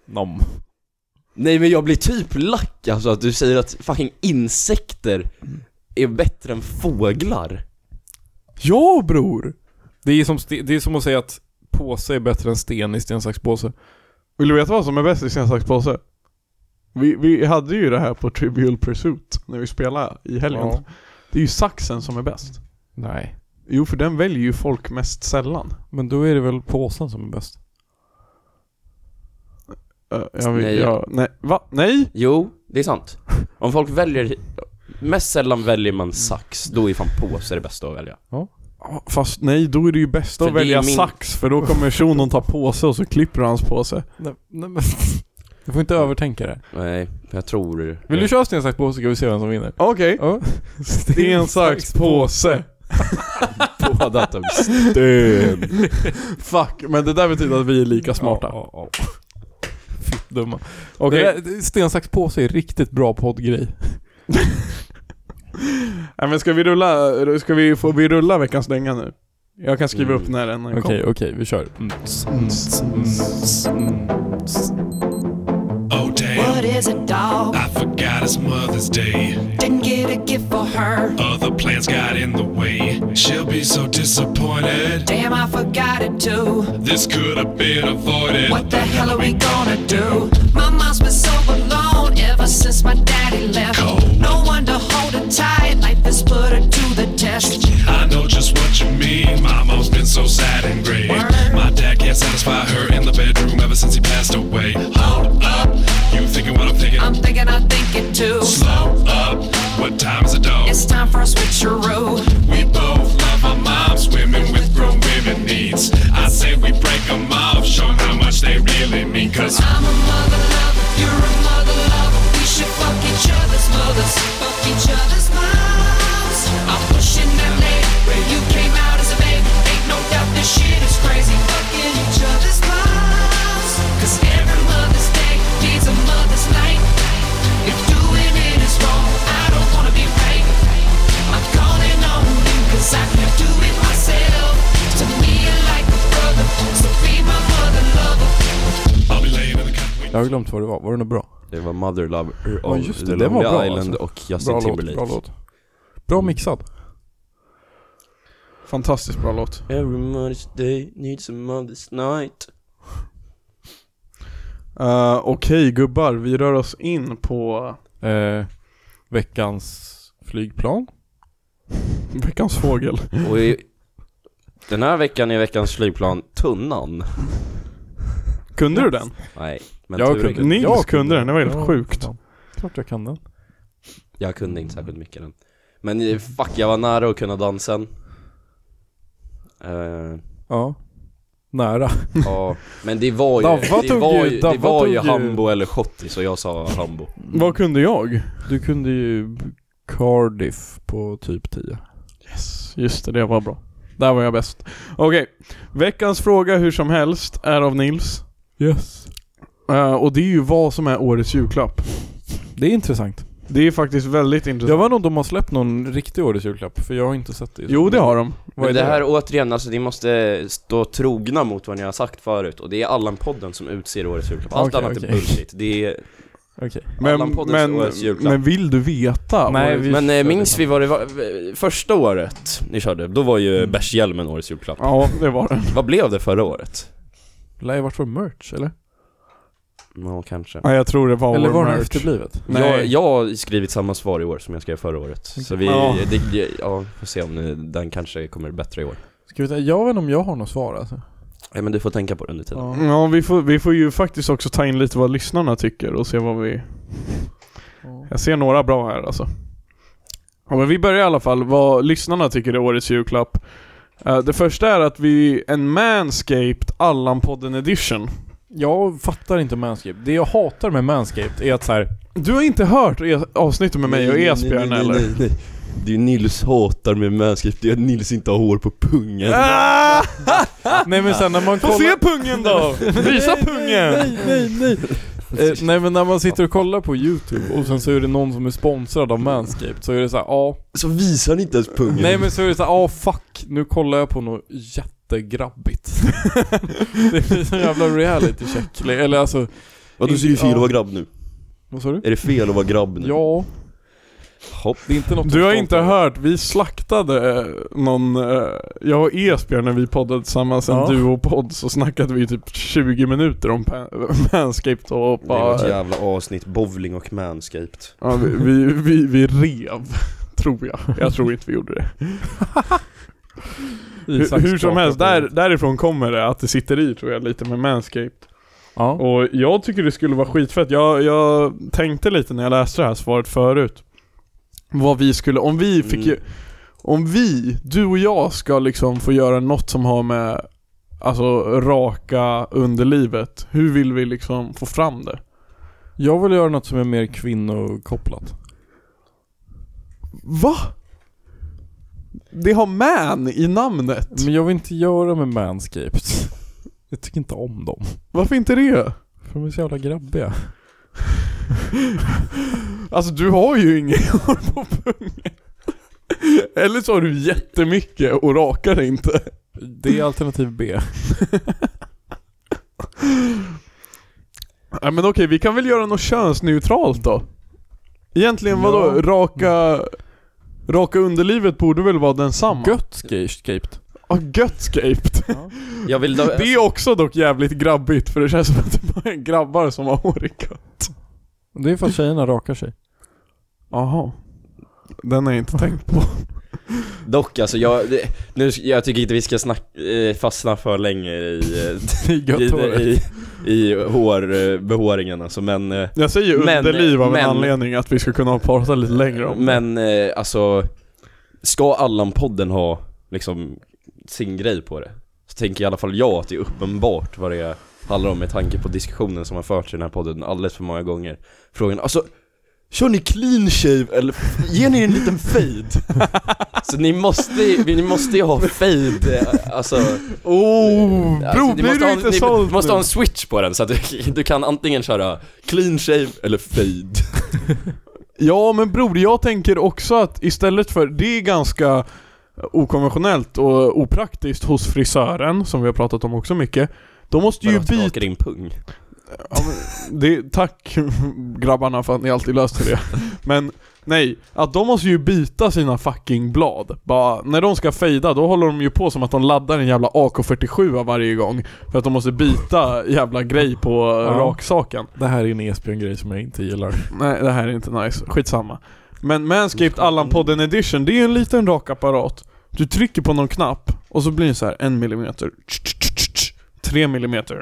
Speaker 1: Nom.
Speaker 3: Nej men jag blir typ lack alltså att du säger att fucking insekter är bättre än fåglar.
Speaker 2: Ja bror!
Speaker 1: Det är, som, ste- det är som att säga att påse är bättre än sten i sten, sax, påse.
Speaker 2: Vill du veta vad som är bäst i sin slags påse? Vi, vi hade ju det här på Trivial Pursuit när vi spelade i helgen.
Speaker 1: Ja.
Speaker 2: Det är ju saxen som är bäst.
Speaker 1: Nej.
Speaker 2: Jo, för den väljer ju folk mest sällan.
Speaker 1: Men då är det väl påsen som är bäst?
Speaker 2: Eh, jag vill,
Speaker 3: Nej.
Speaker 2: nej. Jag, nej. Va? Nej?
Speaker 3: Jo, det är sant. Om folk väljer, mest sällan väljer man sax, då är fan påse det bästa att välja.
Speaker 2: Ja, Fast nej, då är det ju bäst
Speaker 3: För
Speaker 2: att
Speaker 3: det är
Speaker 2: välja
Speaker 3: min-
Speaker 2: sax för då kommer shunon ta påse och så klipper du hans påse.
Speaker 1: Nej, nej men... Du får inte övertänka det.
Speaker 3: Nej, jag tror...
Speaker 1: Vill du köra sten, sax, påse ska vi se vem som vinner.
Speaker 2: Okej.
Speaker 1: Ja.
Speaker 2: Sten, sax, påse.
Speaker 3: båda tog
Speaker 2: Sten. Fuck, men det där betyder att vi är lika smarta.
Speaker 1: Smarta. Fitt dumma. Okej. Sten, sax, påse är riktigt bra poddgrej.
Speaker 2: Nej, men ska vi rulla, ska vi, får vi rulla veckans dänga nu? Jag kan skriva
Speaker 3: Mm.
Speaker 2: upp när den kom.
Speaker 1: Okej, okej, vi kör. Mm, s- mm, s- mm, s- mm, s-
Speaker 5: Oh damn,
Speaker 6: What is a dog?
Speaker 5: I forgot it's Mother's Day.
Speaker 6: Didn't get a gift for her.
Speaker 5: Other plans got in the way. She'll be so disappointed.
Speaker 6: Damn, I forgot it too.
Speaker 5: This could have been avoided.
Speaker 6: What the hell are we gonna do? My mom's been so alone ever since my daddy left. No one to hold her tight. Life has put her to the test.
Speaker 5: I know just what you mean. My mom's been so sad and grave. My dad can't satisfy her in the bedroom ever since he passed away. Hold up, you thinking what I'm thinking?
Speaker 6: I'm thinking I think it too.
Speaker 5: Slow up, what time is it, dog?
Speaker 6: It's time for a switcheroo.
Speaker 5: We both love our moms, women with grown women needs. I say we break them off, show 'em how much they really mean. Cause
Speaker 6: I'm a mother lover, you're a mother lover. We should fuck each other's mothers, fuck each other's moms. I'm pushing that lady where you came out as a baby. Ain't no doubt this shit is crazy, fucking each other's moms. Cause every Mother's Day needs a mother's night. If doing it is wrong, I don't wanna be right. I'm calling on you cause I can't do it myself. To me, you're like a brother, so be my mother lover.
Speaker 5: I'll be laying in the cut.
Speaker 1: Jag har glömt vad det var, var det något bra?
Speaker 3: Det var Mother Lover
Speaker 1: Ja,
Speaker 3: av
Speaker 1: just det,
Speaker 3: The
Speaker 1: den var
Speaker 3: Lonely
Speaker 1: bra,
Speaker 3: Island
Speaker 1: alltså.
Speaker 3: och Justin
Speaker 1: Bra låt,
Speaker 3: Timberlake.
Speaker 1: bra låt. Bra mixad.
Speaker 2: Fantastiskt bra låt.
Speaker 3: Every mother's day needs a mother's night.
Speaker 2: Eh, Okej gubbar, vi rör oss in på
Speaker 1: Eh, veckans flygplan.
Speaker 2: veckans fågel.
Speaker 3: Och i, den här veckan är veckans flygplan tunnan.
Speaker 2: Kunde du den?
Speaker 3: Nej, men
Speaker 1: Jag
Speaker 3: tur är
Speaker 1: kunde-
Speaker 3: det.
Speaker 2: Nils
Speaker 1: Jag
Speaker 2: kunde den, det var helt
Speaker 1: Ja,
Speaker 2: sjukt.
Speaker 1: fan. Klart jag kan den.
Speaker 3: Jag kunde inte särskilt mycket den. Men eh, fuck, jag var nära att kunna dansen. Eh,
Speaker 1: Ja. Nära.
Speaker 3: ja, men det var ju,
Speaker 1: Davva
Speaker 3: det
Speaker 1: tog ju-
Speaker 3: var ju, det
Speaker 1: Davva
Speaker 3: var
Speaker 1: tog
Speaker 3: ju
Speaker 1: ju-
Speaker 3: Hambo eller Schottis och jag sa Hambo.
Speaker 2: Vad kunde jag?
Speaker 1: Du kunde ju Cardiff på typ 10.
Speaker 2: Yes, just det, det var bra. Där var jag bäst. Okej, veckans fråga hur som helst är av Nils.
Speaker 1: Yes.
Speaker 2: Eh, och det är ju vad som är årets julklapp.
Speaker 1: Det är intressant.
Speaker 2: Det är faktiskt väldigt
Speaker 1: Jag
Speaker 2: intressant.
Speaker 1: var nog de har släppt någon riktig årets julklapp, för jag har inte sett det. just nu.
Speaker 2: Jo, det har de.
Speaker 1: Vad är
Speaker 3: Men det
Speaker 1: det?
Speaker 3: här återigen, alltså ni måste stå trogna mot vad ni har sagt förut och det är Allan-podden som utser årets julklapp. Allt
Speaker 1: Okej,
Speaker 3: annat
Speaker 1: okej.
Speaker 3: är bullshit. Det är
Speaker 1: Okej.
Speaker 2: Men,
Speaker 3: Allan-poddens
Speaker 2: men,
Speaker 3: årets julklapp.
Speaker 2: men vill du veta?
Speaker 1: Nej,
Speaker 2: årets-
Speaker 1: vi-
Speaker 3: Men eh, minns vi vad det var? eh, Första året ni körde, då var
Speaker 1: Mm.
Speaker 3: ju bärshjälmen årets julklapp.
Speaker 2: Ja, det var det.
Speaker 3: Vad blev det förra året?
Speaker 1: Lär ju varit för merch eller?
Speaker 3: Ja, kanske.
Speaker 2: Ja, jag tror det var
Speaker 1: eller
Speaker 2: vår
Speaker 1: var det
Speaker 2: merch.
Speaker 1: efterblivet?
Speaker 2: Nej.
Speaker 3: Jag, jag har skrivit samma svar i år som jag skrev förra året. Så vi,
Speaker 2: Ja.
Speaker 3: det, ja, får se om eh, den kanske kommer bättre i år.
Speaker 1: Ska vi ta, jag vet inte om jag har något svar alltså.
Speaker 2: Typ.
Speaker 3: Nej men du får tänka på det under tiden.
Speaker 1: Ja.
Speaker 2: Ja, vi får, vi får ju faktiskt också ta in lite vad lyssnarna tycker och se vad vi... Jag ser några bra här alltså. Ja, men vi börjar i alla fall vad lyssnarna tycker är årets julklapp. Eh, det första är att vi, en Manscaped Allan-podden edition.
Speaker 1: Jag fattar inte Manscaped. Det jag hatar med Manscaped är att så här,
Speaker 2: Du har inte hört e- avsnittet med mig och Esbjörn eller?
Speaker 3: nej. Det är ju Nils hatar med mänskligt, det är att Nils inte har hår på pungen.
Speaker 2: Ah!
Speaker 1: Nej men sen när man
Speaker 2: Få
Speaker 1: kollar...
Speaker 2: se pungen då! Visa pungen!
Speaker 1: Nej, nej, nej. nej. Eh, nej men när man sitter och kollar på YouTube och sen så är det någon som är sponsrad av Manscaped så är det så här, ja.
Speaker 3: Så visar han inte ens pungen.
Speaker 1: Nej men så är det så här, ja fuck, nu kollar jag på något jättegrabbigt. det blir sån jävla reality check. Eller alltså,
Speaker 3: Vadå så är det fel att vara grabb nu?
Speaker 1: vad sa du?
Speaker 3: Är det fel att vara grabb nu?
Speaker 1: Ja,
Speaker 3: Hopp.
Speaker 1: det är inte något
Speaker 2: Du har
Speaker 1: jag är
Speaker 2: inte
Speaker 1: stolt över.
Speaker 2: hört, vi slaktade eh, någon, eh, jag och Esbjörn när vi poddade tillsammans, en
Speaker 1: Ja.
Speaker 2: duopodd, så snackade vi i typ 20 minuter om pa- Manscaped och
Speaker 3: Det var ett
Speaker 2: bara,
Speaker 3: jävla avsnitt, bowling och manscaped.
Speaker 2: ja, vi, vi, vi, vi rev, tror jag. Jag tror inte vi gjorde det. Hur,
Speaker 1: Isak
Speaker 2: hur som
Speaker 1: skakar
Speaker 2: helst,
Speaker 1: på
Speaker 2: där,
Speaker 1: huvudet.
Speaker 2: därifrån kommer det att det sitter i tror jag lite med Manscaped.
Speaker 1: Ja.
Speaker 2: Och jag tycker det skulle vara skitfett. Jag, jag tänkte lite när jag läste det här svaret förut. Vad vi skulle, om vi fick ju,
Speaker 3: Mm.
Speaker 2: Om vi, du och jag ska liksom få göra något som har med Alltså raka underlivet. Hur vill vi liksom få fram det?
Speaker 1: Jag vill göra något som är mer kvinnokopplat.
Speaker 2: Va? Det har man i namnet.
Speaker 1: Men jag vill inte göra med Manscaped. Jag tycker inte om dem.
Speaker 2: Varför inte det?
Speaker 1: För de är så jävla grabbiga.
Speaker 2: Alltså du har ju inget hår på pungen. Eller så har du jättemycket och rakar det inte.
Speaker 1: Det är alternativ
Speaker 2: Mm.
Speaker 1: B.
Speaker 2: Ja men okej, vi kan väl göra något könsneutralt då? Egentligen vadå?
Speaker 1: Ja.
Speaker 2: Raka... Raka underlivet borde väl vara densamma?
Speaker 1: Gött Scaped.
Speaker 2: Ja, göttscaped.
Speaker 3: Jag vill då...
Speaker 2: Det är också dock jävligt grabbigt för det känns som att det bara är grabbar som har hår i gött.
Speaker 1: Det är för att tjejerna rakar sig.
Speaker 2: Jaha. Den har jag inte tänkt på.
Speaker 3: Dock alltså, jag, det, nu, jag tycker inte vi ska snack, eh, fastna för länge i, eh,
Speaker 1: Det är gött
Speaker 3: i,
Speaker 1: håret.
Speaker 3: i, i hår, eh, behåringen alltså, men, eh,
Speaker 2: Jag säger
Speaker 3: Men-
Speaker 2: underliv av
Speaker 3: men-
Speaker 2: en anledning att vi ska kunna prata lite längre om det.
Speaker 3: men eh, alltså, ska Allan-podden ha liksom sin grej på det? Så tänker i alla fall jag att det är uppenbart vad det handlar om med tanke på diskussionen som har förts i den här podden alldeles för många gånger. Frågan, alltså, kör ni clean shave eller ger ni en liten fade? så ni måste, ju- ni måste ju ha fade, eh, alltså
Speaker 2: Oh,
Speaker 3: Alltså,
Speaker 2: bro,
Speaker 3: ni
Speaker 2: blir
Speaker 3: måste
Speaker 2: du
Speaker 3: ha-
Speaker 2: inte
Speaker 3: ni
Speaker 2: såld
Speaker 3: måste
Speaker 2: nu?
Speaker 3: ha en switch på den så att du, du kan antingen köra clean shave eller fade.
Speaker 2: Ja men bror, jag tänker också att istället för, det är ganska okonventionellt och opraktiskt hos frisören, som vi har pratat om också mycket. De måste ju byta...
Speaker 3: din pung.
Speaker 2: Ja, men det, tack grabbarna för att ni alltid löste det. Men nej, att de måste ju byta sina fucking blad. Bara, när de ska fejda, då håller de ju på som att de laddar en jävla AK47 varje gång. För att de måste byta jävla grej på
Speaker 1: Ja.
Speaker 2: raksaken.
Speaker 1: Det här är en E Esbjörn-grej som jag inte gillar.
Speaker 2: Nej, det här är inte nice. Skitsamma. Men Manscaped Allan-podden edition, det är ju en liten rakapparat. Du trycker på någon knapp och så blir det så här en millimeter. Tre millimeter.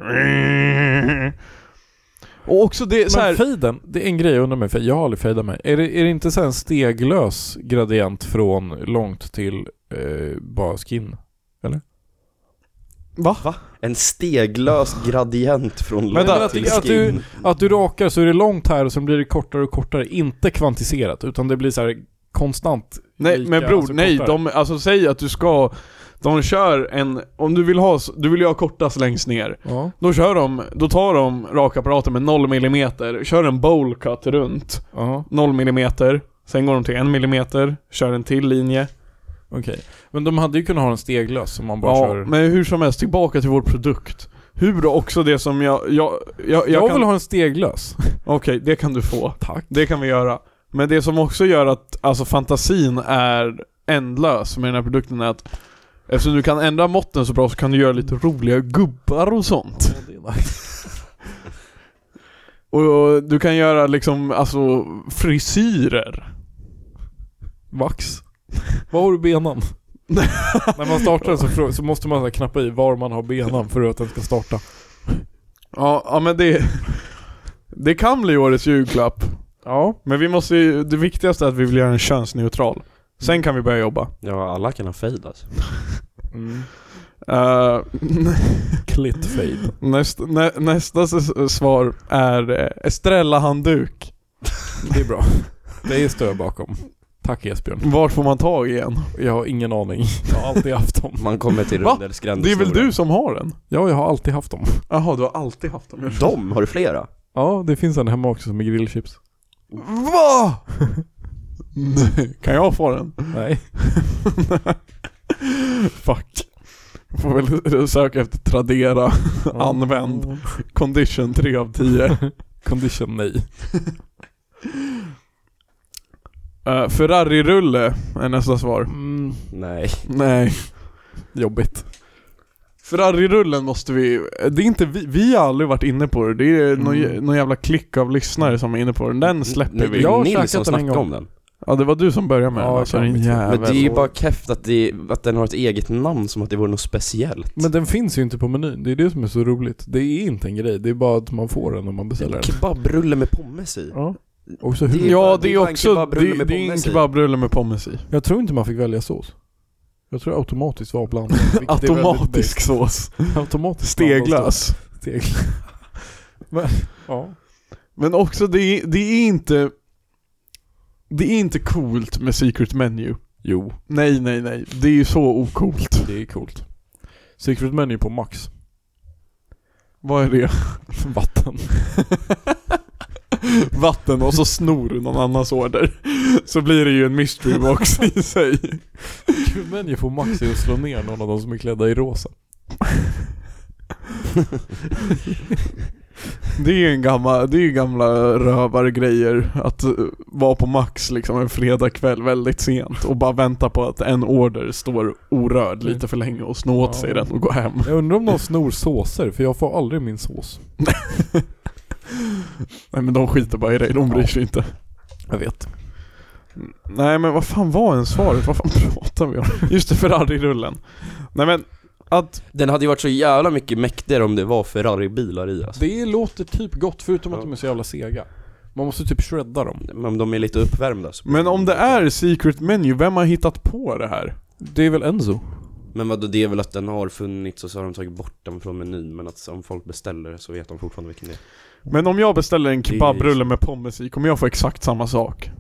Speaker 2: Och också det så
Speaker 1: Men
Speaker 2: här.
Speaker 1: fejden, det är en grej jag undrar mig för jag har aldrig fejdat mig. Är det, är det inte så här en steglös gradient från långt till eh, bara skin?
Speaker 2: Va?
Speaker 3: En steglös gradient från lång
Speaker 2: Vänta,
Speaker 3: till
Speaker 1: att- att du-
Speaker 3: skin.
Speaker 1: Att du rakar så är det långt här och sen blir det kortare och kortare. Inte kvantiserat utan det blir så här konstant.
Speaker 2: Nej
Speaker 1: lika,
Speaker 2: men bror,
Speaker 1: alltså
Speaker 2: nej.
Speaker 1: kortare.
Speaker 2: De, alltså säg att du ska... De kör en... Om du vill ha... Du vill ju ha kortast längst ner.
Speaker 1: Ja.
Speaker 2: Då kör de... Då tar de rakapparaten med 0 millimeter, kör en bowl cut runt.
Speaker 1: Ja.
Speaker 2: 0 millimeter, sen går de till 1 millimeter, kör en till linje.
Speaker 1: Okej. Men de hade ju kunnat ha en steglös som man bara
Speaker 2: ja,
Speaker 1: kör.
Speaker 2: men hur som helst, tillbaka till vår produkt. Hur också det som jag... Jag, jag, jag,
Speaker 1: Jag,
Speaker 2: kan...
Speaker 1: vill ha en steglös.
Speaker 2: Okej, det kan du få.
Speaker 1: Tack.
Speaker 2: Det kan vi göra. Men det som också gör att alltså, fantasin är ändlös med den här produkten är att eftersom du kan ändra måtten så bra så kan du göra lite roliga gubbar och sånt. Och du kan göra liksom, alltså frisyrer.
Speaker 1: Vax. Vad har du benan? När man startar den så, frå- så måste man så här knappa i var man har benan för att den ska starta.
Speaker 2: Ja, ja men det... Det kan bli årets julklapp.
Speaker 1: Ja.
Speaker 2: Men vi måste ju, det viktigaste är att vi vill göra den könsneutral. Sen kan vi börja jobba.
Speaker 3: Ja, alla kan ha fade alltså.
Speaker 1: Mm.
Speaker 2: Eh,
Speaker 1: Clitfade.
Speaker 2: näst, nä, nästa s- svar är eh, Estrella-handduk.
Speaker 1: Det är bra. Det står jag bakom. Tack Esbjörn.
Speaker 2: Vart får man tag i en?
Speaker 1: Jag har ingen aning. Jag har alltid haft dem.
Speaker 3: Man kommer till
Speaker 2: Va?
Speaker 3: rundelsgränd
Speaker 2: Det är väl du som har den?
Speaker 1: Ja, jag har alltid haft dem.
Speaker 2: Jaha, du har alltid haft dem.
Speaker 4: Dem? Har du flera?
Speaker 1: Ja, det finns en hemma också som är grillchips.
Speaker 2: Va? Nej, kan jag få den?
Speaker 1: Nej.
Speaker 2: Fuck. Får väl söka efter Tradera, använd, condition 3 av 10.
Speaker 1: Condition nej.
Speaker 2: Eh, Ferrari-rulle är nästa svar.
Speaker 1: Mm,
Speaker 3: Nej.
Speaker 2: Nej.
Speaker 1: jobbigt.
Speaker 2: Ferrari-rullen måste vi, det är inte vi, vi har aldrig varit inne på det. Det är
Speaker 1: Mm.
Speaker 2: någon, jä- någon jävla klick av lyssnare som är inne på den. Den släpper
Speaker 3: Nej,
Speaker 2: vi.
Speaker 1: jag har
Speaker 3: Nils
Speaker 1: käkat
Speaker 3: som
Speaker 1: den en
Speaker 3: snackade
Speaker 1: gång.
Speaker 3: om den.
Speaker 2: Ja, det var du som började med
Speaker 1: Ja,
Speaker 2: den alltså,
Speaker 1: jag
Speaker 2: din
Speaker 1: vet. Men
Speaker 3: Men
Speaker 2: jävel.
Speaker 3: det är ju bara keft att, det, att den har ett eget namn som att det vore något speciellt.
Speaker 1: Men den finns ju inte på menyn. Det är det som är så roligt. Det är inte en grej. Det är bara att man får den när man beställer den.
Speaker 3: Kebabrulle med pommes i.
Speaker 1: Ja. Och så hur...
Speaker 2: Ja,
Speaker 3: Det
Speaker 2: det
Speaker 3: är
Speaker 2: är
Speaker 3: bara en
Speaker 2: också,
Speaker 3: kebabrulle
Speaker 2: det,
Speaker 3: med
Speaker 2: det är en
Speaker 3: pommes i.
Speaker 2: kebabrulle med pommes i.
Speaker 1: Jag tror inte man fick välja sås. Jag tror det automatiskt var blandat. vilket är väldigt
Speaker 2: Automatisk sås.
Speaker 1: basic. Automatiskt blandat sås.
Speaker 2: Steglös.
Speaker 1: Steglös. Men, ja.
Speaker 2: Men också, det är, det är inte... Det är inte coolt med secret menu.
Speaker 1: Jo,
Speaker 2: Nej, nej, nej. Det är ju så ocoolt.
Speaker 1: det är coolt. Secret menu på max.
Speaker 2: Vad är det?
Speaker 1: Vatten.
Speaker 2: Vatten och så snor du någon annans order. Så blir det ju en mystery box i sig.
Speaker 1: Secret menu på max är att slå ner någon av de som är klädda i rosa.
Speaker 2: Det är ju en gammal, det är ju gamla rövargrejer att eh, vara på Max liksom en fredagkväll väldigt sent och bara vänta på att en order står orörd lite för länge och snå åt sig den och gå hem.
Speaker 1: Jag undrar om de snor såser, för jag får aldrig min sås.
Speaker 2: Nej men de skiter bara i dig, de bryr sig inte.
Speaker 1: Jag vet.
Speaker 2: Nej men vad fan var ens svaret? Vad fan pratar vi om? Just det, Ferrari-rullen. Nej men, att...
Speaker 3: Den hade ju varit så jävla mycket mäktigare om det var Ferrari-bilar i alltså.
Speaker 1: Det låter typ gott, förutom att de är så jävla sega. Man måste typ shredda dem.
Speaker 3: Men om de är lite uppvärmda så...
Speaker 2: Men om det är Secret Menu, vem har hittat på det här?
Speaker 1: Det är väl Enzo?
Speaker 3: Men vadå, det är väl att den har funnits och så har de tagit bort den från menyn men att om folk beställer det så vet de fortfarande vilken det är.
Speaker 2: Men om jag beställer en
Speaker 3: Det är ju-
Speaker 2: kebabrulle med pommes i, kommer jag få exakt samma sak?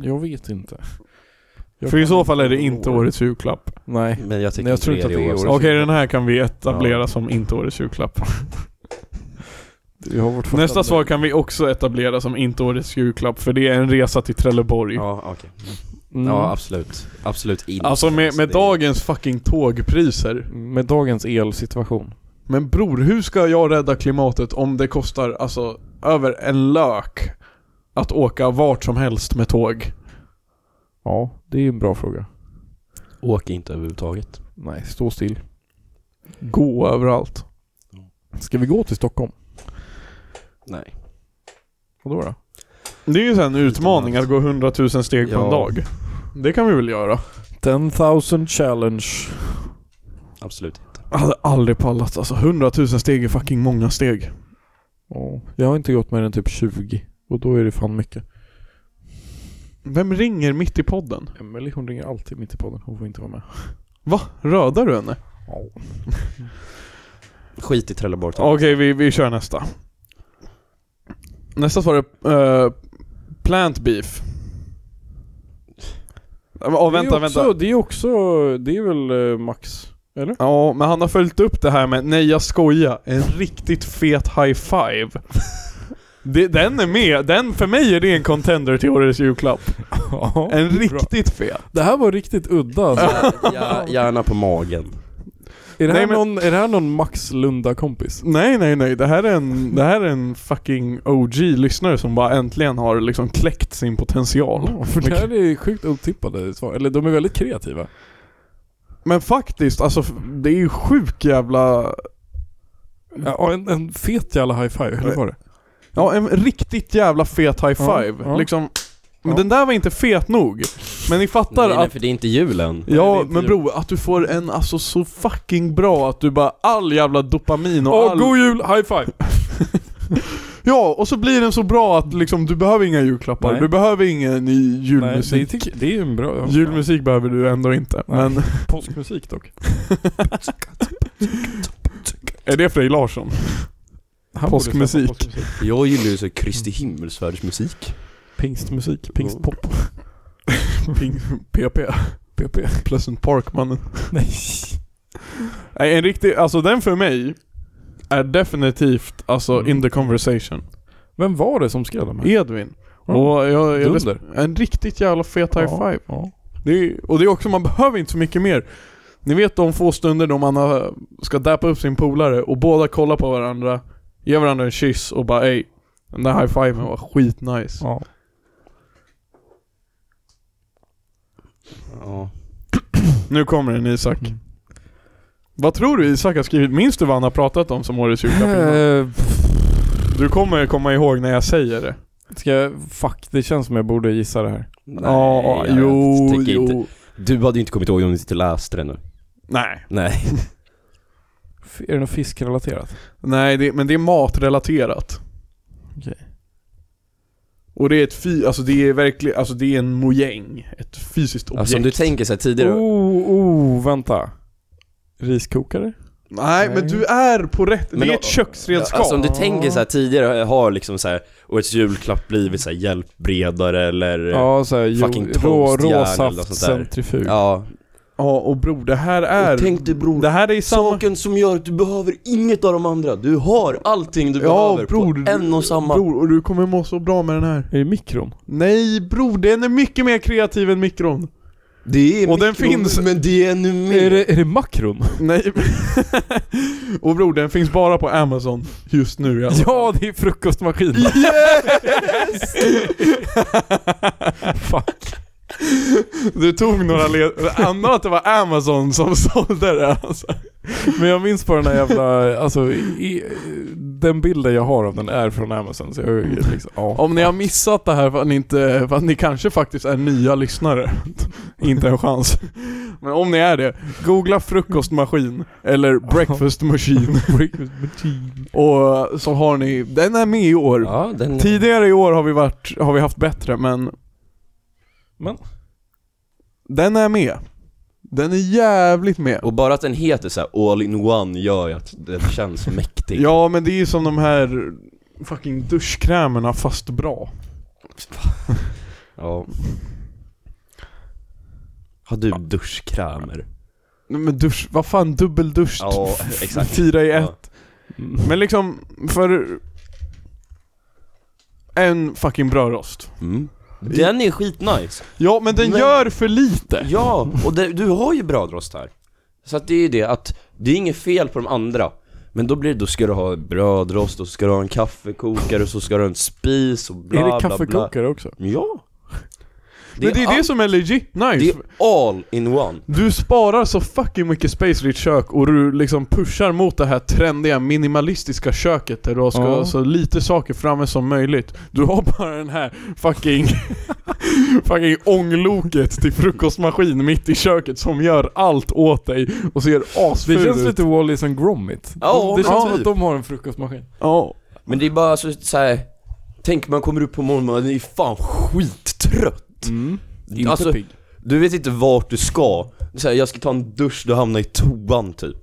Speaker 1: Jag vet inte. Jag
Speaker 2: För i
Speaker 1: kan
Speaker 2: så
Speaker 1: inte-
Speaker 2: fall är det inte
Speaker 3: år.
Speaker 2: årets julklapp.
Speaker 1: Nej.
Speaker 3: Men jag tycker
Speaker 1: Nej, jag tror inte
Speaker 3: inte
Speaker 1: att det är
Speaker 3: årets
Speaker 1: årets.
Speaker 2: Okej, den här kan vi etablera
Speaker 3: Ja.
Speaker 2: som inte årets julklapp.
Speaker 1: Vi har vårt första
Speaker 2: Nästa
Speaker 1: nej.
Speaker 2: svar kan vi också etablera som inte årets julklapp, för det är en resa till Trelleborg.
Speaker 3: Ja, okej.
Speaker 1: Mm.
Speaker 3: Ja, absolut. Absolut inte.
Speaker 2: Alltså med, med
Speaker 3: det-
Speaker 2: dagens fucking tågpriser.
Speaker 1: Med dagens elsituation.
Speaker 2: Men bror, hur ska jag rädda klimatet om det kostar alltså över en lök att åka vart som helst med tåg?
Speaker 1: Ja, det är en bra fråga.
Speaker 3: Åk inte överhuvudtaget.
Speaker 1: Nej, stå still.
Speaker 2: Gå överallt.
Speaker 1: Ska vi gå till Stockholm?
Speaker 3: Nej.
Speaker 1: Vadå då?
Speaker 2: Det är ju så här en utmaning att gå 100 000 steg på
Speaker 3: Ja.
Speaker 2: en dag. Det kan vi väl göra?
Speaker 1: 10,000 challenge.
Speaker 3: Absolut inte.
Speaker 2: Jag hade aldrig pallat alltså. 100 000 steg är fucking många steg.
Speaker 1: Ja. Jag har inte gått mer än typ 20. Och då är det fan mycket.
Speaker 2: Vem ringer mitt i podden?
Speaker 1: Emelie hon ringer alltid mitt i podden. Hon får inte vara med.
Speaker 2: Va? Rödar du henne?
Speaker 3: Skit i Trelleborg.
Speaker 2: Okej, vi, vi kör nästa. Nästa svar är eh, plant beef. Ja, vänta,
Speaker 1: det är också,
Speaker 2: vänta.
Speaker 1: Det är också, det är väl eh, Max? Eller?
Speaker 2: Ja, men han har följt upp det här med nej jag skojar, en riktigt fet high five. Det, den är med, den för mig är det en contender till årets julklapp.
Speaker 1: Ja.
Speaker 2: En riktigt fet.
Speaker 1: Det här var riktigt udda alltså.
Speaker 3: Ja, gärna på magen.
Speaker 1: Är det,
Speaker 2: Nej,
Speaker 1: här
Speaker 2: men-
Speaker 1: någon, är det här någon Max Lunda-kompis?
Speaker 2: Nej, nej, nej. Det här är en, det här är en fucking OG-lyssnare som bara äntligen har liksom kläckt sin potential.
Speaker 1: För det här är sjukt otippade svar. Eller de är väldigt kreativa.
Speaker 2: Men faktiskt, alltså f- det är ju sjuk jävla...
Speaker 1: Ja, och en, en fet jävla high-five, eller var det?
Speaker 2: Ja, en riktigt jävla fet high
Speaker 1: Ja,
Speaker 2: five.
Speaker 1: ja.
Speaker 2: Liksom, men
Speaker 1: Ja.
Speaker 2: den där var inte fet nog. Men ni fattar
Speaker 3: Nej, nej,
Speaker 2: att...
Speaker 3: för det är inte jul än.
Speaker 2: Ja,
Speaker 3: det är inte
Speaker 2: men
Speaker 3: jul.
Speaker 2: bro, att du får en alltså så fucking bra att du bara all jävla dopamin och
Speaker 1: Åh,
Speaker 2: all...
Speaker 1: god jul, high-five!
Speaker 2: Ja, och så blir den så bra att liksom du behöver inga julklappar.
Speaker 1: Nej.
Speaker 2: Du behöver ingen ny
Speaker 1: Nej, det,
Speaker 2: julmusik.
Speaker 1: tycker- det är ju en bra...
Speaker 2: Julmusik behöver du ändå inte,
Speaker 1: Nej.
Speaker 2: men...
Speaker 1: Påskmusik dock.
Speaker 2: Är det Frej Larsson?
Speaker 1: Han borde släppa
Speaker 2: Påskmusik.
Speaker 1: påskmusik.
Speaker 3: Jag gillar ju så Kristi
Speaker 2: Mm.
Speaker 3: himmelsfärdsmusik.
Speaker 1: Pingstmusik, pingstpop,
Speaker 2: Ping, PP.
Speaker 1: PP.
Speaker 2: Pleasant Park mannen.
Speaker 1: Nej.
Speaker 2: Nej, en riktig... Alltså den för mig är definitivt alltså
Speaker 1: Mm.
Speaker 2: in the conversation.
Speaker 1: Vem var det som skrev de här?
Speaker 2: Edvin. Och jag, jag
Speaker 1: Mm. Dunder.
Speaker 2: en riktigt jävla fet high five.
Speaker 1: Ja.
Speaker 2: Det är, och det är också, man behöver inte så mycket mer. Ni vet de få stunder då man har, ska däpa upp sin polare och båda kollar på varandra, ger varandra en kyss och bara ey, den där high-fiven var skitnice.
Speaker 1: ja.
Speaker 3: Ja.
Speaker 2: Nu kommer den Isak. Vad tror du Isak har skrivit? Minns du vad han har pratat om som årets julklapp innan?
Speaker 1: Eh,
Speaker 2: Du kommer komma ihåg när jag säger det.
Speaker 1: Ska jag, fuck, det känns som jag borde gissa det här.
Speaker 3: Nej,
Speaker 2: Ja,
Speaker 3: jag
Speaker 2: jo,
Speaker 3: tycker
Speaker 2: jo.
Speaker 3: Inte. Du hade ju inte kommit ihåg om du inte läste det nu.
Speaker 2: Nej.
Speaker 3: Nej.
Speaker 1: F- Är det något fiskrelaterat?
Speaker 2: Nej, det, men det är matrelaterat.
Speaker 1: Okej.
Speaker 2: Och det är ett fi, alltså det är verkligen, alltså det är en mojäng. Ett fysiskt objekt.
Speaker 3: Alltså, om du tänker såhär tidigare.
Speaker 1: Oh, oh, vänta. Riskokare?
Speaker 2: Nej, men du är på rätt, det
Speaker 3: Men
Speaker 2: är
Speaker 3: då-
Speaker 2: ett köksredskap.
Speaker 3: Alltså om du tänker så här tidigare har liksom så här årets julklapp blivit så här hjälpbredare eller
Speaker 1: Ja, såhär
Speaker 3: Fucking
Speaker 1: jo- rå,
Speaker 3: toastjärn eller något
Speaker 1: råsaft,
Speaker 3: sånt där.
Speaker 1: centrifug.
Speaker 3: Ja.
Speaker 2: Ja, och bror det här är...
Speaker 3: Och tänk dig, bror,
Speaker 2: det här är i samma...
Speaker 3: Saken som gör att du behöver inget av de andra. Du har allting du
Speaker 2: Ja,
Speaker 3: behöver
Speaker 2: bror.
Speaker 3: på en och samma.
Speaker 2: Bror, och du kommer må så bra med den här.
Speaker 1: Är det mikron?
Speaker 2: Nej bror, den är mycket mer kreativ än mikron.
Speaker 3: Det är
Speaker 2: Och den
Speaker 3: mikron,
Speaker 2: finns-
Speaker 3: Men det är ännu
Speaker 1: Är
Speaker 3: mer.
Speaker 1: det, är det makron?
Speaker 2: Nej. och bror, den finns bara på Amazon just nu. i alla fall.
Speaker 1: Ja, det är frukostmaskinen. Fuck.
Speaker 2: Du tog några led... Antar att det var Amazon som sålde det alltså.
Speaker 1: Men jag minns bara den här jävla, alltså, i, den bilden jag har av den är från Amazon så jag är liksom, ja.
Speaker 2: Om ni har missat det här för att ni inte, för att ni kanske faktiskt är nya lyssnare. inte en chans. Men om ni är det, googla frukostmaskin eller breakfast machine och så har ni, den är med i år.
Speaker 3: Ja, den...
Speaker 2: Tidigare i år har vi, varit, har vi haft bättre men
Speaker 1: Men,
Speaker 2: den är med. Den är jävligt med.
Speaker 3: Och bara att den heter så här all in one gör ju att den känns mäktig.
Speaker 2: Ja men det är ju som de här fucking duschkrämerna fast bra.
Speaker 3: Ja. Har du duschkrämer?
Speaker 2: Men dusch, vad fan dubbeldusch?
Speaker 3: Ja, exakt.
Speaker 2: Typ Fyra i ett.
Speaker 3: Ja.
Speaker 2: Men liksom, för... En fucking brödrost.
Speaker 3: Mm. Den är skitnice.
Speaker 2: Ja, men den
Speaker 3: Men-
Speaker 2: gör för lite.
Speaker 3: Ja, och det, du har ju brödrost här. Så att det är ju det att, det är inget fel på de andra. Men då blir det, då ska du ha brödrost och så ska du ha en kaffekokare och så ska du ha en spis och bla
Speaker 1: är det
Speaker 3: bla bla.
Speaker 1: kaffekokare också?
Speaker 3: Ja.
Speaker 2: men det är det
Speaker 3: all-
Speaker 2: som är legit nice.
Speaker 3: Det är all in one.
Speaker 2: Du sparar så fucking mycket space i ditt kök och du liksom pushar mot det här trendiga minimalistiska köket där du ska
Speaker 1: Ja.
Speaker 2: ha så lite saker framme som möjligt. Du har bara den här fucking... fucking ångloket till frukostmaskin mitt i köket som gör allt åt dig och ser asful
Speaker 1: Det känns
Speaker 2: ut.
Speaker 1: lite Wallis and Gromit.
Speaker 3: Ja,
Speaker 1: det känns
Speaker 3: men
Speaker 1: som
Speaker 3: typ.
Speaker 1: att de har en frukostmaskin.
Speaker 2: Ja.
Speaker 3: Men det är bara så, så här. tänk man kommer upp på morgonen och man är fan skittrött.
Speaker 2: Mm.
Speaker 1: Inte
Speaker 3: Alltså,
Speaker 1: pigg.
Speaker 3: Du vet inte vart du ska. Så här, jag ska ta en dusch, du hamnar i toan typ.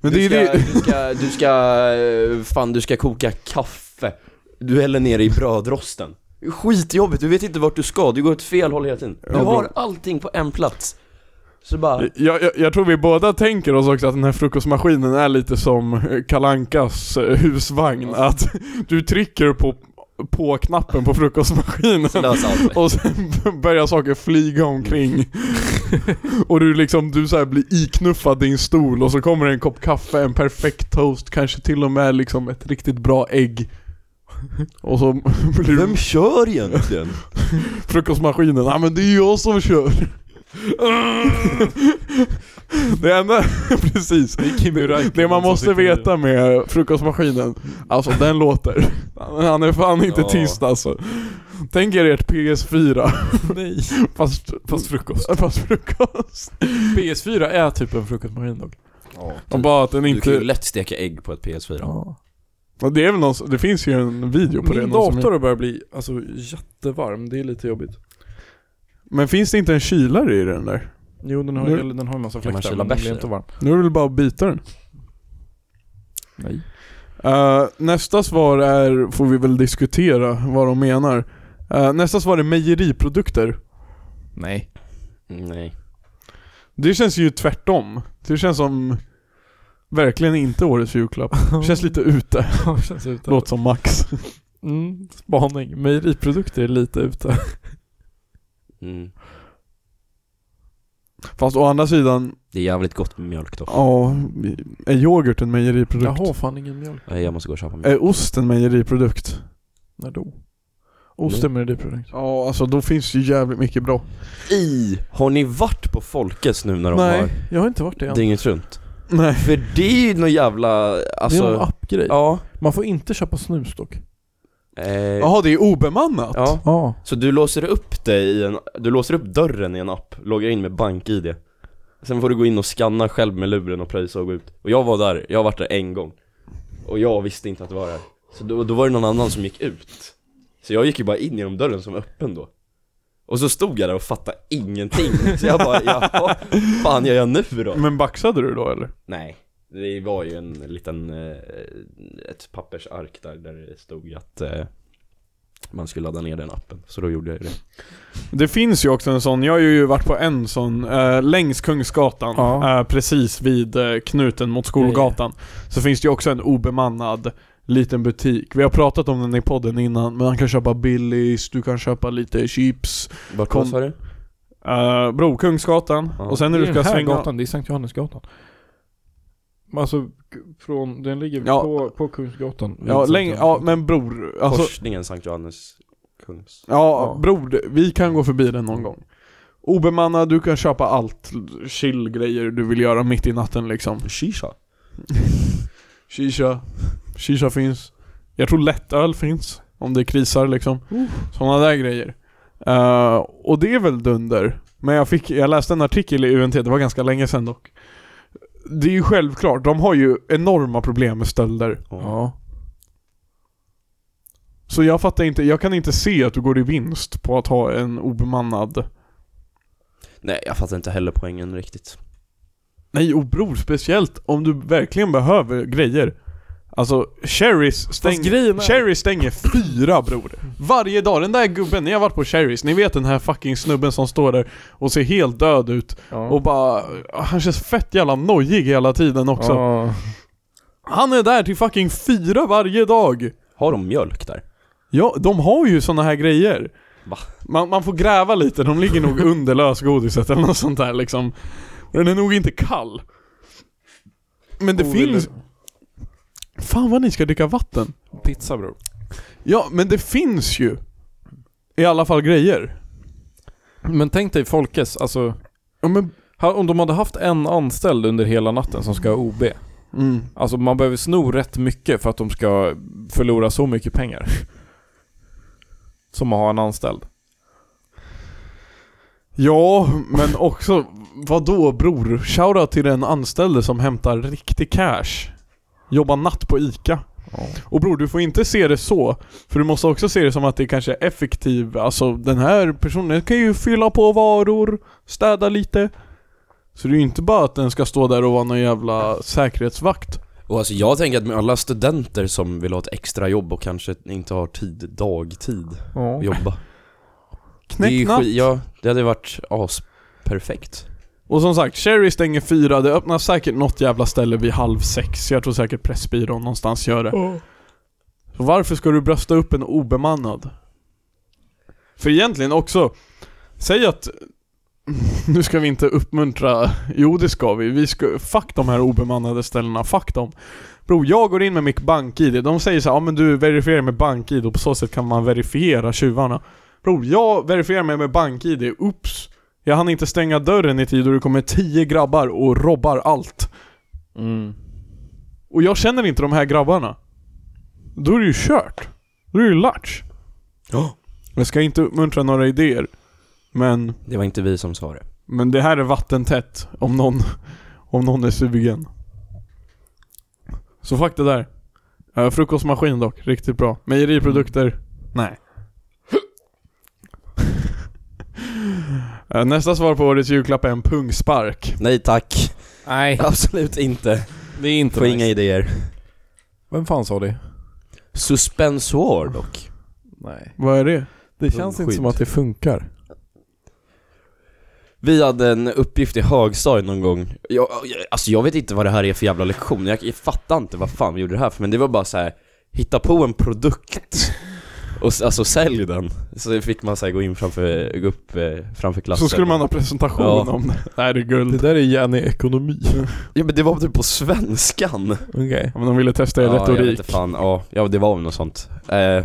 Speaker 2: Men det
Speaker 3: du,
Speaker 2: är
Speaker 3: ska,
Speaker 2: det...
Speaker 3: du ska, du ska, eh, fan du ska koka kaffe Du häller ner det i brödrosten Skitjobbigt, du vet inte vart du ska, du går åt fel håll hela tiden Du
Speaker 2: Ja,
Speaker 3: har
Speaker 2: bra.
Speaker 3: allting på en plats Så bara,
Speaker 2: Jag, jag, jag tror vi båda tänker oss också att den här frukostmaskinen är lite som eh, Kalankas eh, husvagn. Att du trycker på, på knappen på frukostmaskinen
Speaker 3: lös allt
Speaker 2: och sen börjar saker flyga omkring. Och du liksom, du så här blir iknuffad i en stol och så kommer det en kopp kaffe, en perfekt toast, kanske till och med liksom ett riktigt bra ägg. Och så blir du
Speaker 7: Vem kör egentligen?
Speaker 2: frukostmaskinen, ja men det är jag som kör. Det enda, precis. Det man måste veta med frukostmaskinen, alltså den låter. Han är fan inte
Speaker 3: Ja.
Speaker 2: tyst alltså. Tänk er ert PS4,
Speaker 1: Nej.
Speaker 2: fast,
Speaker 1: Fast frukost.
Speaker 2: fast frukost.
Speaker 1: PS4 är typ en frukostmaskin dock.
Speaker 2: Och bara att den
Speaker 3: Du kan ju
Speaker 2: inte...
Speaker 3: lätt steka ägg på ett PS4.
Speaker 2: Ja, Det, är väl någon, som- det finns ju en video på det.
Speaker 1: Min
Speaker 2: någon som-
Speaker 1: dator börjar bli alltså, jättevarm, det är lite jobbigt.
Speaker 2: Men finns det inte en kylare i den där?
Speaker 1: Jo den har
Speaker 2: Nu-
Speaker 1: ju den har ju massa
Speaker 3: Kan man
Speaker 1: fläktar
Speaker 3: kyla
Speaker 1: men den
Speaker 3: bärs
Speaker 1: blir
Speaker 3: i
Speaker 1: inte
Speaker 3: den?
Speaker 1: varm.
Speaker 2: Nu är det väl bara att byta den?
Speaker 1: Nej.
Speaker 2: Eh, nästa svar är, får vi väl diskutera vad de menar. Eh, nästa svar är mejeriprodukter.
Speaker 1: Nej.
Speaker 2: Mm,
Speaker 3: Nej.
Speaker 2: Det känns ju tvärtom. Det känns som verkligen inte årets julklapp. känns lite ute.
Speaker 1: Ja, det känns ute.
Speaker 2: Låter som Max.
Speaker 1: Mm, spaning. Mejeriprodukter är lite ute.
Speaker 3: Mm.
Speaker 2: Fast å andra sidan,
Speaker 3: Det är jävligt gott med mjölk dock.
Speaker 2: ja, är yoghurt en mejeriprodukt?
Speaker 1: Jag har fan ingen mjölk.
Speaker 3: Nej, Jag måste gå och köpa mjölk.
Speaker 2: Är ost en mejeriprodukt?
Speaker 1: När då? Ost är mejeriprodukt.
Speaker 2: Ja, alltså då finns ju jävligt mycket bra.
Speaker 3: I! Har ni varit på Folkets nu när de
Speaker 2: Nej,
Speaker 1: Jag har inte varit det
Speaker 3: har
Speaker 1: än.
Speaker 3: dygnet runt?
Speaker 2: Nej.
Speaker 3: För det är ju någon jävla, alltså...
Speaker 1: det är en appgrej.
Speaker 3: ja.
Speaker 1: Man får inte köpa snus dock.
Speaker 3: Eh,
Speaker 2: Jaha, det är obemannat?
Speaker 3: ja.
Speaker 1: Ja.
Speaker 3: Så du låser upp dig i en, du låser upp dörren i en app, loggar in med bank-id Sen får du gå in och scanna själv med luren och pröjsa och gå ut Och jag var där, jag har varit där en gång Och jag visste inte att det var där Så då, då var det någon annan som gick ut Så jag gick ju bara in genom dörren som var öppen då Och så stod jag där och fattade ingenting Så jag bara, jaha, fan gör jag nu då?
Speaker 2: Men baxade du då eller?
Speaker 3: Nej, det var ju en liten, eh, ett pappersark där, där det stod att eh, man skulle ladda ner den appen, så då gjorde jag ju det
Speaker 2: Det finns ju också en sån, jag har ju varit på en sån, eh, längs Kungsgatan,
Speaker 1: Ja.
Speaker 2: eh, precis vid eh, knuten mot Skolgatan. Så finns det ju också en obemannad liten butik. Vi har pratat om den i podden innan, men man kan köpa Billys, du kan köpa lite chips.
Speaker 3: Vart
Speaker 2: Kom-
Speaker 3: sa du?
Speaker 2: Eh, bro, Kungsgatan.
Speaker 3: Ja.
Speaker 2: Och sen när
Speaker 1: det
Speaker 2: du
Speaker 1: är
Speaker 2: ska
Speaker 1: den här
Speaker 2: svänga...
Speaker 1: gatan, det är Sankt Johannesgatan. Men Alltså, k- från, den ligger
Speaker 2: Ja.
Speaker 1: på, på Kungsgatan. vid
Speaker 2: Ja,
Speaker 1: Sankt
Speaker 2: läng- ja,
Speaker 1: Johannesgatan.
Speaker 2: men bror, alltså...
Speaker 3: Korsningen Sankt Johannes Kungs
Speaker 2: Ja,
Speaker 1: Ja.
Speaker 2: bror, vi kan gå förbi den någon gång. Obemannad, du kan köpa allt chill-grejer du vill göra mitt i natten liksom.
Speaker 3: Shisha?
Speaker 2: Shisha. Shisha finns. Jag tror lättöl finns. Om det krisar liksom. Sådana där grejer. Eh, och det är väl dunder. Men jag, fick, jag läste en artikel i UNT, det var ganska länge sedan dock. Det är ju självklart, de har ju enorma problem med stölder.
Speaker 1: Ja.
Speaker 2: Så jag fattar inte, jag kan inte se att du går i vinst på att ha en obemannad
Speaker 3: Nej jag fattar inte heller poängen riktigt
Speaker 2: Nej och bror, speciellt om du verkligen behöver grejer. Alltså, Cherries
Speaker 1: Fast grejen
Speaker 2: stänger,
Speaker 1: är-
Speaker 2: Cherry stänger fyra bror. Varje dag. Den där gubben, ni har varit på Cherries, ni vet den här fucking snubben som står där och ser helt död ut.
Speaker 1: Ja.
Speaker 2: Och bara, han känns fett jävla nojig hela tiden också.
Speaker 1: Ja.
Speaker 2: Han är där till fucking fyra varje dag.
Speaker 3: Har de mjölk där?
Speaker 2: Ja, de har ju såna här grejer.
Speaker 3: Va?
Speaker 2: Man, man får gräva lite, de ligger nog under lösgodiset eller något sånt där liksom. Och Den är nog inte kall. Men Oh, det finns... Fan vad ni ska dricka vatten.
Speaker 1: Pizza bror.
Speaker 2: Ja, men det finns ju. I alla fall grejer.
Speaker 1: Men tänk dig Folkes, alltså.
Speaker 2: Ja men...
Speaker 1: ha- Om de hade haft en anställd under hela natten som ska ha OB.
Speaker 2: Mm.
Speaker 1: Alltså man behöver sno rätt mycket för att de ska förlora så mycket pengar. Som att ha en anställd.
Speaker 2: Ja, men också... vad då bror? Shoutout till den anställde som hämtar riktig cash. Jobbar natt på ICA. Och bror, du får inte se det så. För du måste också se det som att det kanske är effektiv, alltså den här personen kan ju fylla på varor, städa lite. Så det är ju inte bara att den ska stå där och vara någon jävla säkerhetsvakt.
Speaker 3: Och alltså jag tänker att med alla studenter som vill ha ett extra jobb och kanske inte har tid, dagtid att jobba Det är ju
Speaker 2: Knäcknatt.
Speaker 3: skit- Ja, det hade varit asperfekt
Speaker 2: Och som sagt, Cherry stänger fyra, det öppnas säkert något jävla ställe vid halv sex. Jag tror säkert Pressbyrån någonstans gör det. Så varför ska du brösta upp en obemannad? För egentligen också, säg att Nu ska vi inte uppmuntra, jo det ska vi. vi ska, fuck de här obemannade ställena, fuck dem. Bro, jag går in med mitt bank-id. De säger så här, ja men du verifierar med bank-id och på så sätt kan man verifiera tjuvarna. Bro, jag verifierar mig med bank-id, oops. Jag hann inte stänga dörren i tid och det kommer tio grabbar och robbar allt.
Speaker 1: Mm.
Speaker 2: Och jag känner inte de här grabbarna. Då är det ju kört. Då är det ju latch.
Speaker 3: Ja.
Speaker 2: Jag ska inte uppmuntra några idéer. Men,
Speaker 3: Det var inte vi som sa det.
Speaker 2: men det här är vattentätt om någon, om någon är sugen. Så fuck det där. Eh, frukostmaskin dock, riktigt bra. Mejeriprodukter, nej. Eh, Nästa svar på årets julklapp är en pungspark.
Speaker 3: Nej tack.
Speaker 1: Nej,
Speaker 3: Absolut inte.
Speaker 1: det är inte
Speaker 3: Få inga
Speaker 1: nice.
Speaker 3: idéer.
Speaker 1: Vem fan sa det?
Speaker 3: Suspensoar dock.
Speaker 1: Nej.
Speaker 2: Vad är det?
Speaker 1: Det känns inte som att det funkar.
Speaker 3: Vi hade en uppgift i högstadiet någon gång. Jag, jag- alltså jag vet inte vad det här är för jävla lektion. Jag, jag fattar inte vad fan vi gjorde det här för. Men det var bara så här. hitta på en produkt. Och s- alltså sälj den. Så fick man så här, gå in framför, gå upp eh, framför klassen.
Speaker 2: Så skulle man ha presentation
Speaker 3: Ja.
Speaker 2: om det. Nej, det är guld.
Speaker 1: Det där är gärna ekonomi.
Speaker 3: Ja men det var typ på svenskan.
Speaker 1: Okej.
Speaker 2: Ja, men de ville testa er
Speaker 3: Ja, jag
Speaker 2: retorik.
Speaker 3: vet inte fan. Ja, ja det var väl något sånt. Eh,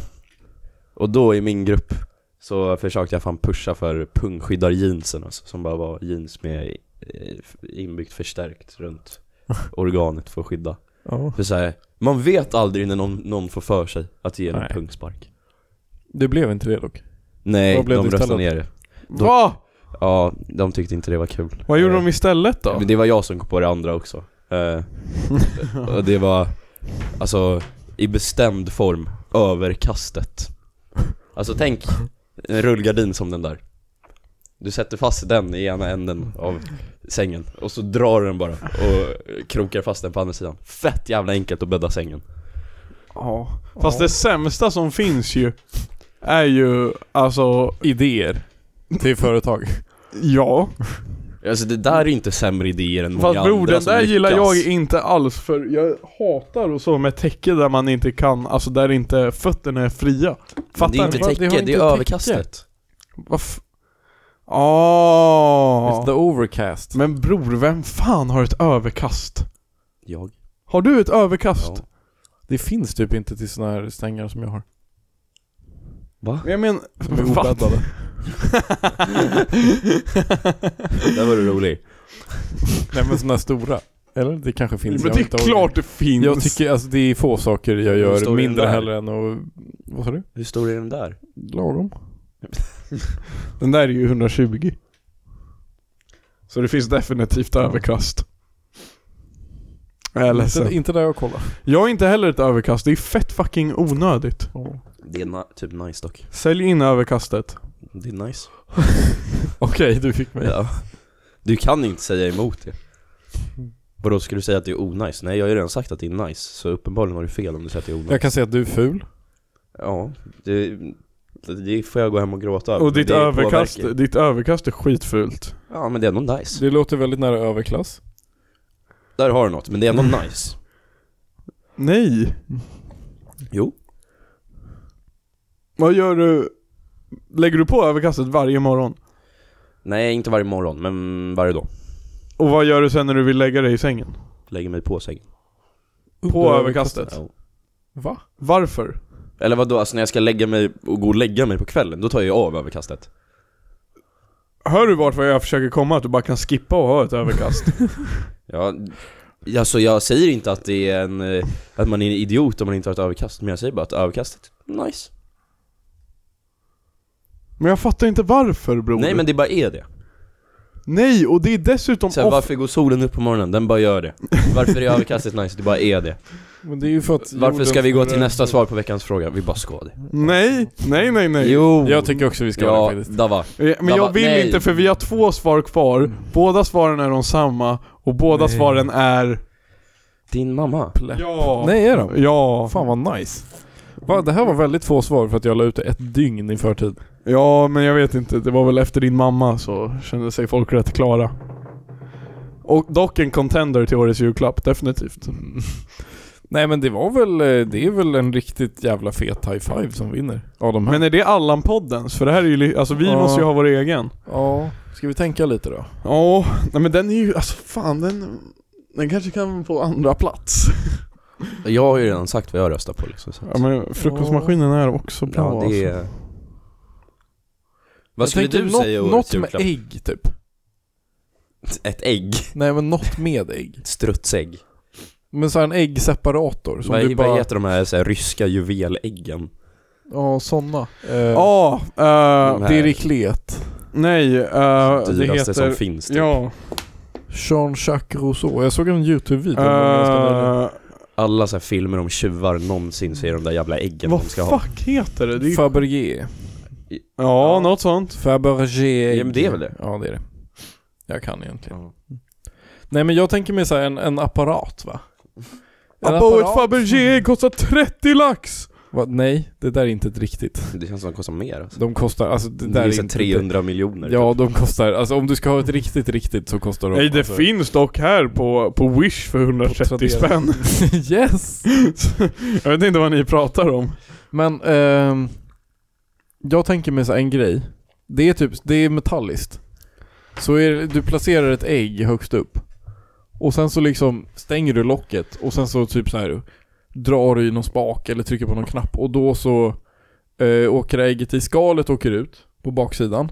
Speaker 3: och då i min grupp så försökte jag fan pusha för pungskyddar-jeansen alltså, som bara var jeans med eh, inbyggt förstärkt runt organet för att skydda.
Speaker 1: Ja.
Speaker 3: För så här, man vet aldrig när någon, någon får för sig att ge en
Speaker 1: Nej.
Speaker 3: pungspark.
Speaker 1: Det blev inte det dock.
Speaker 3: Nej,
Speaker 1: Vad blev
Speaker 3: de
Speaker 1: det
Speaker 3: röstade
Speaker 1: istället?
Speaker 3: ner det.
Speaker 2: Va?
Speaker 3: Ja, de tyckte inte det var kul.
Speaker 2: Vad gjorde
Speaker 3: Eh,
Speaker 2: de istället då?
Speaker 3: Men det var jag som kom på det andra också. Eh, och det var, alltså i bestämd form, överkastet. Alltså tänk en rullgardin som den där. Du sätter fast den i ena änden av sängen och så drar du den bara och krokar fast den på andra sidan. Fett jävla enkelt att bädda sängen.
Speaker 2: Ja. Fast det sämsta som finns ju är ju alltså,
Speaker 1: Idéer. Till företag.
Speaker 2: ja.
Speaker 3: Alltså det där är ju inte sämre idéer än många
Speaker 2: Fast bror
Speaker 3: andra
Speaker 2: den
Speaker 3: som
Speaker 2: där gillar
Speaker 3: lyckas.
Speaker 2: jag inte alls för jag hatar och så med täcke där man inte kan, alltså där inte fötterna är fria.
Speaker 3: Men det är
Speaker 2: Fattar
Speaker 1: Vad?
Speaker 2: ni?
Speaker 3: inte
Speaker 1: Det har
Speaker 3: täcke, det
Speaker 1: inte
Speaker 3: är
Speaker 1: täcke.
Speaker 3: överkastet.
Speaker 2: Varf- Ah.
Speaker 1: It's the overcast.
Speaker 2: Men bror, vem fan har ett överkast?
Speaker 3: Jag?
Speaker 2: Har du ett överkast?
Speaker 3: Ja.
Speaker 1: Det finns typ inte till såna här stängar som jag har.
Speaker 3: Va?
Speaker 2: Jag menar,
Speaker 1: är
Speaker 2: fatt-
Speaker 1: obäddade.
Speaker 3: Där var du rolig.
Speaker 1: Nej men såna här stora. Eller det kanske finns. jag
Speaker 2: Men det
Speaker 1: har
Speaker 2: är
Speaker 1: inte
Speaker 2: klart det finns!
Speaker 1: Jag tycker alltså det är få saker jag
Speaker 3: Hur stor
Speaker 1: gör
Speaker 3: är den
Speaker 1: mindre
Speaker 3: där?
Speaker 1: heller än att... Vad sa du?
Speaker 3: Hur stor är den där?
Speaker 1: Lagom?
Speaker 2: Den där är ju 120. Så det finns definitivt överkast. Jag är
Speaker 1: Inte,
Speaker 2: ledsen.
Speaker 1: inte där jag kollar.
Speaker 2: Jag har inte heller ett överkast, det är fett fucking onödigt.
Speaker 3: Det är na- typ nice dock.
Speaker 2: Sälj in överkastet.
Speaker 3: Det är nice.
Speaker 1: Okej, du fick mig.
Speaker 3: Ja. Du kan inte säga emot det. Vadå, ska du säga att det är onajs? Nej, jag har ju redan sagt att det är nice, så uppenbarligen har du fel om du säger att det är onajs.
Speaker 1: Jag kan säga att du är ful.
Speaker 3: Ja, det, det får jag gå hem och gråta över,
Speaker 2: Och
Speaker 3: men
Speaker 2: ditt
Speaker 3: det
Speaker 2: överkast,
Speaker 3: påverkar.
Speaker 2: ditt överkast är skitfult.
Speaker 3: Ja, men det är ändå nice.
Speaker 1: Det låter väldigt nära överklass.
Speaker 3: Där har du något, men det är ändå nice.
Speaker 2: Nej!
Speaker 3: Jo.
Speaker 2: Vad gör du? Lägger du på överkastet varje morgon?
Speaker 3: Nej, inte varje morgon, men varje dag.
Speaker 2: Och vad gör du sen när du vill lägga dig i sängen?
Speaker 3: Lägger mig på sängen.
Speaker 2: På överkastet?
Speaker 3: Ja.
Speaker 1: Va?
Speaker 2: Varför?
Speaker 3: Eller vadå, alltså när jag ska lägga mig och gå och lägga mig på kvällen, då tar jag av överkastet.
Speaker 2: Hör du vart vad jag försöker komma? Att du bara kan skippa och ha ett överkast?
Speaker 3: Ja, alltså jag säger inte att det är en, eh, att man är en idiot om man inte har ett överkast, men jag säger bara att överkastet, nice.
Speaker 2: Men jag fattar inte varför bror.
Speaker 3: Nej men det bara är det.
Speaker 2: Nej, och det är dessutom
Speaker 3: Sen, varför går solen upp på morgonen? Den bara gör det. Varför är överkastet nice? Det bara är det.
Speaker 1: Men det är ju för att
Speaker 3: Varför ska
Speaker 1: jorden
Speaker 3: vi gå
Speaker 1: snurrar
Speaker 3: till nästa
Speaker 1: runt.
Speaker 3: svar på veckans fråga? Vi bara ska det.
Speaker 2: Nej, nej, nej, nej.
Speaker 3: Jo!
Speaker 1: Jag tycker också vi ska ha
Speaker 3: ja,
Speaker 1: det faktiskt.
Speaker 3: Dava.
Speaker 2: Eh, Men
Speaker 3: Jag
Speaker 2: jag
Speaker 3: bara,
Speaker 2: vill
Speaker 3: nej.
Speaker 2: inte för vi har två svar kvar, båda svaren är de samma och båda
Speaker 1: Nej.
Speaker 2: svaren är...
Speaker 3: Din mamma.
Speaker 2: Ja!
Speaker 1: Nej, är de?
Speaker 2: Ja.
Speaker 1: Fan vad nice. Va, det här var väldigt få svar för att jag la ut det ett dygn i förtid.
Speaker 2: ja, men jag vet inte, det var väl efter din mamma så kände sig folk rätt klara. Och dock en contender till årets julklapp, definitivt.
Speaker 1: Nej men det var väl, eh, det är väl en riktigt jävla fet high five som vinner av de här.
Speaker 2: Men är det Allan-poddens? För det här är ju, li- alltså vi
Speaker 1: Ja.
Speaker 2: måste ju ha vår egen.
Speaker 1: Ja, ska vi tänka lite då?
Speaker 2: Ja, nej men den är ju, alltså fan den, den kanske kan på andra plats.
Speaker 3: Jag har ju redan sagt vad jag röstar på liksom. Så.
Speaker 2: Ja men frukostmaskinen är också bra
Speaker 3: ja, det
Speaker 2: alltså.
Speaker 3: är... Vad skulle du
Speaker 1: något,
Speaker 3: säga i årets
Speaker 1: Något med
Speaker 3: julklapp?
Speaker 1: ägg typ.
Speaker 3: Ett ägg?
Speaker 1: Nej men något med ägg.
Speaker 3: Ett strutsägg?
Speaker 1: Men så här en äggseparator som
Speaker 3: Vad,
Speaker 1: du bara...
Speaker 3: vad heter de här, så här ryska juveläggen?
Speaker 1: Ja, sådana. Eh,
Speaker 2: Ja, eh,
Speaker 3: här
Speaker 1: Diriklet.
Speaker 2: nej, eh, det
Speaker 3: dyraste som
Speaker 2: heter...
Speaker 3: finns typ.
Speaker 2: Ja,
Speaker 1: Jean-Jacques Rousseau. Jag såg en YouTube-video. om det ganska nyligen.
Speaker 2: eh,
Speaker 3: Alla så här filmer om tjuvar någonsin ser de där jävla äggen
Speaker 2: vad
Speaker 3: de ska ha.
Speaker 2: fuck heter det? det är ju,
Speaker 1: Fabergé.
Speaker 2: ja,
Speaker 3: Ja.
Speaker 2: något sånt.
Speaker 1: Fabergé.
Speaker 3: Ja, men det är väl det?
Speaker 1: Ja, det är det. Jag kan egentligen.
Speaker 3: Ja.
Speaker 1: Nej men jag tänker mig såhär en, en apparat va? En
Speaker 2: Abba ett Fabergé kostar 30 lax!
Speaker 1: Va? Nej, det där är inte ett riktigt.
Speaker 3: Det känns som de kostar mer alltså.
Speaker 1: De kostar, alltså det
Speaker 3: Det,
Speaker 1: där är
Speaker 3: finns
Speaker 1: inte...
Speaker 3: är 300 miljoner
Speaker 1: Ja,
Speaker 3: typ.
Speaker 1: de kostar, alltså om du ska ha ett riktigt riktigt så kostar de
Speaker 2: Nej det
Speaker 1: alltså,
Speaker 2: finns dock här på, på Wish för 130
Speaker 1: Tradera.
Speaker 2: spänn.
Speaker 1: Yes!
Speaker 2: Jag vet inte vad ni pratar om.
Speaker 1: Men, ehm, jag tänker mig så här en grej. Det är typ, det är metalliskt. Så är, det- du placerar ett ägg högst upp. Och sen så liksom stänger du locket och sen så typ så här drar du i någon spak eller trycker på någon knapp och då så eh, åker ägget i skalet åker ut på baksidan.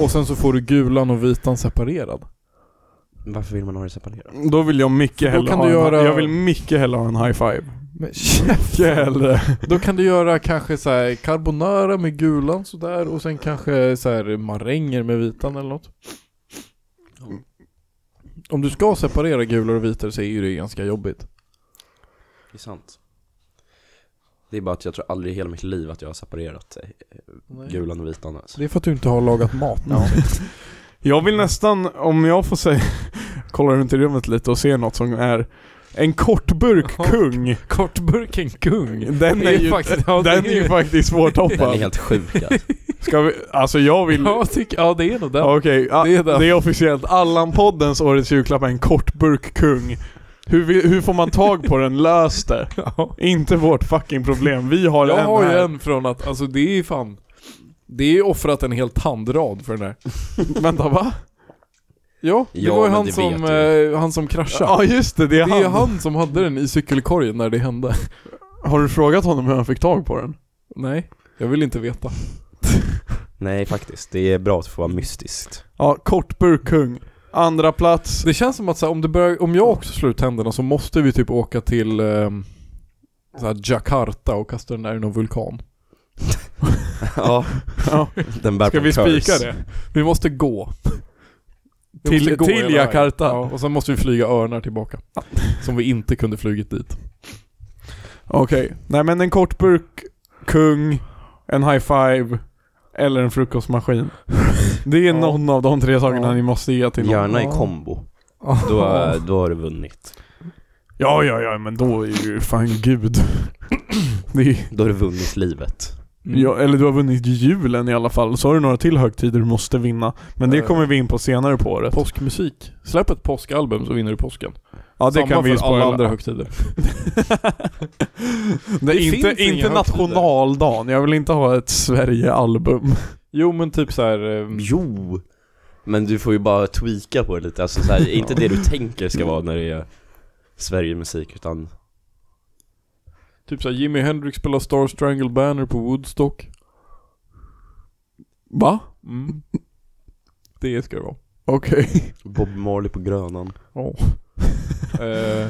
Speaker 1: Och sen så får du gulan och vitan separerad.
Speaker 3: typ. Varför vill man ha det separerat?
Speaker 2: Då vill jag mycket
Speaker 1: då
Speaker 2: hellre
Speaker 1: kan
Speaker 2: ha
Speaker 1: du
Speaker 2: en,
Speaker 1: göra-
Speaker 2: Jag vill mycket hellre ha en high five.
Speaker 1: Men
Speaker 2: Mycket hellre.
Speaker 1: Då kan du göra kanske så här carbonara med gulan sådär och sen kanske så här maränger med vitan eller något. Om du ska separera gulor och vitor så är ju det ganska jobbigt.
Speaker 3: Det är sant. Det är bara att jag tror aldrig i hela mitt liv att jag har separerat eh, gulan och vitan alltså.
Speaker 1: Det är för att du inte har lagat mat nu.
Speaker 2: Jag vill nästan, om jag får säga, kolla runt i rummet lite och se något som är en kortburk kung.
Speaker 1: Kortburken kung.
Speaker 2: Den är ju,
Speaker 1: faktiskt, ja,
Speaker 2: den
Speaker 1: det
Speaker 2: är ju faktiskt
Speaker 3: Den är
Speaker 2: svårtoppad.
Speaker 3: helt sjuk alltså.
Speaker 2: Ska vi, alltså jag vill...
Speaker 1: Ja, tycker, ja, det är nog den.
Speaker 2: Ja, Okej, ja,
Speaker 1: Det är
Speaker 2: det,
Speaker 1: den.
Speaker 2: är officiellt. Allan-poddens årets julklapp är en kortburk kung. Hur, vi, hur får man tag på den? Lös det.
Speaker 1: Ja.
Speaker 2: Inte vårt fucking problem. Vi har
Speaker 1: Jag
Speaker 2: en
Speaker 1: har ju
Speaker 2: här.
Speaker 1: en från att, alltså det är ju fan det är ju offrat en hel tandrad för den där.
Speaker 2: Vänta va?
Speaker 1: Ja, det
Speaker 3: Ja,
Speaker 1: var ju
Speaker 3: men
Speaker 1: han
Speaker 3: det
Speaker 1: som,
Speaker 3: vet jag.
Speaker 1: eh, han som kraschade.
Speaker 2: Ja just det, det är,
Speaker 1: det är
Speaker 2: han.
Speaker 1: han som hade den i cykelkorgen när det hände.
Speaker 2: Har du frågat honom hur han fick tag på den?
Speaker 1: Nej, jag vill inte veta.
Speaker 3: Nej faktiskt, det är bra att få vara mystiskt.
Speaker 2: Ja, kortburk kung. Andra plats.
Speaker 1: Det känns som att så här, om, det börjar, om jag också slår ut händerna så måste vi typ åka till ehm, så här Jakarta och kasta den där i någon vulkan.
Speaker 3: ja,
Speaker 2: Ja.
Speaker 3: den bär
Speaker 2: Ska
Speaker 3: på
Speaker 2: vi
Speaker 3: curse.
Speaker 2: spika det?
Speaker 1: Vi måste gå. Vi
Speaker 2: Till-
Speaker 1: måste
Speaker 2: till
Speaker 1: hela vägen.
Speaker 2: Jakarta.
Speaker 1: Ja, och sen måste vi flyga örnar tillbaka. Som vi inte kunde flugit dit.
Speaker 2: Okej. Nej men en kortburk kung, en high five eller en frukostmaskin. Det är
Speaker 1: Ja.
Speaker 2: någon av de tre sakerna
Speaker 1: Ja.
Speaker 2: ni måste ge till någon.
Speaker 3: Gärna i kombo. Då, eh, då har du vunnit.
Speaker 2: Ja, ja, ja, men då är ju fan gud. Det är,
Speaker 3: Då har du vunnit livet.
Speaker 1: Mm.
Speaker 2: ja, eller du har vunnit julen i alla fall. Så har du några till högtider du måste vinna. Men det
Speaker 1: Eh.
Speaker 2: kommer vi in på senare på året.
Speaker 1: Påskmusik. Släpp ett påskalbum så vinner du påsken.
Speaker 2: Ja, det
Speaker 1: Samma
Speaker 2: kan vi ju
Speaker 1: för alla
Speaker 2: spoila.
Speaker 1: andra högtider.
Speaker 2: Nej,
Speaker 1: Det finns
Speaker 2: inte
Speaker 1: inga
Speaker 2: inte
Speaker 1: högtider.
Speaker 2: nationaldagen. Jag vill inte ha ett Sverige-album.
Speaker 1: Jo men typ så här. ehm,
Speaker 3: Jo! Men du får ju bara tweaka på det lite, alltså så här, inte det du tänker ska vara när det är Sverigemusik utan
Speaker 1: typ så här, Jimi Hendrix spelar Star Strangle Banner på Woodstock.
Speaker 2: Va?
Speaker 1: Mm. Det ska det vara.
Speaker 2: Okej.
Speaker 3: Bob Marley på Grönan
Speaker 1: Eh,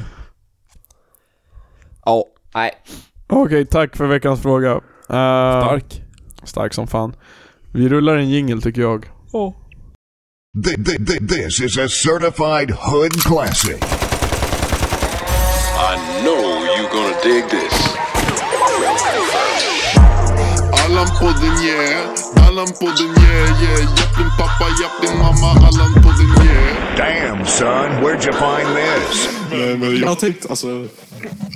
Speaker 3: Ja, nej
Speaker 2: Okej, tack för veckans fråga. Eh,
Speaker 1: stark.
Speaker 2: Stark som fan. Vi rullar en jingle tycker jag.
Speaker 7: Th- th- th- This is a certified hood classic.
Speaker 8: I know you're gonna dig this. Allan podden yeah, Allan podden yeah yeah. Japp din pappa, japp din mamma, Allan podden yeah.
Speaker 7: Damn, son, where'd you find this?
Speaker 8: Men, men jag,
Speaker 9: Jag tänkte alltså,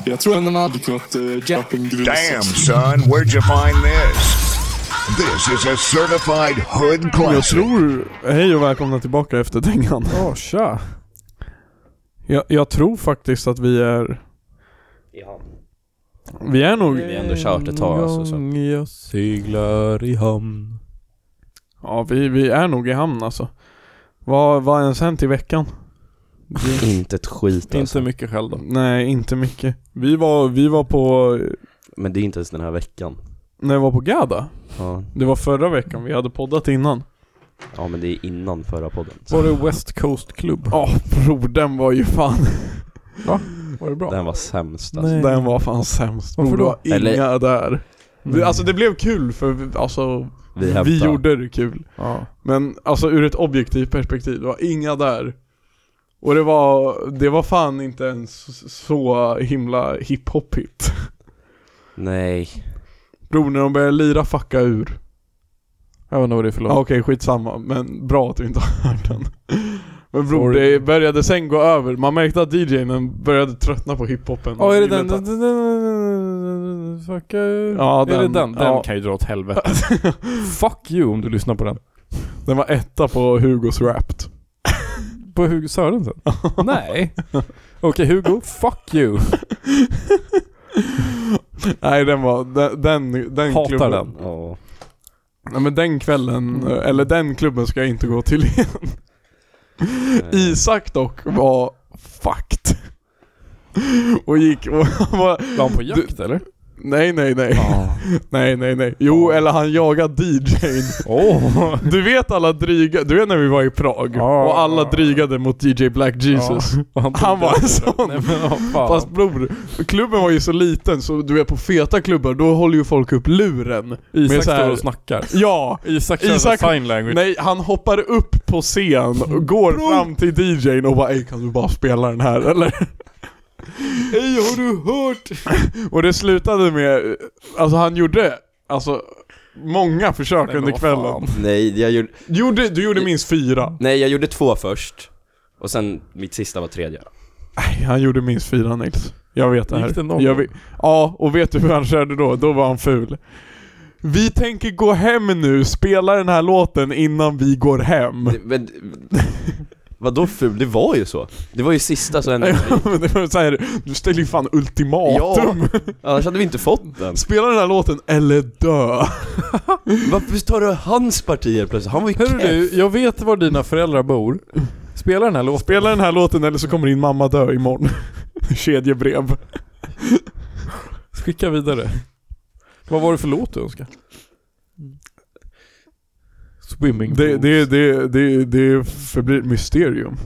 Speaker 9: jag tror att man hade kunnat uh, köpa en grus.
Speaker 7: Damn, son, where'd you find this? This is a certified hood
Speaker 2: Jag
Speaker 7: classic.
Speaker 2: tror... Hej och välkomna tillbaka efter dängan.
Speaker 1: Ja, tja.
Speaker 2: Jag, jag tror faktiskt att vi är
Speaker 4: i hamn.
Speaker 2: Vi är nog...
Speaker 3: Vi har ändå kört ett tag alltså, så.
Speaker 1: En gång jag seglar i hamn.
Speaker 2: Ja, vi, vi är nog i hamn alltså. Vad, vad har ens hänt i veckan?
Speaker 3: Inte ett skit alltså.
Speaker 1: Inte mycket själv då.
Speaker 2: Nej, inte mycket. Vi var, vi var på...
Speaker 3: Men det är inte ens den här veckan.
Speaker 2: När jag var på Gada.
Speaker 3: Ja,
Speaker 2: Det var förra veckan, vi hade poddat innan.
Speaker 3: ja men det är innan förra podden.
Speaker 1: Var det West Coast Club?
Speaker 2: Ja, bror den var ju fan...
Speaker 1: Var det bra?
Speaker 3: Den var sämst alltså.
Speaker 1: Nej.
Speaker 2: Den var fan sämst.
Speaker 1: Varför Mm.
Speaker 2: Bror, det var inga
Speaker 3: Eller-
Speaker 2: där. Det, alltså det blev kul för vi, alltså,
Speaker 3: Vi
Speaker 2: vi,
Speaker 3: hämtade.
Speaker 2: gjorde det kul.
Speaker 1: Ja.
Speaker 2: Men alltså ur ett objektivt perspektiv, det var inga där. Och det var, det var fan inte ens så himla hiphopigt.
Speaker 3: Nej.
Speaker 2: Bror när de började lira fucka ur.
Speaker 1: Jag vet inte vad det är för
Speaker 2: Ja,
Speaker 1: låt.
Speaker 2: Okej skitsamma, men bra att du inte har hört den. Men bror
Speaker 1: Sorry.
Speaker 2: det började sen gå över, man märkte att DJn började tröttna på hiphopen.
Speaker 1: Ja, är det
Speaker 2: Gillet
Speaker 1: den?
Speaker 2: att-
Speaker 1: Fuck you.
Speaker 2: Ja,
Speaker 1: Är det
Speaker 2: den.
Speaker 1: den? Den
Speaker 2: Ja.
Speaker 1: kan ju dra åt helvete. Fuck you om du lyssnar på den.
Speaker 2: Den var etta på Hugos Wrapped.
Speaker 1: På Hugo Sörensen? Nej. Okej Hugo, fuck you.
Speaker 2: Nej den var, den, den, den
Speaker 1: Hatar
Speaker 2: klubben.
Speaker 1: den. Mm.
Speaker 3: Ja.
Speaker 2: Nej men den kvällen, eller den klubben ska jag inte gå till igen.
Speaker 1: Eh.
Speaker 3: Nej.
Speaker 2: Isak dock var fucked. Och gick och han var,
Speaker 1: Var han på jakt eller?
Speaker 2: nej nej nej.
Speaker 1: Ja.
Speaker 2: Nej nej nej. Jo eller han jagade DJn.
Speaker 1: Åh.
Speaker 2: Du vet alla dryga, du vet när vi var i Prag
Speaker 1: Ja.
Speaker 2: och alla drygade mot DJ Black Jesus.
Speaker 1: Och Han,
Speaker 2: Han var en sån.
Speaker 1: Nej men vad fan.
Speaker 2: Fast bror, klubben var ju så liten så du vet på feta klubbar då håller ju folk upp luren.
Speaker 1: Isak
Speaker 2: med så här-
Speaker 1: står och snackar.
Speaker 2: Ja!
Speaker 1: Isak kör
Speaker 2: Isak-
Speaker 1: sign language.
Speaker 2: Nej, han hoppar upp på scen och går fram till DJn och bara Ey kan du bara spela den här eller? Ey har du hört? och det slutade med, alltså han gjorde, alltså många försök
Speaker 1: Nej, men
Speaker 2: under
Speaker 1: vad
Speaker 2: kvällen.
Speaker 1: fan.
Speaker 3: Nej, jag gjorde,
Speaker 2: Gjorde, du gjorde minst fyra.
Speaker 3: nej jag gjorde två först. Och sen mitt sista var tredje.
Speaker 2: Nej, han gjorde minst fyra Nils. Jag vet det här.
Speaker 1: Gick det någon
Speaker 2: jag
Speaker 1: gång?
Speaker 2: vet- Ja, och vet du hur han körde då? Då var han ful. Vi tänker gå hem nu, spela den här låten innan vi går hem.
Speaker 3: Men, vadå ful? Det var ju så. Det var ju sista så en...
Speaker 2: Ja, men det var så här, du ställer ju fan ultimatum.
Speaker 3: Annars hade vi inte fått den.
Speaker 2: Spela den här låten eller dö.
Speaker 3: Varför tar du hans partier plötsligt? Han var ju
Speaker 1: Hörru
Speaker 3: keff.
Speaker 1: du, jag vet var dina föräldrar bor. Spela den här låten.
Speaker 2: Spela den här låten eller så kommer din mamma dö imorgon. Kedjebrev.
Speaker 1: Skicka vidare. Vad var det för låt du önskade? Swimming
Speaker 2: Det,
Speaker 1: pools.
Speaker 2: det, det, det, det förblir ett mysterium.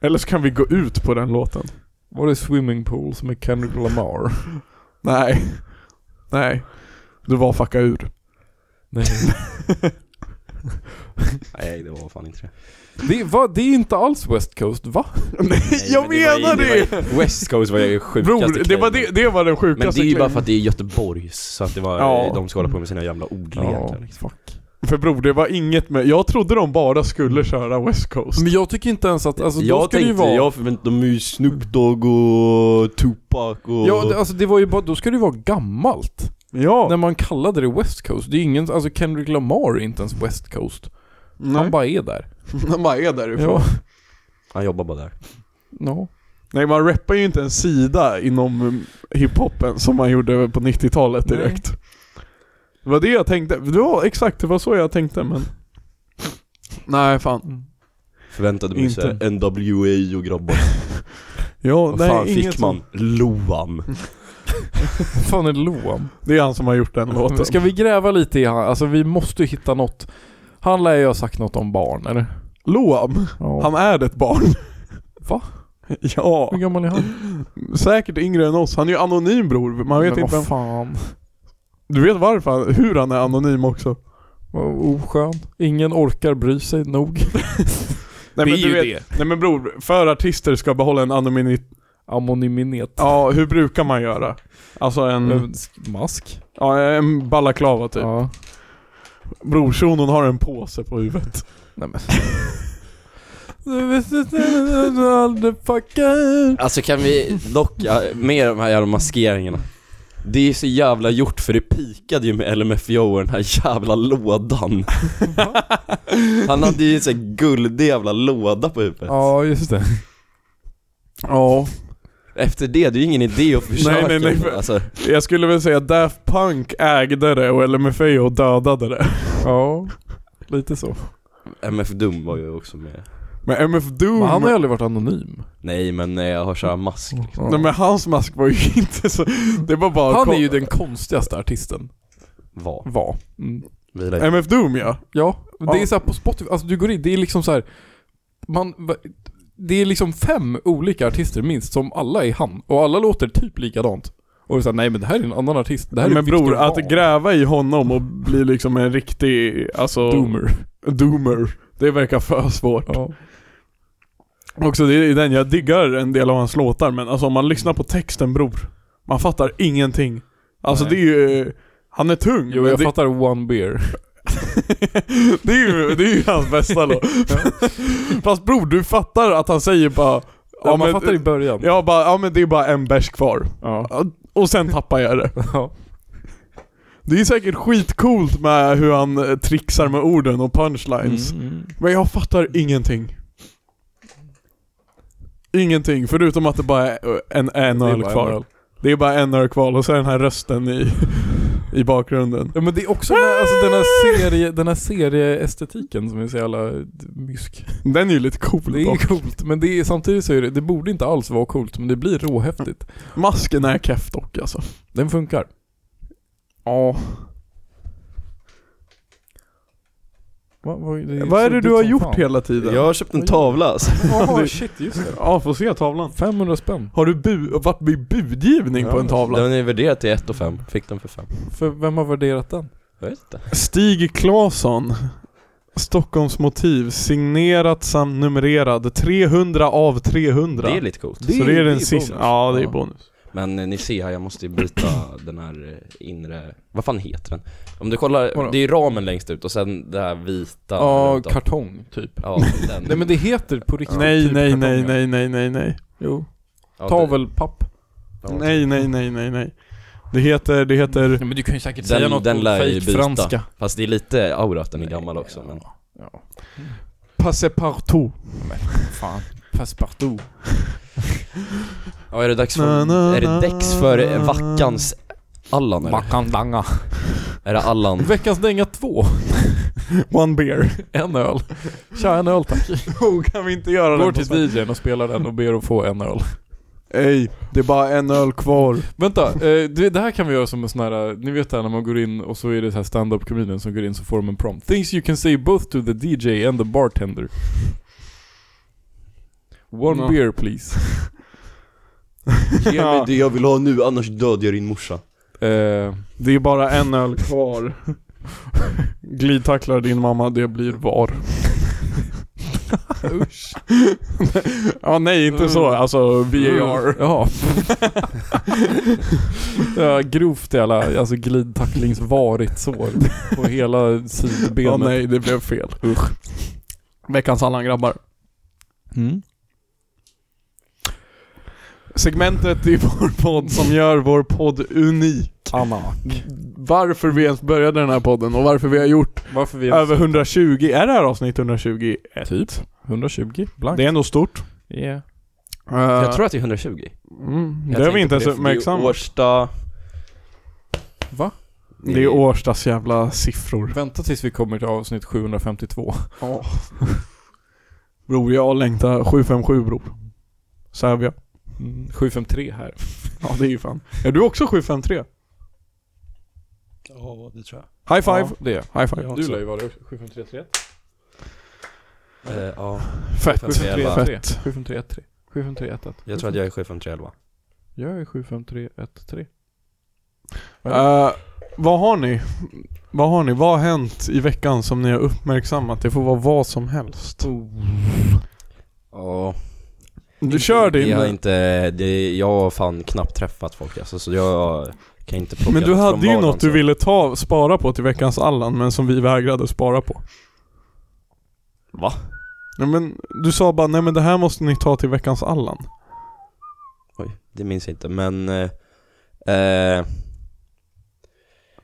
Speaker 2: Eller så kan vi gå ut på den låten.
Speaker 1: Var det Swimming Pools med Kendrick Lamar?
Speaker 2: Nej. Nej. Du var fucka ur.
Speaker 1: Nej.
Speaker 3: Nej, det var fan inte det.
Speaker 1: Det, va, det är inte alls West Coast, va?
Speaker 2: Nej, jag
Speaker 3: men var ju-
Speaker 2: menar det!
Speaker 3: var ju- West Coast var ju sjukaste
Speaker 2: Bror, det var,
Speaker 3: kvällen.
Speaker 2: det, det var den
Speaker 3: Men
Speaker 2: sjukaste
Speaker 3: det är ju bara
Speaker 2: kvällen.
Speaker 3: för att det är Göteborgs, så att det var,
Speaker 2: Ja.
Speaker 3: de ska hålla på med sina jävla ordlekar. liksom.
Speaker 1: fuck.
Speaker 2: För bror, det var inget med... Jag trodde de bara skulle köra West Coast.
Speaker 1: Men jag tycker inte ens att, alltså då
Speaker 3: jag
Speaker 1: ska det ju
Speaker 3: tänkte,
Speaker 1: vara...
Speaker 3: jag förväntade mig Snoop Dogg och Tupac och...
Speaker 1: Ja, det- alltså det var ju bara, då ska det ju vara gammalt.
Speaker 2: Ja.
Speaker 1: När man kallade det West Coast. Det är ingen, alltså Kendrick Lamar är inte ens West Coast. Han bara är där.
Speaker 2: Han bara är därifrån.
Speaker 1: Ja.
Speaker 3: Han jobbar bara där.
Speaker 1: No.
Speaker 2: Nej man rappar ju inte en sida inom um, hiphopen som man gjorde på 90-talet
Speaker 1: Nej.
Speaker 2: direkt. Det var det jag tänkte, det var exakt det var så jag tänkte men... Nej fan.
Speaker 3: Förväntade mig
Speaker 2: Inte.
Speaker 3: såhär NWA och grabbar.
Speaker 2: Ja,
Speaker 3: Vad
Speaker 2: nej,
Speaker 3: fan
Speaker 2: inget
Speaker 3: fick man?
Speaker 2: sånt.
Speaker 3: Loan.
Speaker 1: Vad fan är Loam?
Speaker 2: Det är han som har gjort den låten.
Speaker 1: Ska vi gräva lite i han? Alltså vi måste ju hitta något. Han lär ju ha sagt något om barn, eller?
Speaker 2: Loam,
Speaker 1: Ja.
Speaker 2: han är ett barn.
Speaker 1: Va?
Speaker 2: Ja,
Speaker 1: Hur gammal är han?
Speaker 2: säkert yngre än oss. Han är ju anonym bror, man vet
Speaker 1: Men
Speaker 2: inte vem.
Speaker 1: vad fan.
Speaker 2: Du vet varför, han- hur han är anonym också.
Speaker 1: Vad oskön. Ingen orkar bry sig nog.
Speaker 2: Nej,
Speaker 1: Det
Speaker 2: men
Speaker 1: är
Speaker 2: du
Speaker 1: ju
Speaker 2: vet,
Speaker 1: det.
Speaker 2: Nej men bror, för artister ska behålla en anonymitet,
Speaker 1: Amoniminet.
Speaker 2: ja hur brukar man göra? Alltså en,
Speaker 1: Mm. Mask.
Speaker 2: ja, en balaklava typ.
Speaker 1: Ja.
Speaker 2: Brorson hon har en påse på huvudet.
Speaker 1: Nej men. Du visste inte att du aldrig fuckar.
Speaker 3: Alltså kan vi dock, ja, med de här jävla maskeringarna. Det är så jävla gjort för det pikade ju med LMFAO och den här jävla lådan. Han hade ju en sån här guldig jävla låda på huvudet.
Speaker 1: Ja just det.
Speaker 2: Ja.
Speaker 3: Efter det, det är ju ingen idé att försöka.
Speaker 2: Nej, nej, nej, för-
Speaker 3: Alltså,
Speaker 2: Jag skulle väl säga Daft Punk ägde det och LMFAO dödade det.
Speaker 1: Ja, lite
Speaker 2: Mm.
Speaker 1: så.
Speaker 3: MF Doom var ju också med.
Speaker 2: Men MF Doom...
Speaker 1: Men han har ju aldrig varit anonym.
Speaker 3: Nej men eh, jag har såhär mask.
Speaker 1: Ja.
Speaker 2: Nej men hans mask var ju inte så... Det var bara...
Speaker 1: Han är ju den konstigaste artisten.
Speaker 3: Var.
Speaker 1: Var.
Speaker 3: Vila i-
Speaker 2: MF Doom ja.
Speaker 1: Ja,
Speaker 2: Ja.
Speaker 1: det är så här på Spotify, alltså du går in, det är liksom så här, man, va- det är liksom fem olika artister minst som alla är han och alla låter typ likadant. Och det är så här, nej men det här är en annan artist, det här är
Speaker 2: men bror,
Speaker 1: Victor
Speaker 2: att
Speaker 1: Wahl.
Speaker 2: gräva i honom och bli liksom en riktig, alltså...
Speaker 1: Doomer.
Speaker 2: Doomer. Det verkar för svårt.
Speaker 1: Ja.
Speaker 2: Också det är den, jag diggar en del av hans låtar men alltså om man lyssnar på texten bror. Man fattar ingenting. Alltså
Speaker 1: Nej.
Speaker 2: det är ju... Han är tung.
Speaker 1: Jo
Speaker 2: men
Speaker 1: jag
Speaker 2: det,
Speaker 1: fattar One Beer.
Speaker 2: det, är ju, det är ju hans bästa låt. Fast bror, du fattar att han säger bara...
Speaker 1: Ja, man fattar i början.
Speaker 2: Ja, bara, ja men det är bara en bärs kvar.
Speaker 1: Ja.
Speaker 2: Ja, Och sen tappar jag det.
Speaker 1: Ja.
Speaker 2: Det är säkert skitcoolt med hur han eh, trixar med orden och
Speaker 1: Mm.
Speaker 2: punchlines. Men jag fattar ingenting. Ingenting, förutom att det bara är eh, en, en
Speaker 1: Det är
Speaker 2: öl
Speaker 1: bara en
Speaker 2: kvar.
Speaker 1: öl.
Speaker 2: Det är bara en öl kvar och så är den här rösten i, i bakgrunden.
Speaker 1: Ja men det är också den här, alltså, den här, serie, den här serieestetiken som är så jävla mysk.
Speaker 2: Den är ju lite cool
Speaker 1: Det är
Speaker 2: dock.
Speaker 1: coolt, men det är, samtidigt så är det, det borde inte alls vara coolt, men det blir råhäftigt.
Speaker 2: Masken är keff dock alltså.
Speaker 1: Den funkar.
Speaker 2: Ja.
Speaker 1: Va,
Speaker 2: Vad är det du har gjort hela tiden?
Speaker 3: Jag har köpt en tavla alltså.
Speaker 1: Ja, shit just det.
Speaker 2: Ja, få se tavlan.
Speaker 1: 500 spänn.
Speaker 2: Har du bu- varit med budgivning på en tavla?
Speaker 3: Den är värderad till 1 och 5. Fick den för 5.
Speaker 1: För vem har värderat den?
Speaker 3: Jag vet inte.
Speaker 2: Stig Claesson Stockholms motiv signerat samt numrerad 300 av 300
Speaker 3: Det är lite coolt.
Speaker 2: Så det är den sista,
Speaker 1: bonus.
Speaker 2: ja det är bonus
Speaker 3: Men eh, ni ser här, jag måste ju byta den här eh, inre... Vad fan heter den? Om du kollar,
Speaker 1: Vadå?
Speaker 3: det är ju ramen längst ut och sen det här vita
Speaker 1: Ja,
Speaker 3: runt om.
Speaker 1: kartong typ.
Speaker 3: Ja, den.
Speaker 1: Nej men det heter på riktigt
Speaker 2: Nej
Speaker 1: typ
Speaker 2: nej nej
Speaker 1: kartonger.
Speaker 2: nej nej nej nej
Speaker 1: Jo.
Speaker 3: ja,
Speaker 1: Tavelpapp.
Speaker 3: det-
Speaker 2: Nej nej nej nej nej Det heter, det heter
Speaker 1: men du kan ju säkert
Speaker 3: Den, den lär ju byta. Fast det är lite aura att den är gammal också men...
Speaker 2: Passepartout
Speaker 1: Fan. Passepartout.
Speaker 3: Ja är det dags för...
Speaker 2: Na, na,
Speaker 3: är det dags för
Speaker 2: na,
Speaker 3: vackans Allan eller?
Speaker 1: Makandanga.
Speaker 3: Är det Allan?
Speaker 1: Veckans dänga två.
Speaker 2: One beer
Speaker 1: En öl. Tja, en öl tack.
Speaker 2: oh, Kan vi inte göra
Speaker 1: Går
Speaker 2: den på
Speaker 1: till DJn och spelar den och ber att få en öl.
Speaker 2: Ey, det är bara en öl kvar
Speaker 1: Vänta, eh, det det här kan vi göra som en sån här, eh, ni vet det här när man går in och så är det så här stand-up comedian som går in så får de en prompt. Things you can say both to the DJ and the bartender. One
Speaker 2: Ja.
Speaker 1: beer please.
Speaker 3: Ge mig det jag vill ha nu annars dödar jag din morsa.
Speaker 1: Eh,
Speaker 2: Det är bara en öl kvar Glidtacklar din mamma, det blir var
Speaker 1: usch.
Speaker 2: Ja nej inte så, alltså VAR
Speaker 1: Ja. ja grovt jävla, alltså glidtacklingsvarigt sår på hela
Speaker 2: Ja
Speaker 1: sidbenet.
Speaker 2: nej, det blev fel. Usch. Veckans Allan grabbar.
Speaker 1: mm.
Speaker 2: Segmentet i vår podd som gör vår podd unik.
Speaker 1: Anak.
Speaker 2: Varför vi ens började den här podden och varför vi har gjort
Speaker 1: Varför vi
Speaker 2: över 120, är det här avsnitt 120?
Speaker 1: Typ. 120 blankt.
Speaker 2: Det är ändå stort.
Speaker 1: Yeah.
Speaker 2: Eh,
Speaker 3: Jag tror att det är 120.
Speaker 2: mm,
Speaker 3: Jag
Speaker 2: det har
Speaker 3: tänkte
Speaker 2: vi inte
Speaker 3: på
Speaker 2: ens
Speaker 3: för det är
Speaker 2: uppmärksammat.
Speaker 3: Årsta...
Speaker 1: Va?
Speaker 2: Det är Årstas jävla siffror.
Speaker 1: Vänta tills vi kommer till avsnitt 752.
Speaker 2: Bror, jag längtar 757 bror. Sävja.
Speaker 1: Mm, 753 här.
Speaker 2: Ja det är ju fan. Är du också 753?
Speaker 3: Ja det tror jag.
Speaker 2: High five!
Speaker 1: Ja, det är
Speaker 2: High five.
Speaker 1: Du lär ju vara 75331.
Speaker 3: Eh, ja.
Speaker 2: Fett.
Speaker 3: 753.
Speaker 2: Fett.
Speaker 1: 75313. 75311.
Speaker 3: Jag tror att jag är 75311.
Speaker 1: Jag är 75313.
Speaker 2: Eh, vad har ni? Vad har ni? Vad har hänt i veckan som ni har uppmärksammat? Det får vara vad som helst.
Speaker 3: Oh. Ja.
Speaker 2: Du kör din.
Speaker 3: Jag har inte... Det, jag har fan knappt träffat folk alltså, så jag kan inte plocka
Speaker 2: men du
Speaker 3: från
Speaker 2: hade ju
Speaker 3: vardagen,
Speaker 2: något du
Speaker 3: så.
Speaker 2: ville ta, spara på till veckans Allan, men som vi vägrade spara på.
Speaker 3: Va?
Speaker 2: Nej men du sa bara nej men det här måste ni ta till veckans Allan.
Speaker 3: Oj, det minns jag inte men... Eh, eh,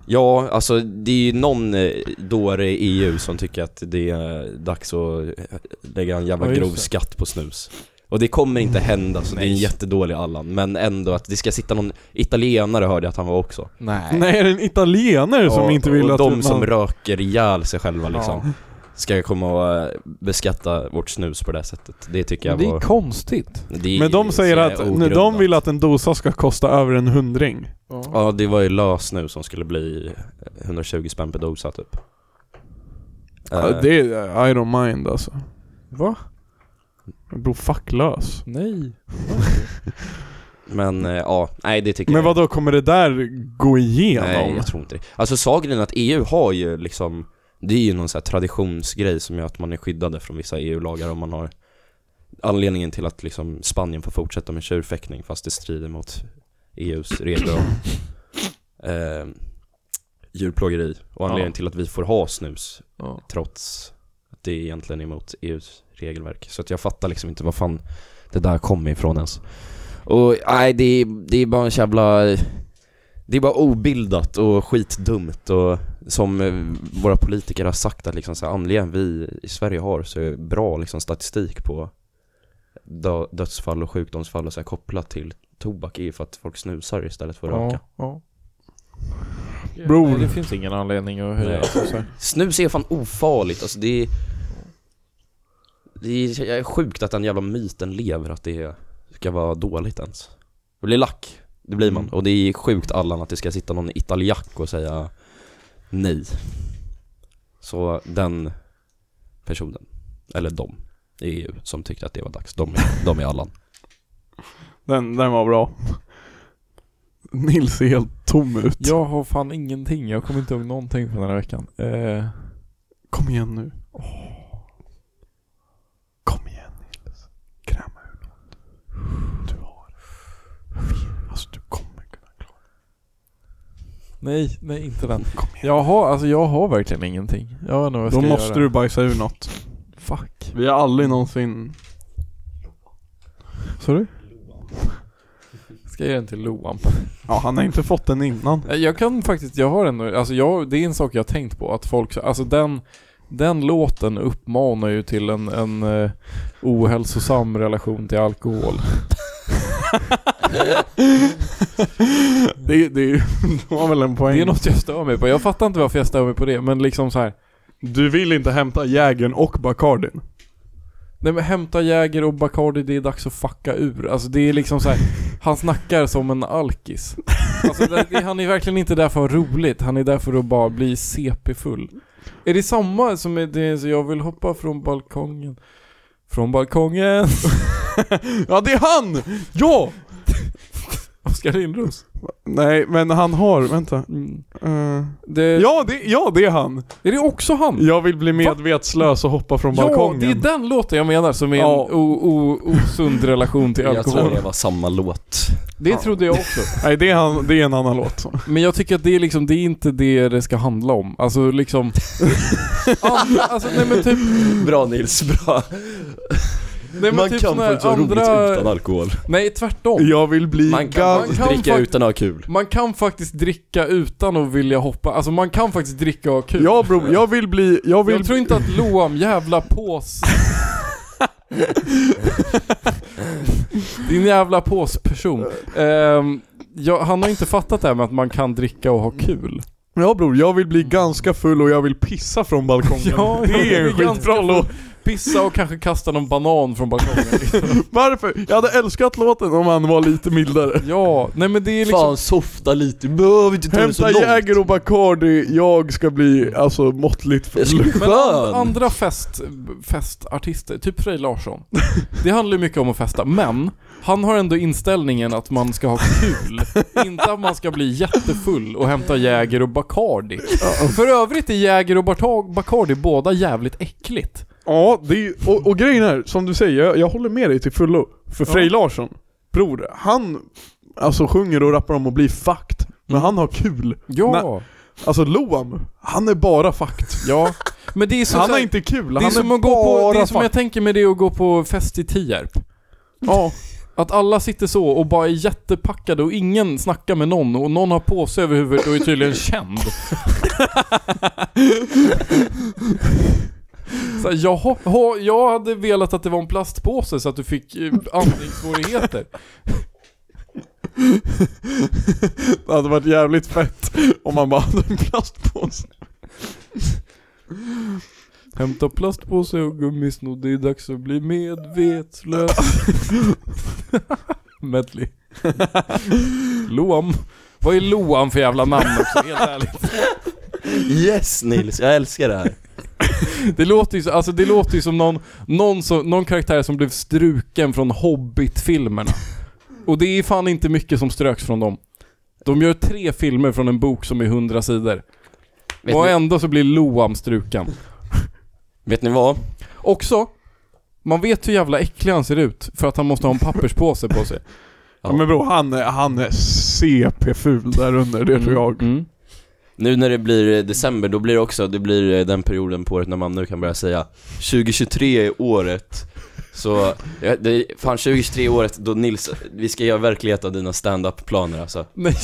Speaker 3: ja, alltså det är ju någon eh, dåre E i EU som tycker att det är dags att eh, lägga en jävla
Speaker 1: Ja, just
Speaker 3: grov
Speaker 1: det.
Speaker 3: skatt på snus. Och det kommer inte hända, så det är en
Speaker 1: Nej.
Speaker 3: jättedålig Allan. Men ändå att det ska sitta någon italienare hörde jag att han var också.
Speaker 1: Nej.
Speaker 2: Nej, är det en italienare som
Speaker 3: Och-
Speaker 2: inte vill
Speaker 3: och
Speaker 2: att
Speaker 3: de
Speaker 2: man...
Speaker 3: som röker ihjäl sig själva liksom. Ska komma och eh, beskatta vårt snus på det här sättet. Det tycker jag
Speaker 1: Det är
Speaker 3: var...
Speaker 1: konstigt.
Speaker 3: det är
Speaker 2: Men de säger
Speaker 3: så
Speaker 2: att
Speaker 3: jävla
Speaker 2: när de
Speaker 3: ogrundat.
Speaker 2: vill att en dosa ska kosta över en hundring.
Speaker 3: Ja, det var ju lös nu som skulle bli 120 spänn per dosa typ.
Speaker 2: Ja,
Speaker 3: Eh,
Speaker 2: det är I don't mind alltså.
Speaker 1: Va?
Speaker 2: Bro, fuck lös.
Speaker 1: Nej.
Speaker 3: Men eh, ja, nej det tycker
Speaker 2: Men
Speaker 3: jag
Speaker 2: vad då kommer det där gå igenom?
Speaker 3: Nej, jag tror inte det. Alltså saken är att EU har ju liksom Det är ju någon sån här traditionsgrej som gör att man är skyddade från vissa EU-lagar om man har Anledningen till att liksom Spanien får fortsätta med tjurfäktning fast det strider mot EUs regler om eh, djurplågeri och anledningen till att vi får ha snus
Speaker 1: Ja.
Speaker 3: trots att det är egentligen emot EUs regelverk. Så att jag fattar liksom inte vad fan det där kommer ifrån ens. Och nej, det är, det är bara en jävla... Det är bara obildat och skitdumt och som eh, våra politiker har sagt att liksom så här, anledningen vi i Sverige har så är bra liksom statistik på dö- dödsfall och sjukdomsfall och så här kopplat till tobak är ju för att folk snusar istället för att röka.
Speaker 1: Ja, ja.
Speaker 2: Bror.
Speaker 1: Nej, det finns ingen anledning att höja
Speaker 3: Nej.
Speaker 1: alltså, så här.
Speaker 3: Snus är fan ofarligt, alltså det är... Det är jag är sjukt att den jävla myten lever att det ska vara dåligt ens. Det blir lack, det blir man. Och det är sjukt Allan att det ska sitta någon italiack och säga nej. Så den personen, eller de i EU som tyckte att det var dags, de, är- de är Allan.
Speaker 2: Den, den var bra. Nils ser helt tom ut.
Speaker 1: Jag har fan ingenting. Jag kommer inte ihåg någonting från den här veckan. Eh,
Speaker 2: Kom igen nu. Kom igen Nils. Kräma ur något. Du har det. Alltså du kommer kunna klara
Speaker 1: nej, nej inte den.
Speaker 2: det. Kom igen.
Speaker 1: Jag har, alltså jag har verkligen ingenting. Jag vet inte vad jag
Speaker 2: Då
Speaker 1: ska
Speaker 2: måste
Speaker 1: göra.
Speaker 2: du bajsa ur något.
Speaker 1: Fuck.
Speaker 2: Vi har aldrig någonsin...
Speaker 1: Sorry? Ska jag ge den till Loan?
Speaker 2: Ja, han har inte fått den innan.
Speaker 1: Nej, Jag kan faktiskt, jag har ändå, alltså jag, det är en sak jag har tänkt på att folk, alltså den, den låten uppmanar ju till en, en eh, ohälsosam relation till alkohol.
Speaker 2: Det, det, är ju- det var väl en poäng.
Speaker 1: Det är något jag stör mig på. Jag fattar inte varför jag stör mig på det, men liksom så här.
Speaker 2: Du vill inte hämta Jägern och Bacardin.
Speaker 1: Nej men hämta Jäger och Bacardi, det är dags att fucka ur. Alltså det är liksom så här, han snackar som en alkis. Alltså det, det, han är verkligen inte där för att ha roligt, han är där för att bara bli CP-full. Är det samma som är det, så jag vill hoppa från balkongen? Från balkongen?
Speaker 2: Ja, det är han! Ja!
Speaker 1: Oskar Lindros? Mm.
Speaker 2: Nej, men han har... Vänta. Eh,
Speaker 1: Det,
Speaker 2: ja, det, ja, det är han.
Speaker 1: Är det också han?
Speaker 2: Jag vill bli medvetslös och hoppa från balkongen.
Speaker 1: Ja, det är den låten jag menar som är
Speaker 2: Ja.
Speaker 1: en o, o, osund relation till
Speaker 3: Jag tror
Speaker 1: alkohol.
Speaker 3: det var samma låt.
Speaker 1: Det trodde jag också.
Speaker 2: Nej, det är, han, det är en annan låt.
Speaker 1: Men jag tycker att det är liksom, det är inte det det ska handla om. Alltså liksom... andra, alltså nej men typ...
Speaker 3: Bra Nils, bra.
Speaker 1: Nej, men
Speaker 3: Man
Speaker 1: typ
Speaker 3: kan
Speaker 1: såna här
Speaker 3: faktiskt ha roligt utan alkohol.
Speaker 1: Nej tvärtom.
Speaker 2: Jag vill bli...
Speaker 3: Man kan,
Speaker 2: gal-
Speaker 1: man kan
Speaker 3: dricka
Speaker 1: fakt-
Speaker 3: utan att ha kul.
Speaker 1: Man kan faktiskt dricka utan att vilja hoppa, alltså man kan faktiskt dricka och ha kul.
Speaker 2: Ja bro, jag vill bli... Jag vill...
Speaker 1: Jag tror inte att Loam jävla pås... Din jävla påsperson. Um, ja, han har inte fattat det här med att man kan dricka och ha kul.
Speaker 2: Ja bror, jag vill bli ganska full och jag vill pissa från balkongen.
Speaker 1: Ja, jag
Speaker 2: det är en
Speaker 1: vill ganska
Speaker 2: skitbra låt.
Speaker 1: Pissa och kanske kasta någon banan från balkongen.
Speaker 2: Varför? Jag hade älskat låten om han var lite mildare.
Speaker 1: Ja, nej men det är liksom...
Speaker 3: Fan softa lite, du behöver inte ta det så
Speaker 2: Hämta
Speaker 3: långt.
Speaker 2: Jäger och Bacardi, jag ska bli alltså måttligt
Speaker 3: Jag
Speaker 2: full.
Speaker 3: skulle bli
Speaker 1: Men an-
Speaker 3: skön.
Speaker 1: andra fest, festartister, typ Frej Larsson. Det handlar ju mycket om att festa, men han har ändå inställningen att man ska ha kul. inte att man ska bli jättefull och hämta Jäger och Bacardi. För övrigt är Jäger och Barta- Bacardi båda jävligt äckligt.
Speaker 2: Ja, det är, och, och grejen är, som du säger, jag, jag håller med dig till fullo. För Frej Larsson, bror, han alltså sjunger och rappar om att bli fucked. Men
Speaker 1: Mm.
Speaker 2: han har kul.
Speaker 1: Ja,
Speaker 2: Nej. Alltså Loam, han är bara fucked.
Speaker 1: ja. Men det är så
Speaker 2: Han
Speaker 1: så
Speaker 2: har
Speaker 1: här-
Speaker 2: inte kul,
Speaker 1: det är
Speaker 2: han
Speaker 1: som
Speaker 2: är
Speaker 1: att gå på, det är
Speaker 2: bara
Speaker 1: som jag
Speaker 2: fucked.
Speaker 1: tänker med det att gå på fest i Tierp.
Speaker 2: Ja.
Speaker 1: Att alla sitter så och bara är jättepackade och ingen snackar med någon och någon har påse över huvudet och är tydligen känd. Så här, jaha, ha, jag hade velat att det var en plastpåse så att du fick eh, andningssvårigheter.
Speaker 2: Det hade varit jävligt fett om man bara hade en plastpåse.
Speaker 1: Hämta plastpåse och gummisnodd, det är dags att bli medvetslös. Medley. Loam. Vad är Loam för jävla namn också, helt ärligt?
Speaker 3: Yes Nils, jag älskar det här.
Speaker 1: Det låter ju, så- alltså, det låter ju som någon, någon, som, någon karaktär som blev struken från Hobbit-filmerna. Och det är fan inte mycket som ströks från dem. De gör tre filmer från en bok som är 100 sidor.
Speaker 3: Vet
Speaker 1: och
Speaker 3: ni-
Speaker 1: ändå så blir Loam struken.
Speaker 3: Vet ni vad?
Speaker 1: Också, man vet hur jävla äcklig han ser ut för att han måste ha en papperspåse på sig.
Speaker 2: Ja. Men bro, han är, han är CP-ful där under, det tror jag.
Speaker 1: Mm.
Speaker 3: Nu när det blir eh, december, då blir det också, det blir eh, den perioden på året när man nu kan börja säga 2023 är året Så, ja, det är fan 2023 är året då Nils, vi ska göra verklighet av dina stand-up-planer alltså
Speaker 1: Nej.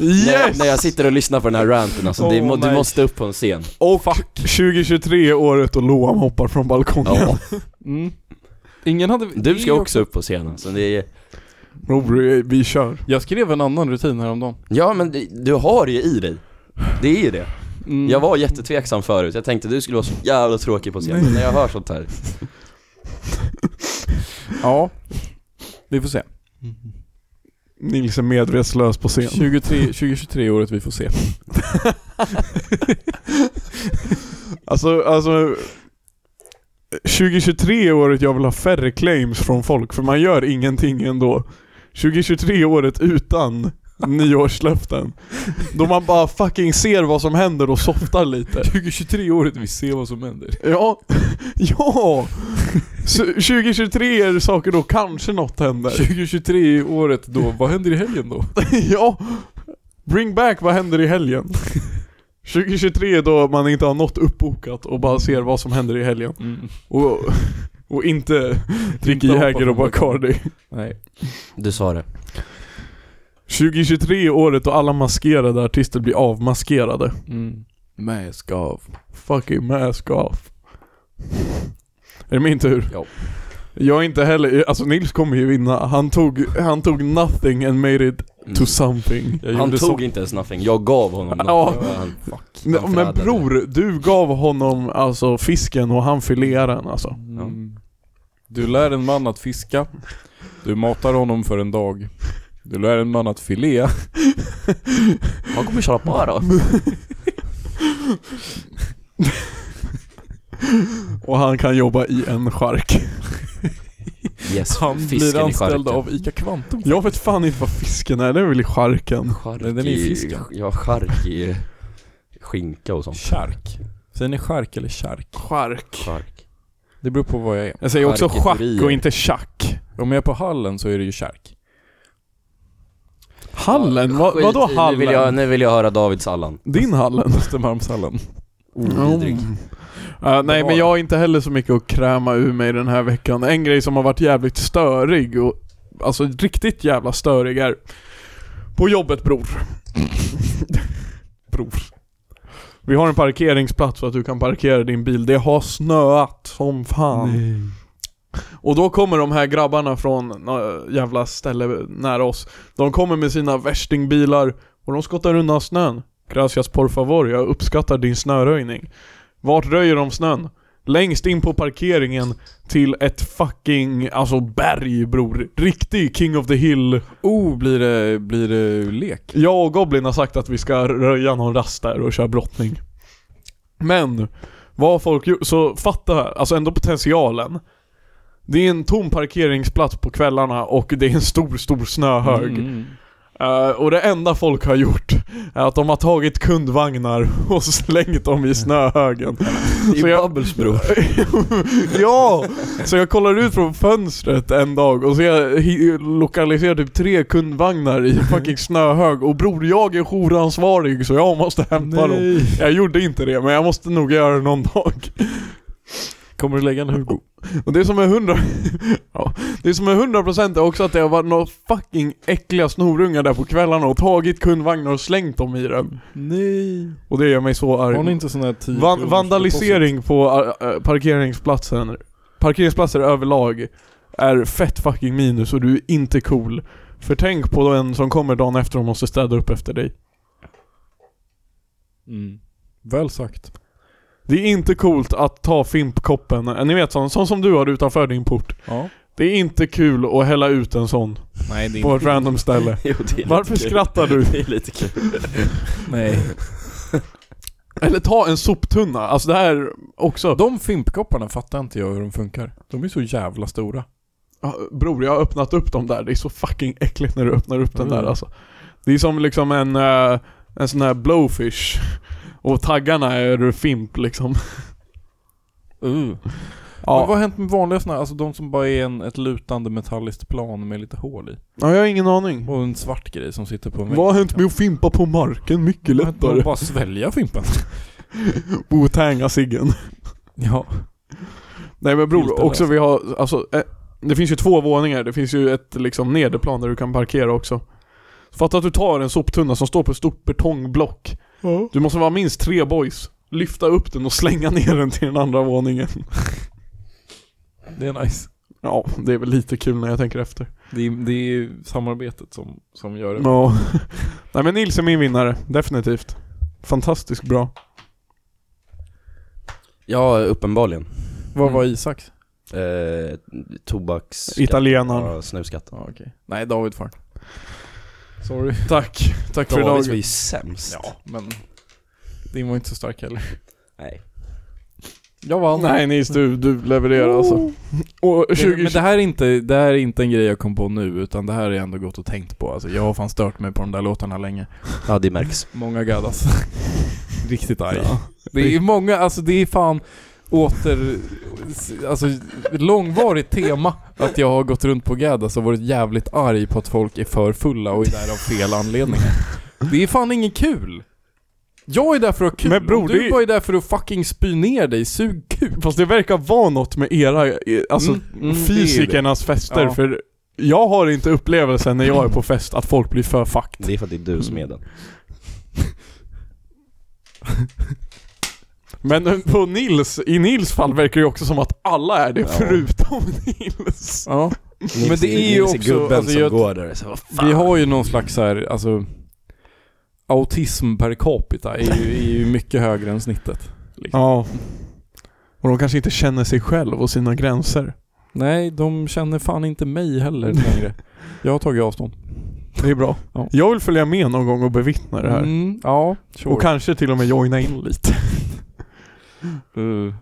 Speaker 3: när, jag, när jag sitter och lyssnar på den här ranten alltså, det, må,
Speaker 1: Åh,
Speaker 3: du
Speaker 1: nej.
Speaker 3: måste upp på en scen
Speaker 2: Och 2023 är året och Loam hoppar från balkongen.
Speaker 3: Ja.
Speaker 1: Mm. Ingen hade...
Speaker 3: Du
Speaker 1: det
Speaker 3: ska
Speaker 1: är
Speaker 3: också upp på scen alltså, det är,
Speaker 2: Bro, vi- vi kör.
Speaker 1: Jag skrev en annan rutin häromdagen.
Speaker 3: Ja men det- du har det ju i dig, det är ju det
Speaker 1: Mm.
Speaker 3: Jag var jättetveksam förut, jag tänkte du skulle vara så jävla tråkig på scen, men när jag hör sånt här
Speaker 1: Ja. Vi får se.
Speaker 2: Nils är medvetslös på scen.
Speaker 1: 23, 2023 året vi får se.
Speaker 2: Alltså, alltså 2023 är året jag vill ha färre claims från folk, för man gör ingenting ändå. 2023 är året utan nyårslöften. Då man bara fucking ser vad som händer och softar lite.
Speaker 1: 2023 året vi ser vad som händer.
Speaker 2: Ja, ja! Så 2023 är det saker då kanske något händer.
Speaker 1: 2023 är året då, vad händer i helgen då?
Speaker 2: Ja! Bring back vad händer i helgen. 2023 är då man inte har något uppbokat och bara ser vad som händer i helgen. Och, och inte dricka
Speaker 1: hoppa
Speaker 2: Mm. Jäger och
Speaker 1: från
Speaker 2: Bacardi.
Speaker 1: Nej.
Speaker 3: Du sa det
Speaker 2: 2023 är året då alla maskerade artister blir avmaskerade.
Speaker 1: Mm. Mask av.
Speaker 2: Fucking mask off. Är det min tur?
Speaker 3: Ja.
Speaker 2: Jag är inte heller, alltså Nils kommer ju vinna. Han tog, han tog nothing and made it to something.
Speaker 1: Mm. Jag
Speaker 3: Han
Speaker 1: gjorde
Speaker 3: tog
Speaker 1: så-
Speaker 3: inte ens nothing, jag gav honom
Speaker 2: Ja.
Speaker 3: nothing. Han, fuck,
Speaker 2: Men,
Speaker 3: han
Speaker 2: men
Speaker 3: förrädade.
Speaker 2: bror, du gav honom alltså fisken och han filerade den alltså.
Speaker 1: Mm. Du lär en man att fiska. Du matar honom för en dag. Du lär en man att filea.
Speaker 3: Han kommer köra på då.
Speaker 2: Och han kan jobba i en chark.
Speaker 3: Yes,
Speaker 1: Han
Speaker 3: fisken
Speaker 1: blir
Speaker 3: i
Speaker 1: anställd
Speaker 3: charken.
Speaker 1: av ICA Kvantum.
Speaker 2: Jag vet fan inte vad fisken är, det är väl i charken.
Speaker 3: Chark
Speaker 1: Den är i fisken.
Speaker 3: Ja, chark i skinka och sånt.
Speaker 1: Chark. Säger ni chark eller chark?
Speaker 2: Chark.
Speaker 3: Chark.
Speaker 1: Det beror på vad jag är.
Speaker 2: Jag säger också
Speaker 3: Charketerier.
Speaker 2: schack och inte tjack.
Speaker 1: Om jag är på hallen så är det ju chark.
Speaker 2: Hallen? Vad,
Speaker 3: Skit
Speaker 2: vadå
Speaker 3: i, Nu vill, jag,
Speaker 2: hallen?
Speaker 3: nu vill jag höra Davids Allan.
Speaker 2: Din hallen?
Speaker 1: Östermalmshallen.
Speaker 3: Ovidrig.
Speaker 2: Ja, Uh, nej
Speaker 1: var
Speaker 2: men jag har inte heller så mycket att kräma ur mig den här veckan. En grej som har varit jävligt störig och alltså riktigt jävla störig är på jobbet bror. bror. Vi har en parkeringsplats så att du kan parkera din bil. Det har snöat som fan. Och då kommer de här grabbarna från nå- jävla ställe nära oss. De kommer med sina värstingbilar och de skottar undan snön. Gracias por favor, jag uppskattar din snöröjning. Vart röjer de snön? Längst in på parkeringen till ett fucking, alltså berg bror. Riktig King of the Hill.
Speaker 1: Oh, blir det, blir det lek?
Speaker 2: Jag och Goblin har sagt att vi ska röja någon rast där och köra brottning. Men, vad har folk gjort? Så fatta, alltså ändå potentialen. Det är en tom parkeringsplats på kvällarna och det är en stor, stor snöhög.
Speaker 1: Mm.
Speaker 2: Eh, och det enda folk har gjort är att de har tagit kundvagnar och slängt dem i snöhögen. Så jag-
Speaker 3: Bubbles bror.
Speaker 2: ja! Så jag kollar ut från fönstret en dag och så jag hi- lokaliserar typ tre kundvagnar i fucking snöhög och bror jag är jouransvarig så jag måste hämta dem. Jag gjorde inte det men jag måste nog göra det någon dag.
Speaker 1: Kommer du lägga en Hugo?
Speaker 2: Och det som är hundra... ja, det som är hundra procent är också att det har varit några fucking äckliga snorungar där på kvällarna och tagit kundvagnar och slängt dem i den.
Speaker 1: Nej.
Speaker 2: Och det gör mig så arg.
Speaker 1: Har ni inte sån här tio
Speaker 2: Van vandalisering på äh, äh, parkeringsplatsen Parkeringsplatser överlag är fett fucking minus och du är inte cool. För tänk på den som kommer dagen efter och måste städa upp efter dig.
Speaker 1: Mm. Väl sagt.
Speaker 2: Det är inte coolt att ta fimpkoppen, Eh, ni vet sån, sån som du har utanför din port.
Speaker 1: Ja.
Speaker 2: Det är inte kul att hälla ut en sån
Speaker 1: Nej, det
Speaker 2: på ett random ställe.
Speaker 3: Jo, det är lite
Speaker 2: Varför
Speaker 3: kul.
Speaker 2: skrattar du?
Speaker 3: Det är lite kul.
Speaker 1: Nej.
Speaker 2: Eller ta en soptunna, alltså det här också.
Speaker 1: De fimpkopparna fattar inte jag hur de funkar. De är så jävla stora.
Speaker 2: Ah, Bror, jag har öppnat upp dem där. Det är så fucking äckligt när du öppnar upp den där
Speaker 1: Mm.
Speaker 2: alltså. Det är som liksom en, eh, en sån här blowfish. Och taggarna är fimp liksom.
Speaker 1: Uh. Men vad
Speaker 2: Ja.
Speaker 1: har hänt med vanliga såna här? Alltså de som bara är en, ett lutande metalliskt plan med lite hål i.
Speaker 2: ja, jag har ingen aning.
Speaker 1: Och en svart grej som sitter på en vägg.
Speaker 2: Vad har hänt med att fimpa på marken? Mycket
Speaker 1: Vad har hänt med
Speaker 2: lättare.
Speaker 1: att bara svälja fimpen.
Speaker 2: Botanga ciggen.
Speaker 1: ja.
Speaker 2: Nej men bror,
Speaker 1: Filter
Speaker 2: också
Speaker 1: löst.
Speaker 2: vi har, alltså, eh, det finns ju två våningar. Det finns ju ett liksom nederplan där du kan parkera också. Fatta att du tar en soptunna som står på ett stort betongblock. Du måste vara minst tre boys. Lyfta upp den och slänga ner den till den andra våningen.
Speaker 1: Det är nice.
Speaker 2: Ja, det är väl lite kul när jag tänker efter.
Speaker 1: Det är, det är samarbetet som, som gör det.
Speaker 2: Ja. Nej men Nils är min vinnare, definitivt. Fantastiskt bra.
Speaker 3: Ja, uppenbarligen.
Speaker 1: Vad var Isaks?
Speaker 3: Eh, tobaks...
Speaker 2: Italienaren.
Speaker 3: Ja, snusskatten.
Speaker 1: Ja, okej. Nej, David fan. Sorry.
Speaker 2: Tack. Tack för idag.
Speaker 3: Davids var ju sämst.
Speaker 1: Ja, men din var inte så stark heller.
Speaker 3: Nej.
Speaker 1: Jag vann.
Speaker 2: Nej Nils, du, du levererar alltså. Och
Speaker 1: Det,
Speaker 2: 20...
Speaker 1: men det här, är inte, det här är inte en grej jag kom på nu, utan det här är ändå gått och tänkt på. Alltså, jag har fan stört mig på de där låtarna länge.
Speaker 3: Ja, det märks.
Speaker 1: Många gaddas. Riktigt arg. Det är många, alltså det är fan åter... Alltså långvarigt tema att jag har gått runt på gaddas och varit jävligt arg på att folk är för fulla och är där av fel anledningar. Det är fan inget kul. Jag är där för att ha kul.
Speaker 2: Men bror,
Speaker 1: Om
Speaker 2: det
Speaker 1: du
Speaker 2: är-
Speaker 1: bara är där för att fucking spy ner dig, sug kuk.
Speaker 2: Fast det verkar vara något med era, eh, alltså
Speaker 1: Mm, mm, det är ju
Speaker 2: fysikernas fester.
Speaker 1: Ja.
Speaker 2: För jag har inte upplevelsen när jag är på fest att folk blir för fucked.
Speaker 3: Det är för att det är du som är den.
Speaker 2: Men eh, på Nils, i Nils fall verkar det ju också som att alla är det förutom Nils.
Speaker 1: Ja.
Speaker 3: Nils,
Speaker 1: Men det är ju
Speaker 3: Nils
Speaker 1: också-
Speaker 3: gubben
Speaker 1: alltså,
Speaker 3: som
Speaker 1: jag-
Speaker 3: går där. Så, vad fan?
Speaker 1: Vi har ju någon slags så här, alltså autism per capita är ju, är ju mycket högre än snittet.
Speaker 2: Ja. Och de kanske inte känner sig själv och sina gränser.
Speaker 1: Nej, de känner fan inte mig heller längre. Jag har tagit avstånd.
Speaker 2: Det är bra.
Speaker 1: Ja.
Speaker 2: Jag vill följa med någon gång och bevittna det här.
Speaker 1: Mm, ja, sure.
Speaker 2: Och kanske till och med joina in lite.
Speaker 1: Eh,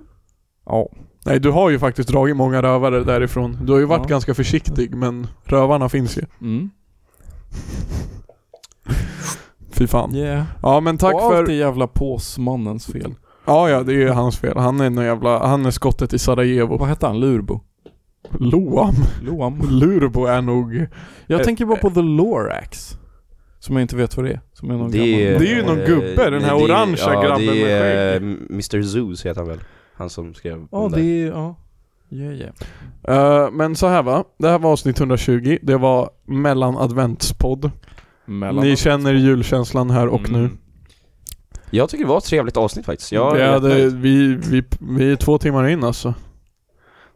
Speaker 1: ja.
Speaker 2: Nej, du har ju faktiskt dragit många rövare därifrån. Du har ju varit
Speaker 1: Ja.
Speaker 2: ganska försiktig, men rövarna finns ju.
Speaker 1: Mm.
Speaker 2: Fy fan.
Speaker 1: Yeah.
Speaker 2: Ja, men tack
Speaker 1: och
Speaker 2: för...
Speaker 1: allt är jävla påsmannens fel.
Speaker 2: Ja, ja, det är ju hans fel. Han är någon jävla... Han är skottet i Sarajevo.
Speaker 1: Vad hette han? Lurbo?
Speaker 2: Loam.
Speaker 1: Loam?
Speaker 2: Lurbo är nog...
Speaker 1: Jag
Speaker 2: Eh,
Speaker 1: tänker bara på The Lorax. Som jag inte vet vad det är. Som är någon
Speaker 3: är-
Speaker 1: gammal...
Speaker 2: Det är ju någon gubbe, den här
Speaker 3: det är-
Speaker 2: orangea grabben
Speaker 3: det
Speaker 2: med
Speaker 3: är,
Speaker 2: skägg.
Speaker 3: eh, Mr Zeus heter han väl? Han som skrev
Speaker 1: Ja,
Speaker 3: den där.
Speaker 1: det är... Ja. Yeah, yeah.
Speaker 2: Eh, men så här va. Det här var avsnitt 120. Det var mellan adventspodd.
Speaker 1: Mellan...
Speaker 2: Ni känner julkänslan här och
Speaker 1: Mm.
Speaker 2: nu.
Speaker 3: Jag tycker det var ett trevligt avsnitt faktiskt. Jag
Speaker 2: vi,
Speaker 3: är
Speaker 2: hade,
Speaker 3: jättenöjd.
Speaker 2: vi, vi, vi är två timmar in alltså.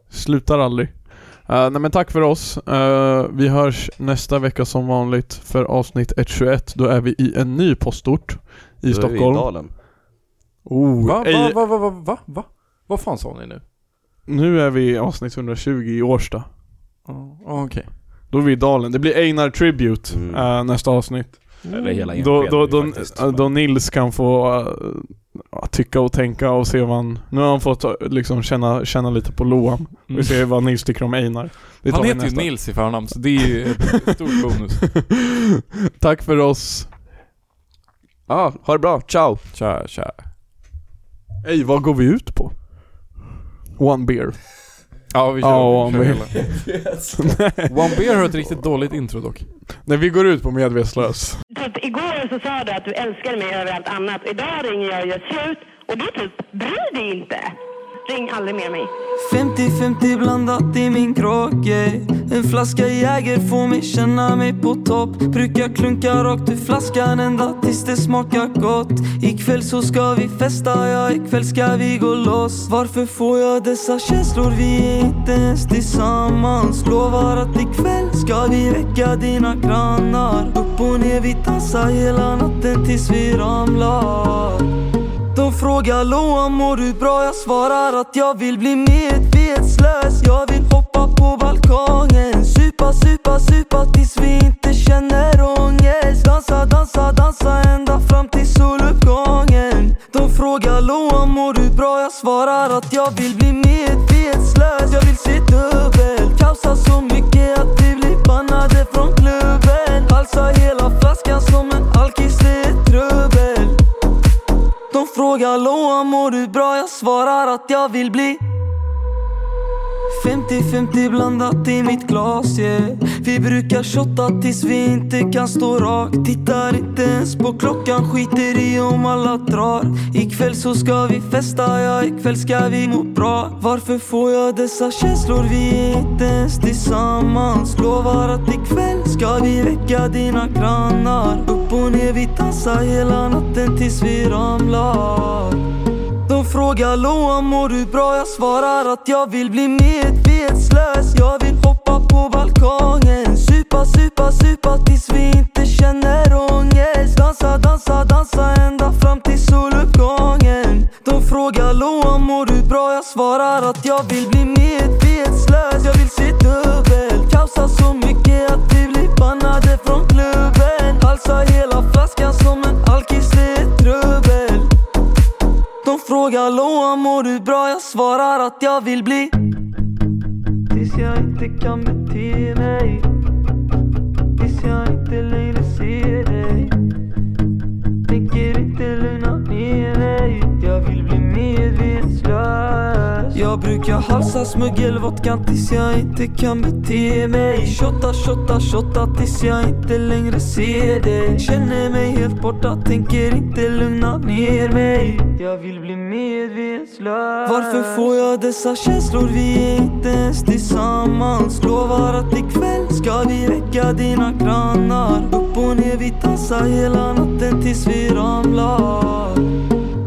Speaker 2: Slutar aldrig. Eh, nej men tack för oss. Eh, vi hörs nästa vecka som vanligt för avsnitt 121. Då är vi i en ny postort i
Speaker 3: Då är vi
Speaker 2: Stockholm.
Speaker 3: I dalen.
Speaker 2: oh,
Speaker 1: Va,
Speaker 2: ej,
Speaker 1: va, va, va, va, va, va? Vad fan sa ni nu?
Speaker 2: Nu är vi i avsnitt 120 i Årsta.
Speaker 1: Ja, ah, okej.
Speaker 2: Då är vi i Dalen. Det blir Einar Tribute
Speaker 3: Mm.
Speaker 2: eh, nästa avsnitt.
Speaker 3: Eller hela
Speaker 2: Då,
Speaker 3: enskeden
Speaker 2: då,
Speaker 3: ju
Speaker 2: då,
Speaker 3: faktiskt.
Speaker 2: eh, då Nils kan få eh, tycka och tänka och se vad han... Nu har han fått eh, liksom känna, känna lite på Loam. Vi ser vad Nils tycker om Einar. Det tar
Speaker 1: Han
Speaker 2: vi
Speaker 1: heter ju
Speaker 2: nästa.
Speaker 1: Nils i förnamn, så det är ju en stor bonus.
Speaker 2: Tack för oss.
Speaker 3: Ja, ha det bra. Ciao.
Speaker 1: Tja, tja.
Speaker 2: Ey, vad går vi ut på? One beer.
Speaker 1: Ja, vi kör.
Speaker 2: Ja,
Speaker 1: vi kör
Speaker 2: One
Speaker 1: hela. One Beer har ett riktigt dåligt intro dock.
Speaker 2: Nej, vi går ut på medvetslös.
Speaker 10: Typ igår så sa du att du älskar mig över allt annat. Idag ringer jag och gör slut och du typ bryr dig inte.
Speaker 11: Ring aldrig mer mig.
Speaker 6: 50-50 blandat i min krok yeah. En flaska Jäger får mig känna mig på topp Brukar klunka rakt ur flaskan ända tills det smakar gott Ikväll så ska vi festa, ja ikväll ska vi gå loss Varför får jag dessa känslor? Vi är inte ens tillsammans Lovar att ikväll ska vi väcka dina grannar Upp och ner, vi dansar hela natten tills vi ramlar de frågar Loa mår du bra? Jag svarar att jag vill bli medvetslös Jag vill hoppa på balkongen Supa, supa, supa tills vi inte känner ångest Dansa, dansa, dansa ända fram till soluppgången De frågar Loa mår du bra? Jag svarar att jag vill bli medvetslös Jag vill se dubbel Kaosa så mycket att vi blir bannade från klubben Halsa hela flaskan som en alkis, det är trubbel de frågar Loa mår du bra? Jag svarar att jag vill bli 50-50 blandat i mitt glas yeah. Vi brukar shotta tills vi inte kan stå rak Tittar inte ens på klockan, skiter i om alla drar Ikväll så ska vi festa, ja ikväll ska vi må bra Varför får jag dessa känslor? Vi är inte ens tillsammans Lovar att ikväll ska vi väcka dina grannar Upp och ner, vi dansar hela natten tills vi ramlar de frågar Loa mår du bra? Jag svarar att jag vill bli medvetslös Jag vill hoppa på balkongen Supa, supa, supa tills vi inte känner ångest Dansa, dansa, dansa ända fram till soluppgången De frågar Loa mår du bra? Jag svarar att jag vill bli medvetslös Jag vill se dubbel Kaosa så mycket att vi blir bannade från klubben Halsa hela flaskan som en alkis, det är trubbel de frågar Loa mår du bra? Jag svarar att jag vill bli Tills jag inte kan bete mig Tills jag inte längre ser dig Tänker inte lugna ner mig Jag vill bli medvetslös Jag brukar halsa smuggelvodkan tills jag inte kan bete mig Shotta, shotta, shotta tills jag inte längre ser dig Känner mig helt borta, tänker inte lugna ner mig Jag vill bli medvetslös Varför får jag dessa känslor? Vi är inte ens tillsammans Lovar att ikväll ska vi väcka dina grannar Upp och ner, vi dansar hela natten tills vi ramlar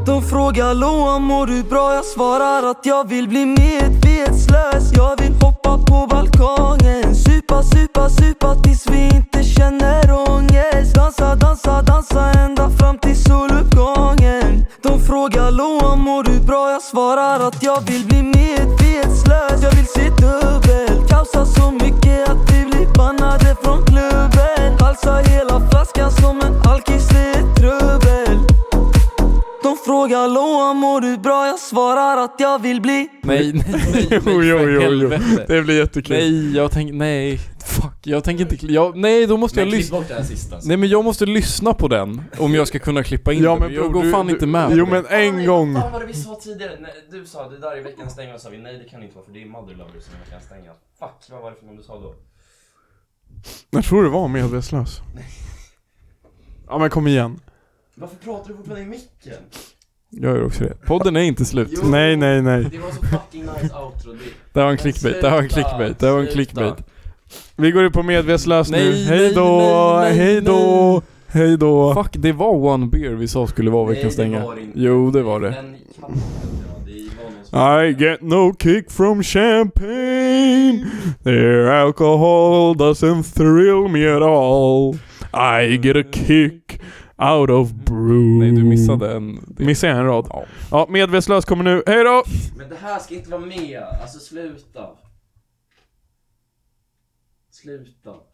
Speaker 6: de frågar Loa mår du bra? Jag svarar att jag vill bli medvetslös Jag vill hoppa på balkongen Supa, supa, supa tills vi inte känner ångest Dansa, dansa, dansa ända fram till soluppgången De frågar Loa mår du bra? Jag svarar att jag vill bli medvetslös Jag vill se dubbel Kaosa så mycket att vi blir bannade från klubben Halsa hela flaskan som en alkis, det är trubbel de frågar Loa mår du bra? Jag svarar att jag vill bli
Speaker 1: Nej, nej, nej, nej
Speaker 2: Jo, jo,
Speaker 1: för
Speaker 2: jo, jo.
Speaker 1: helvete.
Speaker 2: Det blir jättekul.
Speaker 1: Nej, jag tänker, nej, fuck, jag tänker inte, kli- jag, nej då måste
Speaker 3: Men
Speaker 1: jag
Speaker 3: klipp
Speaker 1: lyssna.
Speaker 3: bort det här sista, alltså.
Speaker 1: Nej men jag måste lyssna på den om jag ska kunna klippa in
Speaker 2: Ja,
Speaker 1: den.
Speaker 2: men
Speaker 1: jag
Speaker 2: bror,
Speaker 1: går
Speaker 2: du-
Speaker 1: fan
Speaker 2: du-
Speaker 1: inte med.
Speaker 2: jo,
Speaker 1: på
Speaker 2: men
Speaker 1: det.
Speaker 2: en gång.
Speaker 3: Fan vad det vi sa tidigare, Nej, du sa det där i veckans stänga och sa vi nej det kan det inte vara för det är Mother Lover som är veckans stänga Fuck vad var det för någon du sa då?
Speaker 2: Jag tror det var medvetslös. Ja men kom igen.
Speaker 3: Varför pratar du fortfarande i micken?
Speaker 1: Jag gör också det. Podden är inte slut.
Speaker 3: Jo.
Speaker 2: Nej nej nej.
Speaker 3: Det var så fucking nice outro det
Speaker 1: Det här var en clickbait, det här var en clickbait, det här var en clickbait.
Speaker 2: Vi går ut på medvetslös nu.
Speaker 1: Nej,
Speaker 2: Hej då,
Speaker 1: nej, nej,
Speaker 2: hej då, hej då.
Speaker 1: Fuck, det var One Beer vi sa skulle vara veckans
Speaker 3: Nej, det
Speaker 1: stänga.
Speaker 3: var det inte.
Speaker 1: Jo, det var det.
Speaker 3: Den kan inte det var någon som...
Speaker 2: I get no kick from champagne. Their alcohol doesn't thrill me at all. I get a kick out of brew.
Speaker 1: Nej, du missade en. det-
Speaker 2: Missade jag en rad?
Speaker 1: Ja.
Speaker 2: Ja, medvetslös kommer nu. Hej då!
Speaker 3: Men det här ska inte vara med, alltså sluta Sluta